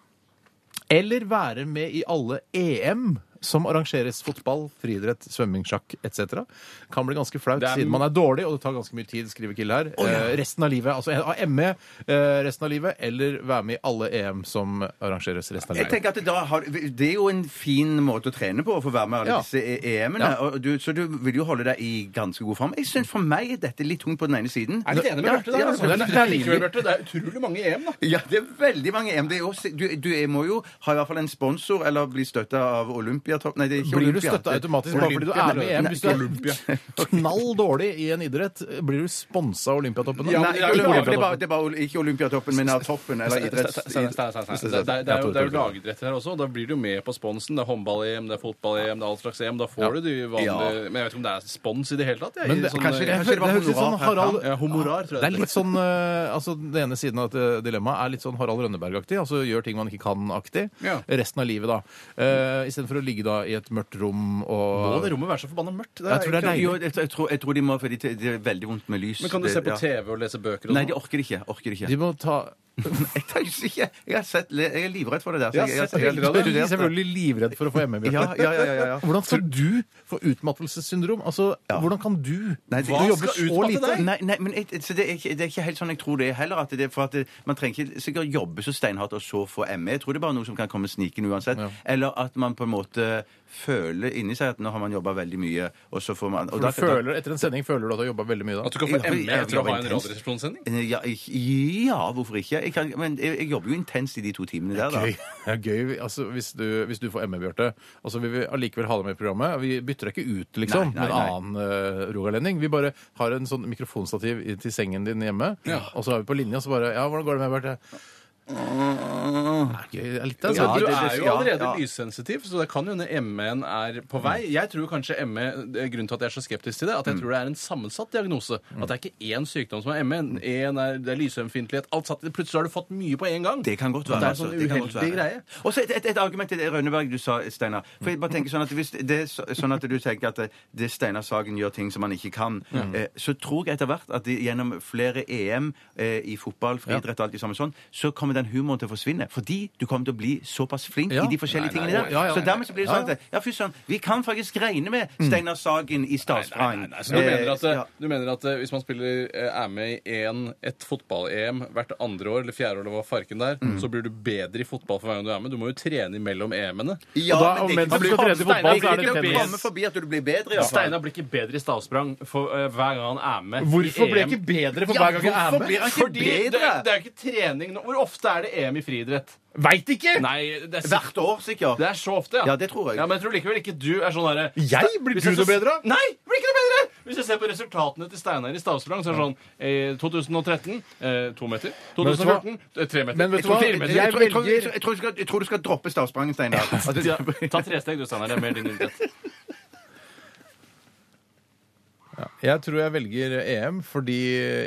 Speaker 2: eller være med i alle EM som arrangeres fotball, friidrett, svømming, sjakk etc. Kan bli ganske flaut
Speaker 4: Det er-
Speaker 2: siden man er dårlig, og det tar ganske mye tid, skriver Kill her. Eh, resten av livet, altså ha ME eh, resten av livet, eller være med i alle EM som arrangeres resten av
Speaker 3: Jeg
Speaker 2: livet.
Speaker 3: tenker at det, da har, det er jo en fin måte å trene på, å få være med i alle
Speaker 2: Ja.
Speaker 3: disse E- EM-ene.
Speaker 2: Ja.
Speaker 3: og du- Så du vil jo holde deg i ganske god form. Jeg synes For meg er dette litt tungt på den ene siden.
Speaker 4: Jeg er litt enig med
Speaker 3: Ja,
Speaker 4: Bjarte der.
Speaker 3: ja,
Speaker 4: altså.
Speaker 3: det
Speaker 4: Det
Speaker 3: er
Speaker 4: er- det er likevel, Bjarte, det er utrolig mange EM, da.
Speaker 3: Ja, det er veldig mange EM. Det er jo, også- du, du er- må jo ha i hvert fall en sponsor, eller bli støtta av Olympiatopp... Nei, det er ikke
Speaker 2: Blir du
Speaker 3: Olympia.
Speaker 2: støtta
Speaker 3: Det-
Speaker 2: automatisk bare fordi du
Speaker 3: Olympia-
Speaker 2: er med i EM?
Speaker 3: Nei,
Speaker 2: Hvis du er [laughs] knall dårlig i en idrett, blir du sponsa av Olympiatoppen? da?
Speaker 3: Nei,
Speaker 4: men det er
Speaker 3: ikke
Speaker 4: jo
Speaker 3: Olympia-
Speaker 4: Olympia-
Speaker 3: det er bare, det er bare Oly- ikke Olympiatoppen, men av toppen, eller idretts...
Speaker 4: Stein, Stein, Stein, Stein, Stein. Det, det, det, er jo- det er jo lagidretter her også. og Da blir du jo med på sponsen. Det er håndball-EM, det er fotball-EM, det er all slags EM. Da får du de vanlige Men jeg vet ikke om det er spons i det hele tatt. Jeg,
Speaker 2: Men det-
Speaker 4: sånn,
Speaker 3: kanskje-
Speaker 4: eh,
Speaker 2: Jeg
Speaker 3: det
Speaker 2: føler-
Speaker 3: var
Speaker 2: det høres litt sånn
Speaker 3: honorar per
Speaker 2: Harald
Speaker 4: ja, honorar, tror jeg.
Speaker 2: Det er litt sånn, eh, altså Den ene siden av et dilemmaet er litt sånn Harald Rønneberg-aktig. altså Gjør ting man ikke kan-aktig.
Speaker 4: Ja.
Speaker 2: Resten av livet, da. Uh, Istedenfor å ligge da i et mørkt rom
Speaker 4: Må det
Speaker 2: og
Speaker 4: rommet være så forbanna mørkt? Det er-
Speaker 2: Jeg tror det er
Speaker 3: Jo,
Speaker 2: deilig.
Speaker 3: jeg, jeg, tror, jeg tror de må, fordi det det er veldig vondt med lys.
Speaker 4: Men kan du
Speaker 3: Det-
Speaker 4: se på
Speaker 3: ja.
Speaker 4: TV og lese bøker og
Speaker 3: Nei, de
Speaker 4: sånn?
Speaker 3: orker det ikke. orker det ikke.
Speaker 2: De må ta
Speaker 3: Jeg tør ikke. Jeg, har sett, jeg er livredd for [laughs] det altså. der. så
Speaker 4: Jeg har sett
Speaker 2: Du
Speaker 4: bilder av
Speaker 2: er
Speaker 4: det.
Speaker 2: selvfølgelig livredd for å få ME,
Speaker 3: Ja,
Speaker 2: Bjarte.
Speaker 3: ja, ja, ja, ja.
Speaker 2: Hvordan skal du få utmattelsessyndrom? Altså, Hvordan kan du
Speaker 3: Nei, det-
Speaker 2: Du jobber
Speaker 4: skal
Speaker 2: så
Speaker 4: utmatte
Speaker 2: lite.
Speaker 4: deg?
Speaker 3: Nei, nei, men jeg, så det, er ikke, det er ikke helt sånn jeg tror det er heller. At det er for at det, Man trenger ikke sikkert jobbe så steinhardt og så få ME. Jeg tror det er bare noe som kan komme snikende uansett. Eller at man på en måte føler inni seg at nå har man jobba veldig mye, og så får man og
Speaker 2: For
Speaker 3: da-
Speaker 2: du føler, etter en sending føler du at du har jobba veldig mye da?
Speaker 4: At du kan få
Speaker 3: Ja,
Speaker 4: ME etter
Speaker 3: ja,
Speaker 4: å ha en
Speaker 3: intenst.
Speaker 4: radioresepsjonssending?
Speaker 3: Eh, ja, ja, hvorfor ikke? Jeg kan, men jeg, jeg jobber jo intenst i de to timene der, da.
Speaker 2: Gøy. Ja, gøy. Altså, hvis, du, hvis du får ME, Bjarte, altså, vi vil allikevel ha deg med i programmet. Vi bytter deg ikke ut liksom,
Speaker 3: Nei, nei,
Speaker 2: med
Speaker 3: nei.
Speaker 2: en annen uh, rogalending. Vi bare har en sånn mikrofonstativ i- til sengen din hjemme, og så er vi på linja, og så bare Ja, hvordan går det med Bjarte? Det er gøy. Det er litt av sånn
Speaker 4: Altså,
Speaker 3: Ja,
Speaker 4: du
Speaker 3: det- det-
Speaker 4: er jo
Speaker 3: ja,
Speaker 4: allerede
Speaker 3: ja. Mm.
Speaker 4: lyssensitiv, så det kan jo hende ME-en er på vei. Jeg tror kanskje ME, det er Grunnen til at jeg er så skeptisk til det, at jeg tror det er en sammensatt diagnose.
Speaker 3: Mm.
Speaker 4: At det er ikke én sykdom som er ME. En er, det er lysømfintlighet. Alt satt, plutselig har du fått mye på en gang.
Speaker 3: Det kan godt være.
Speaker 4: At det er
Speaker 3: altså.
Speaker 4: sånn
Speaker 3: Det kan
Speaker 4: uheldig
Speaker 3: godt være.
Speaker 4: greie.
Speaker 3: Og så et, et, et argument til det Rønneberg du sa, Steinar. For jeg bare tenker sånn at Hvis det er så- sånn at du tenker at det Steinar Sagen gjør ting som han ikke kan, eh, så tror jeg etter hvert at de, gjennom flere EM eh, i fotball, friidrett og alt det samme sånn, så kommer den humoren til å forsvinne. Fordi du kommer til å bli såpass flink
Speaker 2: Ja.
Speaker 3: i de forskjellige
Speaker 4: Nei, nei,
Speaker 3: tingene der.
Speaker 2: ja, ja,
Speaker 3: så
Speaker 2: nei,
Speaker 3: dermed så blir det sånn at Ja, fy søren, vi kan faktisk regne med Steinar Sagen i
Speaker 4: Mm. Nei,
Speaker 3: Statsbrand.
Speaker 4: nei, nei, så du, mener at,
Speaker 3: Eh, ja.
Speaker 4: du mener at eh, hvis man spiller, eh, er med i en, et fotball-EM hvert andre år eller fjerde år, det var farken der,
Speaker 3: Mm.
Speaker 4: så blir du bedre i fotball for hver gang du er med. Du må jo trene imellom EM-ene.
Speaker 3: Ja,
Speaker 2: Og da-
Speaker 3: men det er
Speaker 2: men
Speaker 3: ikke
Speaker 2: da blir
Speaker 3: til å
Speaker 2: du
Speaker 3: komme-
Speaker 2: tredje i fotball,
Speaker 3: Steinar,
Speaker 2: så er
Speaker 3: det er ikke
Speaker 2: det
Speaker 3: til å
Speaker 2: tennis.
Speaker 3: komme forbi at du blir bedre, i hvert fall.
Speaker 4: Steinar blir ikke bedre i stavsprang for, eh, hver gang han er med
Speaker 2: Hvorfor
Speaker 4: i
Speaker 2: ble jeg
Speaker 4: EM.
Speaker 2: ikke bedre for
Speaker 3: Ja,
Speaker 2: hver gang jeg er
Speaker 3: hvorfor
Speaker 2: med?
Speaker 3: blir han ikke
Speaker 4: Fordi det,
Speaker 3: bedre?
Speaker 4: det er jo ikke trening nå. Hvor ofte er det EM i friidrett?
Speaker 2: Veit ikke!
Speaker 4: Nei, det er, sikk-
Speaker 3: Hvert år, sikkert.
Speaker 4: det er så ofte, ja.
Speaker 3: Ja, det tror jeg.
Speaker 4: Ja, men jeg tror likevel ikke du er sånn derre
Speaker 2: Jeg? Blir
Speaker 4: Hvis
Speaker 2: du
Speaker 4: jeg
Speaker 2: noe
Speaker 4: så-
Speaker 2: bedre? av?
Speaker 4: Nei! blir ikke noe bedre! Hvis jeg ser på resultatene til Steinar i stavsprang, så er det sånn eh, 2013 eh, to meter.
Speaker 2: vet du hva?
Speaker 4: 2014 eh, tre meter.
Speaker 2: Men vet du
Speaker 4: To-
Speaker 2: hva?
Speaker 4: fire meter.
Speaker 2: Jeg
Speaker 3: Jeg tror, jeg, tror,
Speaker 2: velger-
Speaker 3: jeg, tror, jeg, tror du skal, jeg tror du skal droppe stavsprangen, Steinar. Altså, At du-
Speaker 4: Ja, ta tre steg du, Steinar. Det er mer din idrett.
Speaker 2: Jeg tror jeg velger EM fordi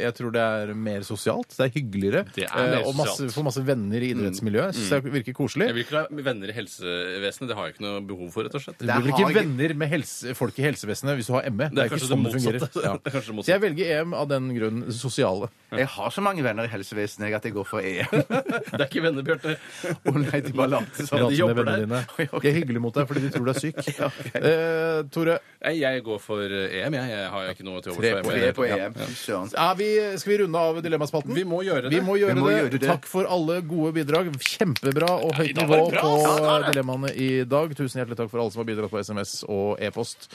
Speaker 2: jeg tror det er mer sosialt. Det er hyggeligere.
Speaker 4: Det er mer
Speaker 2: eh, og masse,
Speaker 4: sosialt. Mm,
Speaker 2: får masse venner i idrettsmiljøet. Jeg synes det virker koselig.
Speaker 4: Jeg vil ikke ha venner i helsevesenet. Det har jeg ikke noe behov for, rett og slett.
Speaker 2: Du
Speaker 3: Der
Speaker 2: blir vel
Speaker 3: har
Speaker 2: ikke
Speaker 3: jeg-
Speaker 2: venner med helse, folk i helsevesenet hvis du har ME. Det er, ikke
Speaker 4: kanskje
Speaker 2: sånn det
Speaker 4: det motsatte.
Speaker 2: fungerer. Ja.
Speaker 4: [laughs] Det er kanskje det
Speaker 2: Så jeg velger EM av den grunn sosiale.
Speaker 3: Jeg har så mange venner i helsevesenet jeg, at jeg går for EM.
Speaker 4: Det er ikke venner, Bjarte.
Speaker 3: Å nei, de bare later som.
Speaker 2: Prate
Speaker 4: Ja, de
Speaker 2: med
Speaker 4: jobber
Speaker 2: vennene
Speaker 4: der. [laughs]
Speaker 2: dine. De er hyggelige mot deg fordi de tror du er syk. eh, Tore,
Speaker 4: Nei, Jeg går for eh, EM, jeg. Jeg har ikke noe til
Speaker 2: Tre
Speaker 4: overs
Speaker 2: på
Speaker 4: for
Speaker 3: Vi
Speaker 4: EM.
Speaker 3: er på EM. Fy søren.
Speaker 2: er vi, eh, skal vi runde av Dilemmaspalten?
Speaker 4: Vi må gjøre det.
Speaker 2: Vi må gjøre,
Speaker 3: Vi må
Speaker 2: det.
Speaker 3: gjøre det.
Speaker 2: Takk for alle gode bidrag. Kjempebra og høyt
Speaker 4: dag
Speaker 2: nivå
Speaker 4: var det bra,
Speaker 2: på dilemmaene i dag. Tusen hjertelig takk for alle som har bidratt på SMS og e-post.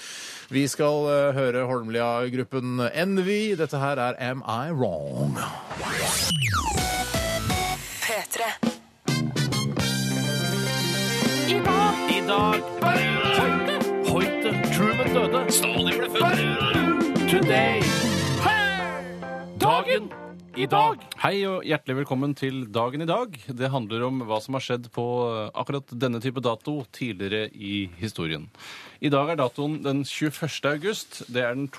Speaker 2: Vi skal eh, høre Holmlia-gruppen Envy. Dette her er Am I Wrong?
Speaker 6: P3.
Speaker 4: I dag Hoite Truman døde. Stalin ble født. Today. Dagen i dag? Hei og hjertelig velkommen til Dagen i dag. Det handler om hva som har skjedd på eh, akkurat denne type dato tidligere i historien. I dag er datoen den 21. august. Det er den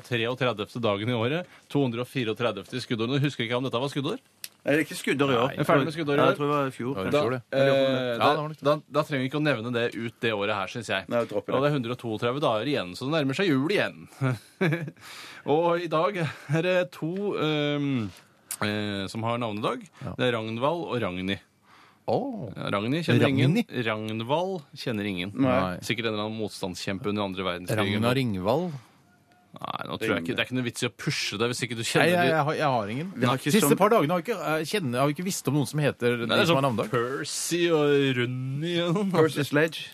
Speaker 4: 233. dagen i året. 234. i skuddårene. Husker ikke om dette var skuddår?
Speaker 3: Er det ikke skuddår i år?
Speaker 4: er ferdig med skuddår i
Speaker 3: Ja,
Speaker 4: år.
Speaker 3: Jeg tror det var i fjor.
Speaker 2: Ja, i
Speaker 4: Da,
Speaker 2: fjor, det.
Speaker 4: eh,
Speaker 2: Ja, det var
Speaker 4: da,
Speaker 2: nok det.
Speaker 4: da, da trenger vi ikke å nevne det ut det året her, syns jeg.
Speaker 3: Nei, jeg dropper det.
Speaker 4: Og det er 132 dager igjen, så det nærmer seg jul igjen. [laughs] og i dag er det to ehm, eh, som har navnedag. Det er Ragnvald og Ragnhild.
Speaker 2: Åh.
Speaker 4: Ragnhild kjenner
Speaker 2: Ragnhild?
Speaker 4: ingen. Ragnvald kjenner ingen.
Speaker 2: Nei.
Speaker 4: Sikkert en eller annen motstandskjempe under andre verdenskrig.
Speaker 2: Ragna Ringvald.
Speaker 4: Nei, nå tror jeg ikke, Det er ikke noe vits i å pushe deg hvis ikke du
Speaker 2: Nei,
Speaker 4: kjenner
Speaker 2: jeg,
Speaker 4: de-
Speaker 2: jeg, har, jeg har ingen.
Speaker 3: Vi har ikke
Speaker 2: Siste
Speaker 3: sånn-
Speaker 2: par dagene har jeg ikke, jeg kjenner, har jeg ikke visst om noen som heter
Speaker 4: Nei,
Speaker 2: de
Speaker 4: det er
Speaker 2: som har
Speaker 4: sånn
Speaker 2: navnedag.
Speaker 4: Percy og Runny og noe.
Speaker 3: Percy Sledge.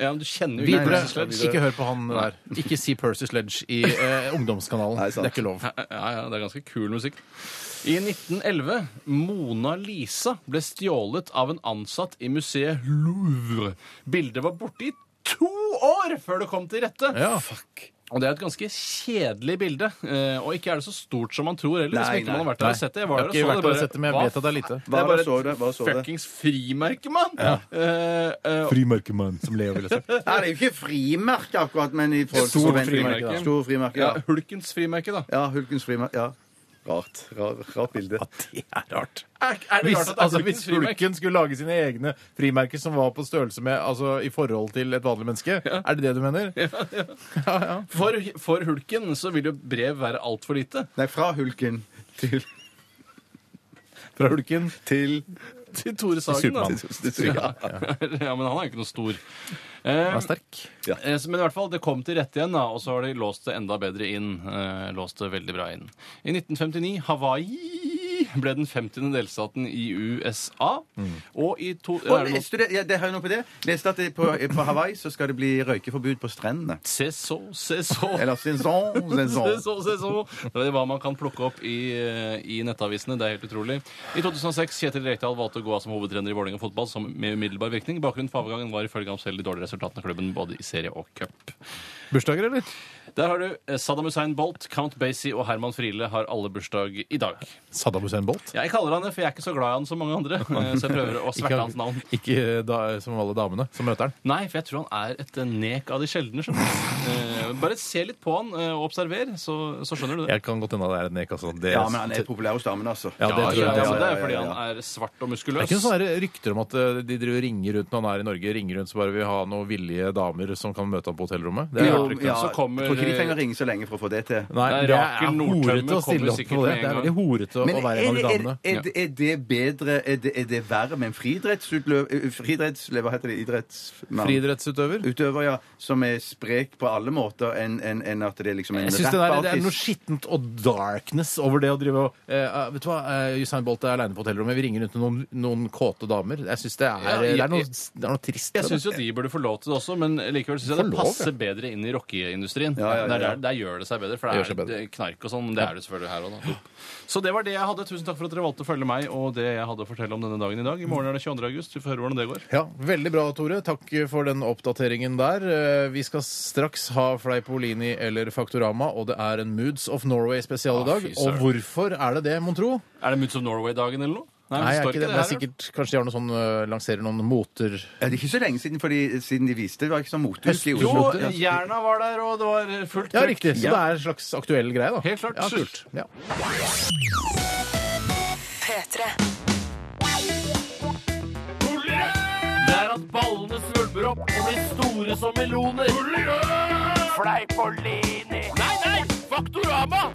Speaker 4: Ja, men du kjenner jo
Speaker 2: Videre.
Speaker 4: Percy Sledge.
Speaker 2: Ikke hør på han der. Ikke si Percy Sledge i eh, Ungdomskanalen.
Speaker 3: Nei,
Speaker 2: det
Speaker 3: sant.
Speaker 2: er ikke lov.
Speaker 4: Ja, ja, det er ganske kul musikk. I 1911 Mona Lisa ble stjålet av en ansatt i museet Louvre. Bildet var borte i to år før det kom til rette!
Speaker 2: Ja.
Speaker 4: Og det er et ganske kjedelig bilde. eh, Og ikke er det så stort som man tror heller. hvis
Speaker 3: Nei,
Speaker 4: ikke man har
Speaker 3: nei.
Speaker 4: vært der og sett det. Jeg var
Speaker 2: Jeg har
Speaker 4: der og så
Speaker 2: ikke
Speaker 4: det
Speaker 2: vært der og
Speaker 4: bare,
Speaker 2: sett det, men
Speaker 4: hva
Speaker 2: jeg vet at det er lite.
Speaker 4: Det er bare
Speaker 3: Bare så det. Bare så det.
Speaker 4: Fuckings frimerke, mann! Eh, eh,
Speaker 2: Frimerkemann, som Leo ville sagt.
Speaker 3: Nei, det er jo ikke frimerke akkurat, men i folks
Speaker 4: Stor
Speaker 3: forventninger.
Speaker 4: frimerke, da.
Speaker 3: Stor frimerke,
Speaker 4: ja,
Speaker 3: ja.
Speaker 4: Hulkens frimerke, da.
Speaker 3: Ja, Hulkens frimerke. Ja. Rart. Rar, rart bilde.
Speaker 2: Det er rart.
Speaker 4: Er, er det
Speaker 2: Hvis,
Speaker 4: rart at det er
Speaker 2: altså,
Speaker 4: Hulkens
Speaker 2: hvis
Speaker 4: frimerke?
Speaker 2: Hulken skulle lage sine egne frimerker som var på størrelse med altså, i forhold til et vanlig menneske, er det det du mener?
Speaker 4: For, for Hulken så vil jo brev være altfor lite.
Speaker 3: Nei, fra Hulken til
Speaker 2: Fra Hulken?
Speaker 3: Til
Speaker 4: Til Tore Sagen, da.
Speaker 2: Supermann.
Speaker 3: ja.
Speaker 4: [laughs] ja, men han er jo ikke noe stor. Eh,
Speaker 2: Han er sterk.
Speaker 4: eh, så- men i hvert fall, det kom til rette igjen, da, og så har de låst det enda bedre inn. Eh, låst det veldig bra inn. I 1959 Hawaii ble den 50. delstaten i USA.
Speaker 2: Mm.
Speaker 4: Og i to...
Speaker 3: Og
Speaker 4: er det noe-
Speaker 3: leste du det? Ja, det har jeg noe på det. Leste at det på, på Hawaii så skal det bli røykeforbud på strendene.
Speaker 4: Se så, se
Speaker 2: [laughs]
Speaker 4: så.
Speaker 3: Eller saison,
Speaker 4: Se
Speaker 3: saison.
Speaker 4: så,
Speaker 2: sånn.
Speaker 4: se så. Det er hva man kan plukke opp i, eh, i nettavisene. Det er helt utrolig. I 2006 Kjetil Rekdal valgte å gå av som hovedtrener i Vålerenga fotball som med umiddelbar virkning. Bakgrunnen for avgangen var ifølge ham selv de dårlige resultatene i klubben både i serie og cup.
Speaker 2: Bursdager, eller?
Speaker 4: Der har du eh, Saddam Hussein Bolt, Count Basie og Herman Friele har alle bursdag i dag.
Speaker 2: Saddam Hussein Bolt?
Speaker 4: Jeg kaller han det, for jeg er ikke så glad i han som mange [laughs] andre. eh, Så jeg prøver å sverte hans navn.
Speaker 2: Ikke eh, da, som alle damene som møter han.
Speaker 4: Nei, for jeg tror han er et eh, nek av de sjeldne. skjønner du. Eh, Bare se litt på han eh, og observer, så, så skjønner du det.
Speaker 2: Jeg kan godt hende det er et nek. Altså. Det,
Speaker 3: Ja, men han er populær hos damene, altså.
Speaker 2: Ja, det tror jeg.
Speaker 4: ja,
Speaker 2: det
Speaker 4: altså,
Speaker 2: er.
Speaker 4: det er fordi
Speaker 3: ja, ja, ja.
Speaker 4: han er svart og
Speaker 2: Det
Speaker 4: muskuløs.
Speaker 2: er ikke noen sånne rykter om at eh, de driver og ringer rundt når han er i Norge, ringer rundt så bare vil ha noen villige damer som kan møte ham på hotellrommet? Det er
Speaker 4: Jo,
Speaker 2: rart rykte.
Speaker 4: ja. Så kommer-
Speaker 3: Jeg tror ikke de trenger å ringe så lenge for å få det til.
Speaker 2: Nei,
Speaker 4: Nei,
Speaker 2: det
Speaker 4: Rakel
Speaker 2: er
Speaker 4: Nordtømme
Speaker 2: horete å
Speaker 4: kommer
Speaker 2: stille opp
Speaker 4: sikkert
Speaker 2: på det. Det
Speaker 4: med en
Speaker 2: er
Speaker 4: gang.
Speaker 2: veldig horete å
Speaker 3: Men
Speaker 2: være en av de
Speaker 3: er,
Speaker 2: damene.
Speaker 3: er, er, er det bedre Er det, er det verre med en friidrettsutløver eh, friidrettsle- Hva heter det? Idrettsmann?
Speaker 2: Friidrettsutøver?
Speaker 3: Utøver, ja. Som er sprek på alle måter enn enn- enn at det er liksom en
Speaker 2: Jeg synes det, der, det er noe
Speaker 3: rappartist.
Speaker 2: skittent og darkness over det å drive og eh, eh, Vet du hva, eh, Usain Bolt er aleine på hotellrommet. Vi ringer rundt til noen, noen kåte damer. Jeg syns det, er-
Speaker 4: Ja, jeg-
Speaker 2: det, er noe- det er noe trist. ved
Speaker 4: Jeg syns jo de burde få lov til det også, men likevel syns jeg
Speaker 2: Få
Speaker 4: det
Speaker 2: lov,
Speaker 4: passer
Speaker 2: ja.
Speaker 4: bedre inn i rockeindustrien.
Speaker 3: Ja, ja, ja,
Speaker 4: Der,
Speaker 3: ja.
Speaker 4: der, der gjør det seg bedre, for
Speaker 2: Det
Speaker 4: det
Speaker 2: gjør seg
Speaker 4: er det knark og sånn. Det er det selvfølgelig her òg, da. Så det var det jeg hadde. Tusen takk for at dere valgte å følge meg og det jeg hadde å fortelle om denne dagen i dag. I morgen er det 22. august. Vi får høre hvordan det går.
Speaker 2: Ja, Veldig bra, Tore. Takk for den oppdateringen der. Eh, Vi skal straks ha Fleipolini eller Faktorama, og det er en Moods of Norway-spesial i
Speaker 4: Ah,
Speaker 2: dag.
Speaker 4: fy
Speaker 2: Og
Speaker 4: søren.
Speaker 2: hvorfor er det det, mon tro?
Speaker 4: Er det Moods of Norway-dagen eller noe?
Speaker 2: Nei,
Speaker 4: Nei, det
Speaker 2: jeg er
Speaker 4: står
Speaker 2: ikke det, men
Speaker 4: her,
Speaker 2: det er sikkert, kanskje de har noen sånn, eh, lanserer noen moter
Speaker 3: Ja, det er ikke så lenge siden, fordi, siden de viste det. var ikke sånn motehus i
Speaker 4: Jo,
Speaker 3: Oslo. Ja.
Speaker 4: Jerna var der, og det var fullt
Speaker 2: Ja,
Speaker 4: trøkk.
Speaker 2: riktig. Så det er en slags aktuell greie, da.
Speaker 4: Helt klart.
Speaker 2: Ja, kult. Ja.
Speaker 6: P3.
Speaker 4: Det er at ballene svulmer opp og blir store som meloner. Fleipolini. Nei, nei! Faktorama!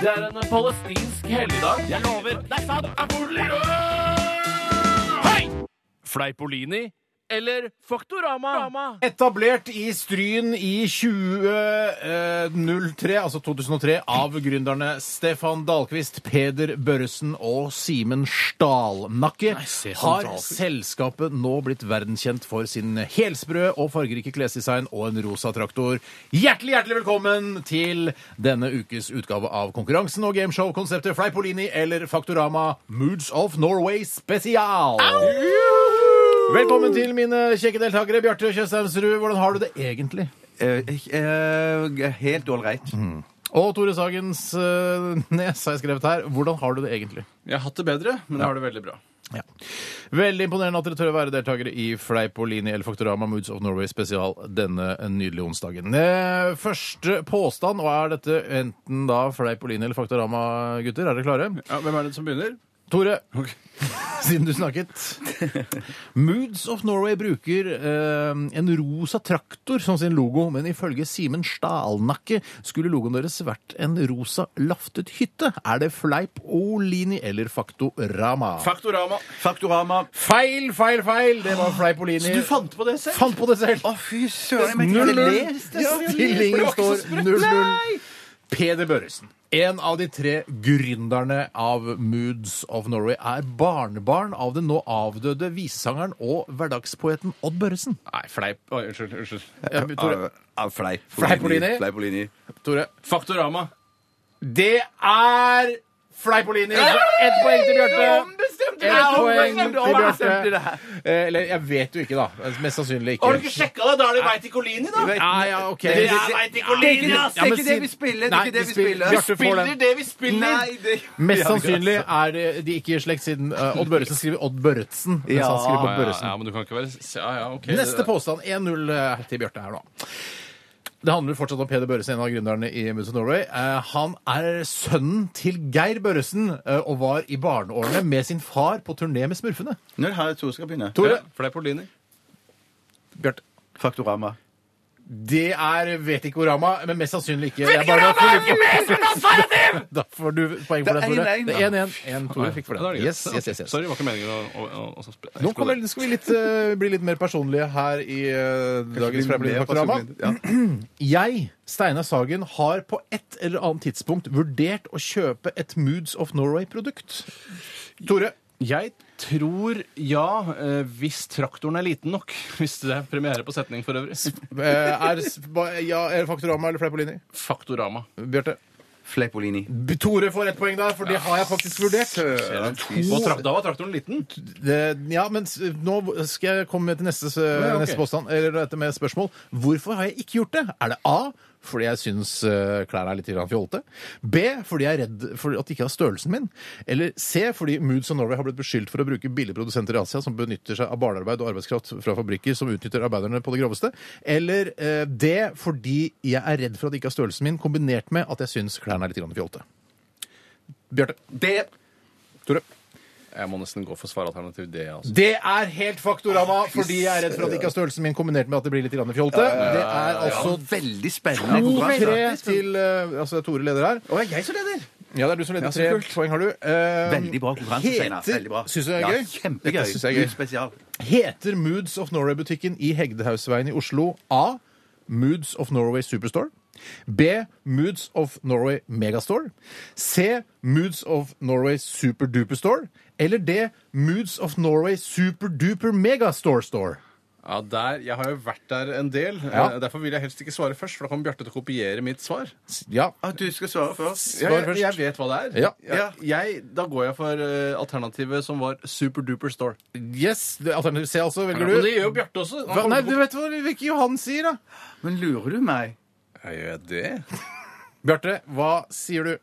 Speaker 4: Det er en palestinsk helligdag. Jeg lover. Nei, sant! Hei! Fleipolini eller Faktorama?
Speaker 2: Etablert i Stryn i 2003, altså 2003, av gründerne Stefan Dahlqvist, Peder Børresen og Simen Stalnakke,
Speaker 4: Stefan
Speaker 2: har
Speaker 4: Dahlqvist.
Speaker 2: selskapet nå blitt verdenskjent for sin helsprø og fargerike klesdesign og en rosa traktor. Hjertelig, hjertelig velkommen til denne ukes utgave av konkurransen og gameshow-konseptet Fleipolini eller Faktorama Moods of Norway Spesial. Velkommen til mine kjekke deltakere. Bjarte Tjøstheimsrud, hvordan har du det egentlig? Mhm.
Speaker 3: Eh, eh, helt ålreit.
Speaker 2: Og Tore Sagens eh, Nes har jeg skrevet her. Hvordan har du det egentlig?
Speaker 4: Jeg har hatt det bedre, men jeg har det veldig bra.
Speaker 2: Ja. Veldig imponerende at dere tør å være deltakere i Fleipolini eller Faktorama Moods of Norway spesial denne nydelige onsdagen. Eh, Første påstand, og er dette enten da Fleipolini eller Faktorama, gutter? Er dere klare?
Speaker 4: Ja, hvem er det som begynner?
Speaker 2: Tore, [laughs] siden du snakket. Moods of Norway bruker eh, en rosa traktor som sin logo, men ifølge Simen Stalnakke skulle logoen deres vært en rosa laftet hytte. Er det Fleip Olini eller Faktorama?
Speaker 4: Faktorama.
Speaker 3: Faktorama.
Speaker 2: feil, feil, feil! Det var Fleip Olini.
Speaker 4: Du fant på det selv?
Speaker 2: Fant på det selv!
Speaker 3: Å, fy søren! jeg mente
Speaker 2: 0-0.
Speaker 3: jeg hadde lest det.
Speaker 2: Stillingen står 0-0. Peder Børresen, en av de tre gründerne av Moods of Norway, er barnebarn av den nå avdøde visesangeren og hverdagspoeten Odd Børresen.
Speaker 4: Nei, fleip. Oi, unnskyld. unnskyld.
Speaker 2: Ja, Tore,
Speaker 3: Ah, Fleip.
Speaker 2: Fleipolini.
Speaker 3: Fleipolini.
Speaker 2: Tore.
Speaker 4: Faktorama.
Speaker 2: Det er Fleipolini! Så Ett poeng til Bjarte. Ett poeng til Bjarte. Eh, Eller jeg vet jo ikke, da. Mest sannsynlig ikke.
Speaker 4: sjekka det? Da er det vei til Colini, da.
Speaker 2: Ja, ja, ok.
Speaker 3: Det er
Speaker 4: vei til
Speaker 3: Det er ikke det, det, er ikke det vi spiller. Det
Speaker 2: Nei,
Speaker 3: er ikke det vi
Speaker 2: vi spiller-
Speaker 3: spiller.
Speaker 2: Bjarte får den.
Speaker 4: det vi spiller.
Speaker 3: Nei, det...
Speaker 2: Mest sannsynlig er det- de ikke i slekt, siden eh, Odd Børresen skriver Odd Børretzen. mens
Speaker 3: Ja.
Speaker 2: han skriver
Speaker 4: Ja,
Speaker 2: Odd
Speaker 4: ja,
Speaker 2: Børresen.
Speaker 4: ja, men du kan ikke være s- Ja, ja, ok.
Speaker 2: Neste påstand 1-0 eh, til Bjarte her nå. Det handler fortsatt om Peder Børresen, en av gründerne i Moods of Norway. Eh, Han er sønnen til Geir Børresen eh, og var i barneårene med sin far på turné med Smurfene.
Speaker 3: Nå har jeg Tore skal begynne.
Speaker 2: Tore,
Speaker 4: Fleipolini.
Speaker 2: Bjarte.
Speaker 3: Faktorama.
Speaker 2: Det er vet ikke orama, men mest sannsynlig ikke. Vetikorama er ikke med som alternativ! [laughs] Da får du poeng for det, Tore.
Speaker 3: Det er 1-1,
Speaker 2: Det
Speaker 3: da.
Speaker 2: er 1-1. En Tore fikk for
Speaker 4: Ja, da er
Speaker 2: det.
Speaker 4: det greit.
Speaker 2: Yes, yes, yes, yes.
Speaker 4: Sorry, det var ikke meningen å, å, å, å sp-
Speaker 2: Nå kommer, skal vi litt, eh, bli litt mer personlige her i eh, dagens Fremskrittsparti-drama.
Speaker 3: Ja.
Speaker 2: Jeg, Steinar Sagen, har på et eller annet tidspunkt vurdert å kjøpe et Moods of Norway-produkt. Tore,
Speaker 4: Jeg tror ja, eh, hvis traktoren er liten nok. [laughs] Hvis det er premiere på setning for øvrig.
Speaker 2: eh, er, s- ba- ja, er Faktorama eller Fleipolini?
Speaker 4: Faktorama.
Speaker 2: Bjarte.
Speaker 3: Fleipolini.
Speaker 2: B- Tore får ett poeng der, for det har jeg faktisk vurdert.
Speaker 4: Og trak da var traktoren liten.
Speaker 2: Det, ja, men s- nå skal jeg komme til neste, s-
Speaker 4: ok.
Speaker 2: neste påstand, eller dette med spørsmål. Hvorfor har jeg ikke gjort det? Er det A? Fordi jeg syns eh, klærne er litt grann fjollete. B. Fordi jeg er redd for at de ikke har størrelsen min. Eller C. Fordi Moods of Norway har blitt beskyldt for å bruke billige produsenter i Asia som benytter seg av barnearbeid og arbeidskraft fra fabrikker som utnytter arbeiderne på det groveste. Eller eh, D. Fordi jeg er redd for at de ikke har størrelsen min, kombinert med at jeg syns klærne er litt grann fjollete. Bjarte.
Speaker 3: Det
Speaker 2: Tore.
Speaker 4: Jeg må nesten gå for svaralternativ D. altså.
Speaker 2: Det er helt faktorama, fordi jeg er redd for at det ikke har størrelsen min kombinert med at det blir litt grann fjolte. Det er altså
Speaker 3: Veldig spennende.
Speaker 2: to-tre
Speaker 3: konkurranse.
Speaker 2: til eh, Altså, Tore leder her.
Speaker 3: Å, er jeg som leder?
Speaker 2: Ja, det er du som leder. Tre poeng har du. Eh,
Speaker 3: Veldig bra konkurranse, Steinar. Veldig bra.
Speaker 2: Heter Syns du det er gøy?
Speaker 3: Ja, kjempegøy.
Speaker 2: Dette synes jeg er
Speaker 3: Litt
Speaker 2: gøy.
Speaker 3: Spesial.
Speaker 2: Heter Moods of Norway-butikken i Hegdehaugsveien i Oslo A. Moods of Norway Superstore. B. Moods of Norway Megastore. C. Moods of Norway Superduper Store. Eller D. Moods of Norway Superduper Megastore Store.
Speaker 4: Ja, der, Jeg har jo vært der en del. eh, Derfor vil jeg helst ikke svare først, for da kommer Bjarte til å kopiere mitt svar.
Speaker 2: Ja.
Speaker 3: Ah, du skal svare først.
Speaker 4: Jeg,
Speaker 2: Svar først.
Speaker 4: jeg, vet hva det er.
Speaker 2: Ja.
Speaker 4: Jeg, jeg, da går jeg for eh, alternativet som var Superduper Store.
Speaker 2: Yes, det- alternativ C altså, velger
Speaker 4: Men det
Speaker 2: du?
Speaker 4: gjør jo Bjarte også. Han
Speaker 2: Hva,
Speaker 4: kommer
Speaker 2: nei,
Speaker 4: til å
Speaker 2: du vet hva hvilke Johan sier, da.
Speaker 3: Men lurer du meg?
Speaker 4: kopi- Ja, Gjør jeg det?
Speaker 2: Bjarte, hva sier du?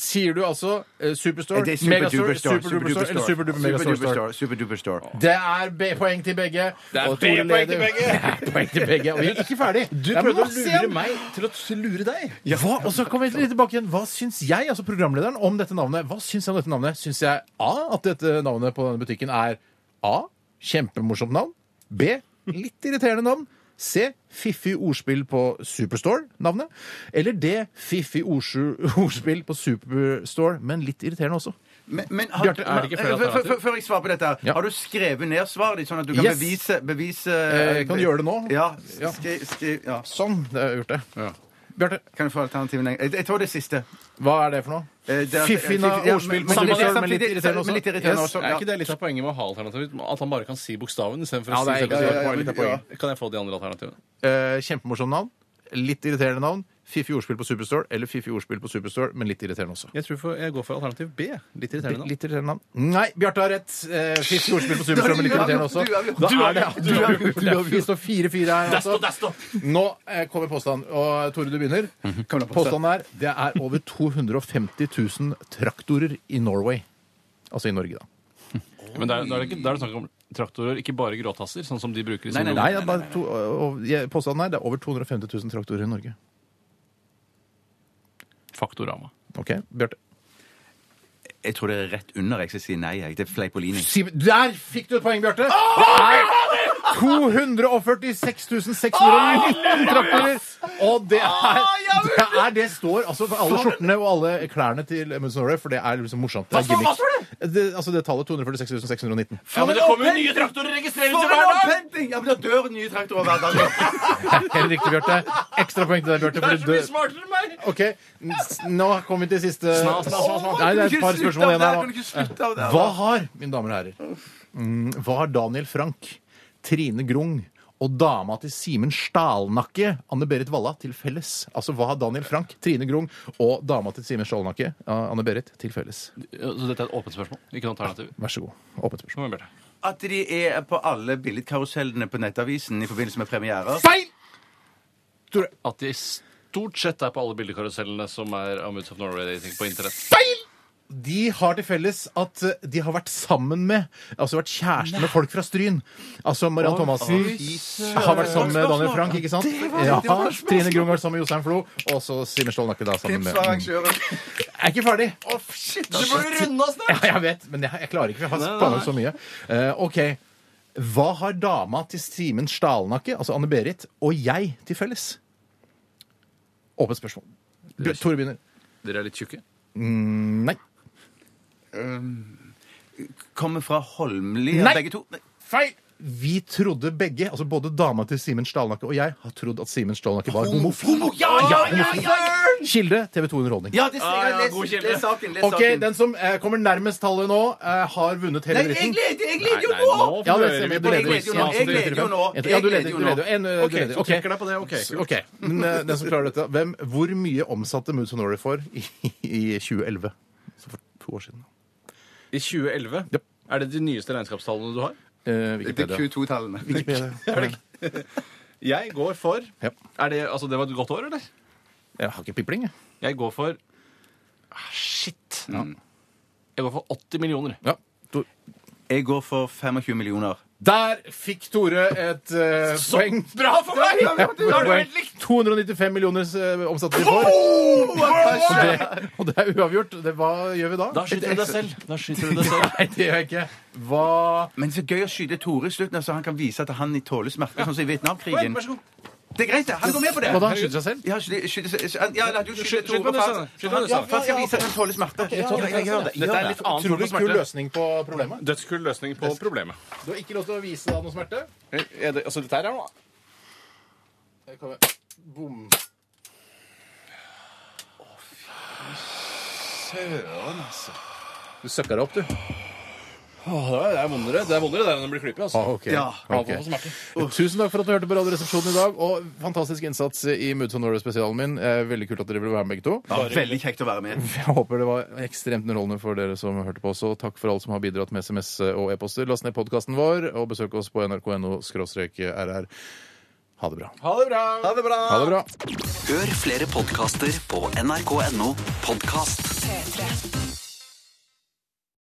Speaker 2: Sier du altså eh, Superstore,
Speaker 3: Er det
Speaker 2: Megastore,
Speaker 3: Superduper Store?
Speaker 2: Superduper Store eller Superduper Megastore
Speaker 3: Superduper
Speaker 2: Store?
Speaker 3: Store. Superduper Store.
Speaker 2: Det er B poeng til begge.
Speaker 4: Det er
Speaker 2: og Tore
Speaker 4: B-poeng
Speaker 2: leder.
Speaker 4: til begge.
Speaker 2: Det er [laughs] poeng til begge. Og vi er ikke ferdig.
Speaker 4: Du
Speaker 2: Det er
Speaker 4: prøvde å
Speaker 2: masse igjen.
Speaker 4: lure meg til å t- lure deg.
Speaker 2: Hva? Og så kommer vi litt tilbake igjen. Hva syns jeg, altså programlederen, om dette navnet? Hva syns jeg om dette navnet? Syns jeg A, at dette navnet på denne butikken er A. Kjempemorsomt navn. B. Litt irriterende navn. C. Fiffig ordspill på Superstore-navnet. Eller D. Fiffig ordsu- ordspill på Superstore, men litt irriterende også.
Speaker 3: Men, men har,
Speaker 2: Bjarte, er det ikke flere
Speaker 3: Før- før-
Speaker 4: alternativer?
Speaker 3: Før jeg svarer på dette, her,
Speaker 2: Ja.
Speaker 3: har du skrevet ned svaret ditt, sånn at du kan
Speaker 2: Yes.
Speaker 3: bevise, bevise
Speaker 2: Eh, kan du gjøre det nå?
Speaker 3: Ja.
Speaker 2: Ja.
Speaker 3: Skriv, skriv ja.
Speaker 2: Sånn. Det har jeg gjort det.
Speaker 4: Ja.
Speaker 2: Bjarte,
Speaker 3: Kan du få alternativene? Jeg, jeg tror det siste.
Speaker 2: hva er det for noe?
Speaker 3: Eh, det er-
Speaker 2: Fiffig
Speaker 3: ja, men-
Speaker 2: ordspill på
Speaker 3: men-
Speaker 2: Superstore, men
Speaker 3: samtidig-
Speaker 2: litt irriterende også.
Speaker 3: men litt irriterende
Speaker 2: Yes.
Speaker 3: også,
Speaker 4: Er
Speaker 3: ja.
Speaker 4: ikke altså, det litt av poenget med å ha alternativet? At han bare kan si bokstaven istedenfor
Speaker 2: Ja,
Speaker 4: å si
Speaker 2: det er-
Speaker 4: selve
Speaker 2: ja, ja,
Speaker 4: svaret?
Speaker 2: ja, litt av poenget.
Speaker 4: Kan jeg få de andre alternativene?
Speaker 2: Eh, kjempemorsomt navn. Litt irriterende navn. Fiffig ordspill på Superstore eller fiffig ordspill på Superstore, men litt irriterende også.
Speaker 7: Jeg tror for, jeg går for alternativ B. Litt irriterende.
Speaker 2: Litt irriterende navn. Nei, Bjarte har rett. Eh, Fiffig ordspill på Superstore, men litt irriterende også. Da er det
Speaker 7: Du har
Speaker 2: avgjort. Det er- Vi står 4-4 her. Altså. Nå eh, kommer påstand, og eh, Tore, du begynner. Påstanden er det er over 250 000 traktorer i Norway. Altså i Norge, da.
Speaker 4: Men da er, da er det ikke- da er det snakk om traktorer, ikke bare gråtasser, sånn som de bruker i sin
Speaker 3: Nei, nei,
Speaker 4: lomme.
Speaker 2: Nei, det er bare to, eh, og jeg- påstanden er det er over 250 000 traktorer i Norge.
Speaker 4: Faktorama.
Speaker 2: Ok, Bjarte.
Speaker 3: Jeg tror det er rett under jeg skal si nei. Jeg. Det er Fleipolini.
Speaker 2: Siv- Der fikk du et poeng, Bjarte! Det er 246 619 traktorer! Og det er, det er Det står altså for alle skjortene og alle klærne til Amundsen Norway, for det er liksom morsomt. Det er
Speaker 3: står- hva
Speaker 2: gimmick.
Speaker 3: står
Speaker 2: Det, altså det tallet 246 619.
Speaker 4: Ja, men det kommer jo nye traktorer registreres
Speaker 3: For
Speaker 4: hver
Speaker 3: en
Speaker 4: dag!
Speaker 3: opphenting! Ja, men da dør nye traktorer hver
Speaker 2: [laughs]
Speaker 3: dag.
Speaker 2: Helt riktig, Bjarte. Ekstra poeng til deg, Bjarte.
Speaker 4: Det
Speaker 2: for
Speaker 4: er så mye
Speaker 2: du-
Speaker 4: smartere enn meg!
Speaker 2: Ok, n- s- Nå kommer vi til siste
Speaker 4: Snas, snas, snas, snas.
Speaker 2: Nei, det er
Speaker 3: Kan du
Speaker 2: et
Speaker 3: ikke
Speaker 2: par
Speaker 3: slutte
Speaker 2: spørsmål
Speaker 3: av
Speaker 2: igjen
Speaker 3: det?
Speaker 2: her.
Speaker 3: Kan du ikke slutte av det?
Speaker 2: Hva har, mine damer og herrer, mm, hva har Daniel Frank, Trine Grung og dama til Simen Stalnakke, Anne-Berit Valla, til felles? Altså, hva har Daniel Frank, Trine Grung og dama til Simen Stalnakke, Anne-Berit, til felles?
Speaker 4: Så dette er et åpent spørsmål, ikke noe alternativ.
Speaker 2: Vær så god. Åpent spørsmål.
Speaker 4: Kom igjen, Bjarte.
Speaker 3: At de er på alle billedkarusellene på Nettavisen i forbindelse med premierer.
Speaker 2: Feil!
Speaker 4: At de stort sett er på alle bildekarusellene som er Amuds of Norway-dating på internett.
Speaker 2: De har til felles at eh, de har vært sammen med, altså vært kjæreste med folk fra Stryn. Altså Mariann Thomassen har vært sammen med Daniel Frank, ikke sant? Ja, Trine Grung har vært sammen med Jostein Flo, og så Simen Stolnakke da sammen med Jeg er ikke ferdig!
Speaker 4: Du må jo runde oss
Speaker 2: Ja, jeg vet, men jeg, jeg klarer ikke, for jeg har planlagt så mye. Eh, OK. Hva har dama til Simen Stalnakke, altså Anne-Berit, og jeg til felles? Åpent spørsmål. Bjør- Tore begynner.
Speaker 4: Dere er litt tjukke.
Speaker 2: Nei.
Speaker 3: Kommer fra Holmlia,
Speaker 2: Nei.
Speaker 3: begge to. Nei.
Speaker 2: Feil! Vi trodde begge, altså både dama til Simen Stalnakke og jeg, har trodd at Simen Stalnakke var homofil.
Speaker 3: Ja, ja, ja, ja!
Speaker 2: Kilde TV 2 Underholdning.
Speaker 3: Ja, det sier
Speaker 4: Ah,
Speaker 3: jeg.
Speaker 4: ja,
Speaker 3: Les,
Speaker 4: god kilde.
Speaker 3: les saken. Les
Speaker 2: OK,
Speaker 3: saken.
Speaker 2: den som eh, kommer nærmest tallet nå, eh, har vunnet
Speaker 3: Nei,
Speaker 2: hele
Speaker 3: jeg
Speaker 2: dritten.
Speaker 3: leder, jeg leder jo
Speaker 4: Nei,
Speaker 3: nå!
Speaker 4: nå
Speaker 2: Ja, det
Speaker 4: hører
Speaker 2: stemmer.
Speaker 4: vi
Speaker 2: Du
Speaker 4: på
Speaker 2: leder
Speaker 3: Jeg
Speaker 4: det.
Speaker 3: leder jo nå.
Speaker 2: quizen.
Speaker 3: Jeg leder jo nå.
Speaker 2: Ja, du leder,
Speaker 3: Jeg leder jo
Speaker 2: du
Speaker 3: nå.
Speaker 2: leder. En, eh,
Speaker 7: Ok,
Speaker 2: du leder.
Speaker 7: så
Speaker 2: Ok.
Speaker 7: trekker deg på det. Ok,
Speaker 2: Så- ok. Men eh, den som klarer dette Hvem, Hvor mye omsatte Moods Norway for i, i 2011? Så for to år siden.
Speaker 4: I 2011?
Speaker 2: Japp.
Speaker 4: Er det de nyeste regnskapstallene du har?
Speaker 2: Eh,
Speaker 3: Det er
Speaker 2: Wikipedia.
Speaker 4: [laughs]
Speaker 3: Q2-tallene.
Speaker 2: Wikipedia.
Speaker 4: Jeg går for
Speaker 2: Ja.
Speaker 4: er det, altså, det var et godt år, eller?
Speaker 2: Jeg har ikke pipling, jeg.
Speaker 4: Jeg går for Ah, Shit! Jeg går for 80 millioner.
Speaker 2: Ja. To-
Speaker 3: Jeg går for 25 millioner.
Speaker 2: Der fikk Tore et eh, poeng.
Speaker 4: Bra for meg!
Speaker 2: Ja, poeng. 295 millioner eh, omsatte de for. Og det, og det er uavgjort. Det, hva gjør vi da?
Speaker 4: Da skyter du deg selv. Da skyter du deg selv.
Speaker 2: Nei, det gjør jeg ikke. Hva
Speaker 3: Men så gøy å skyte Tore i slutten, så han kan vise at han tåler smerte, sånn som i Vietnamkrigen.
Speaker 4: Vær så god.
Speaker 3: Det er greit, det. Han går med på det.
Speaker 2: Hva da? Skyter seg selv?
Speaker 3: Ja, skyte, skyte, ja, la du skyte
Speaker 4: Skyt- skyt
Speaker 3: Tore
Speaker 4: på nesa,
Speaker 3: først.
Speaker 4: skyt på nesa.
Speaker 3: Han skal vise at han tåler smerte. Ja, gjør det.
Speaker 4: Dette er litt annen form
Speaker 2: Utrolig
Speaker 4: for
Speaker 2: kul
Speaker 4: smerte.
Speaker 2: løsning på problemet.
Speaker 4: Dødskul løsning på problemet.
Speaker 2: Du har ikke lov til å vise deg noe smerte.
Speaker 4: [laughs] Er det, altså, dette her er noe
Speaker 2: Der kommer- Bom. Du søkka deg opp, du.
Speaker 4: Åh, det er- det er vondere Det er vondere det enn å bli klype. Altså.
Speaker 3: Ja.
Speaker 4: Ja, det var smerte.
Speaker 2: Tusen takk for at du hørte på Radioresepsjonen i dag, og fantastisk innsats i Moods of Norway-spesialen min. Eh, Veldig kult at dere ville være med, begge to.
Speaker 3: Ja, Veldig kjekt å være med.
Speaker 2: Jeg håper det var ekstremt underholdende for dere som hørte på også. Takk for alle som har bidratt med SMS eh, og e-poster. Last ned podkasten vår, og besøk oss på nrk.no-rr. Ha det bra.
Speaker 4: Ha det bra.
Speaker 2: Ha det bra.
Speaker 5: Hør flere podkaster på nrk.no podkast.
Speaker 6: P3.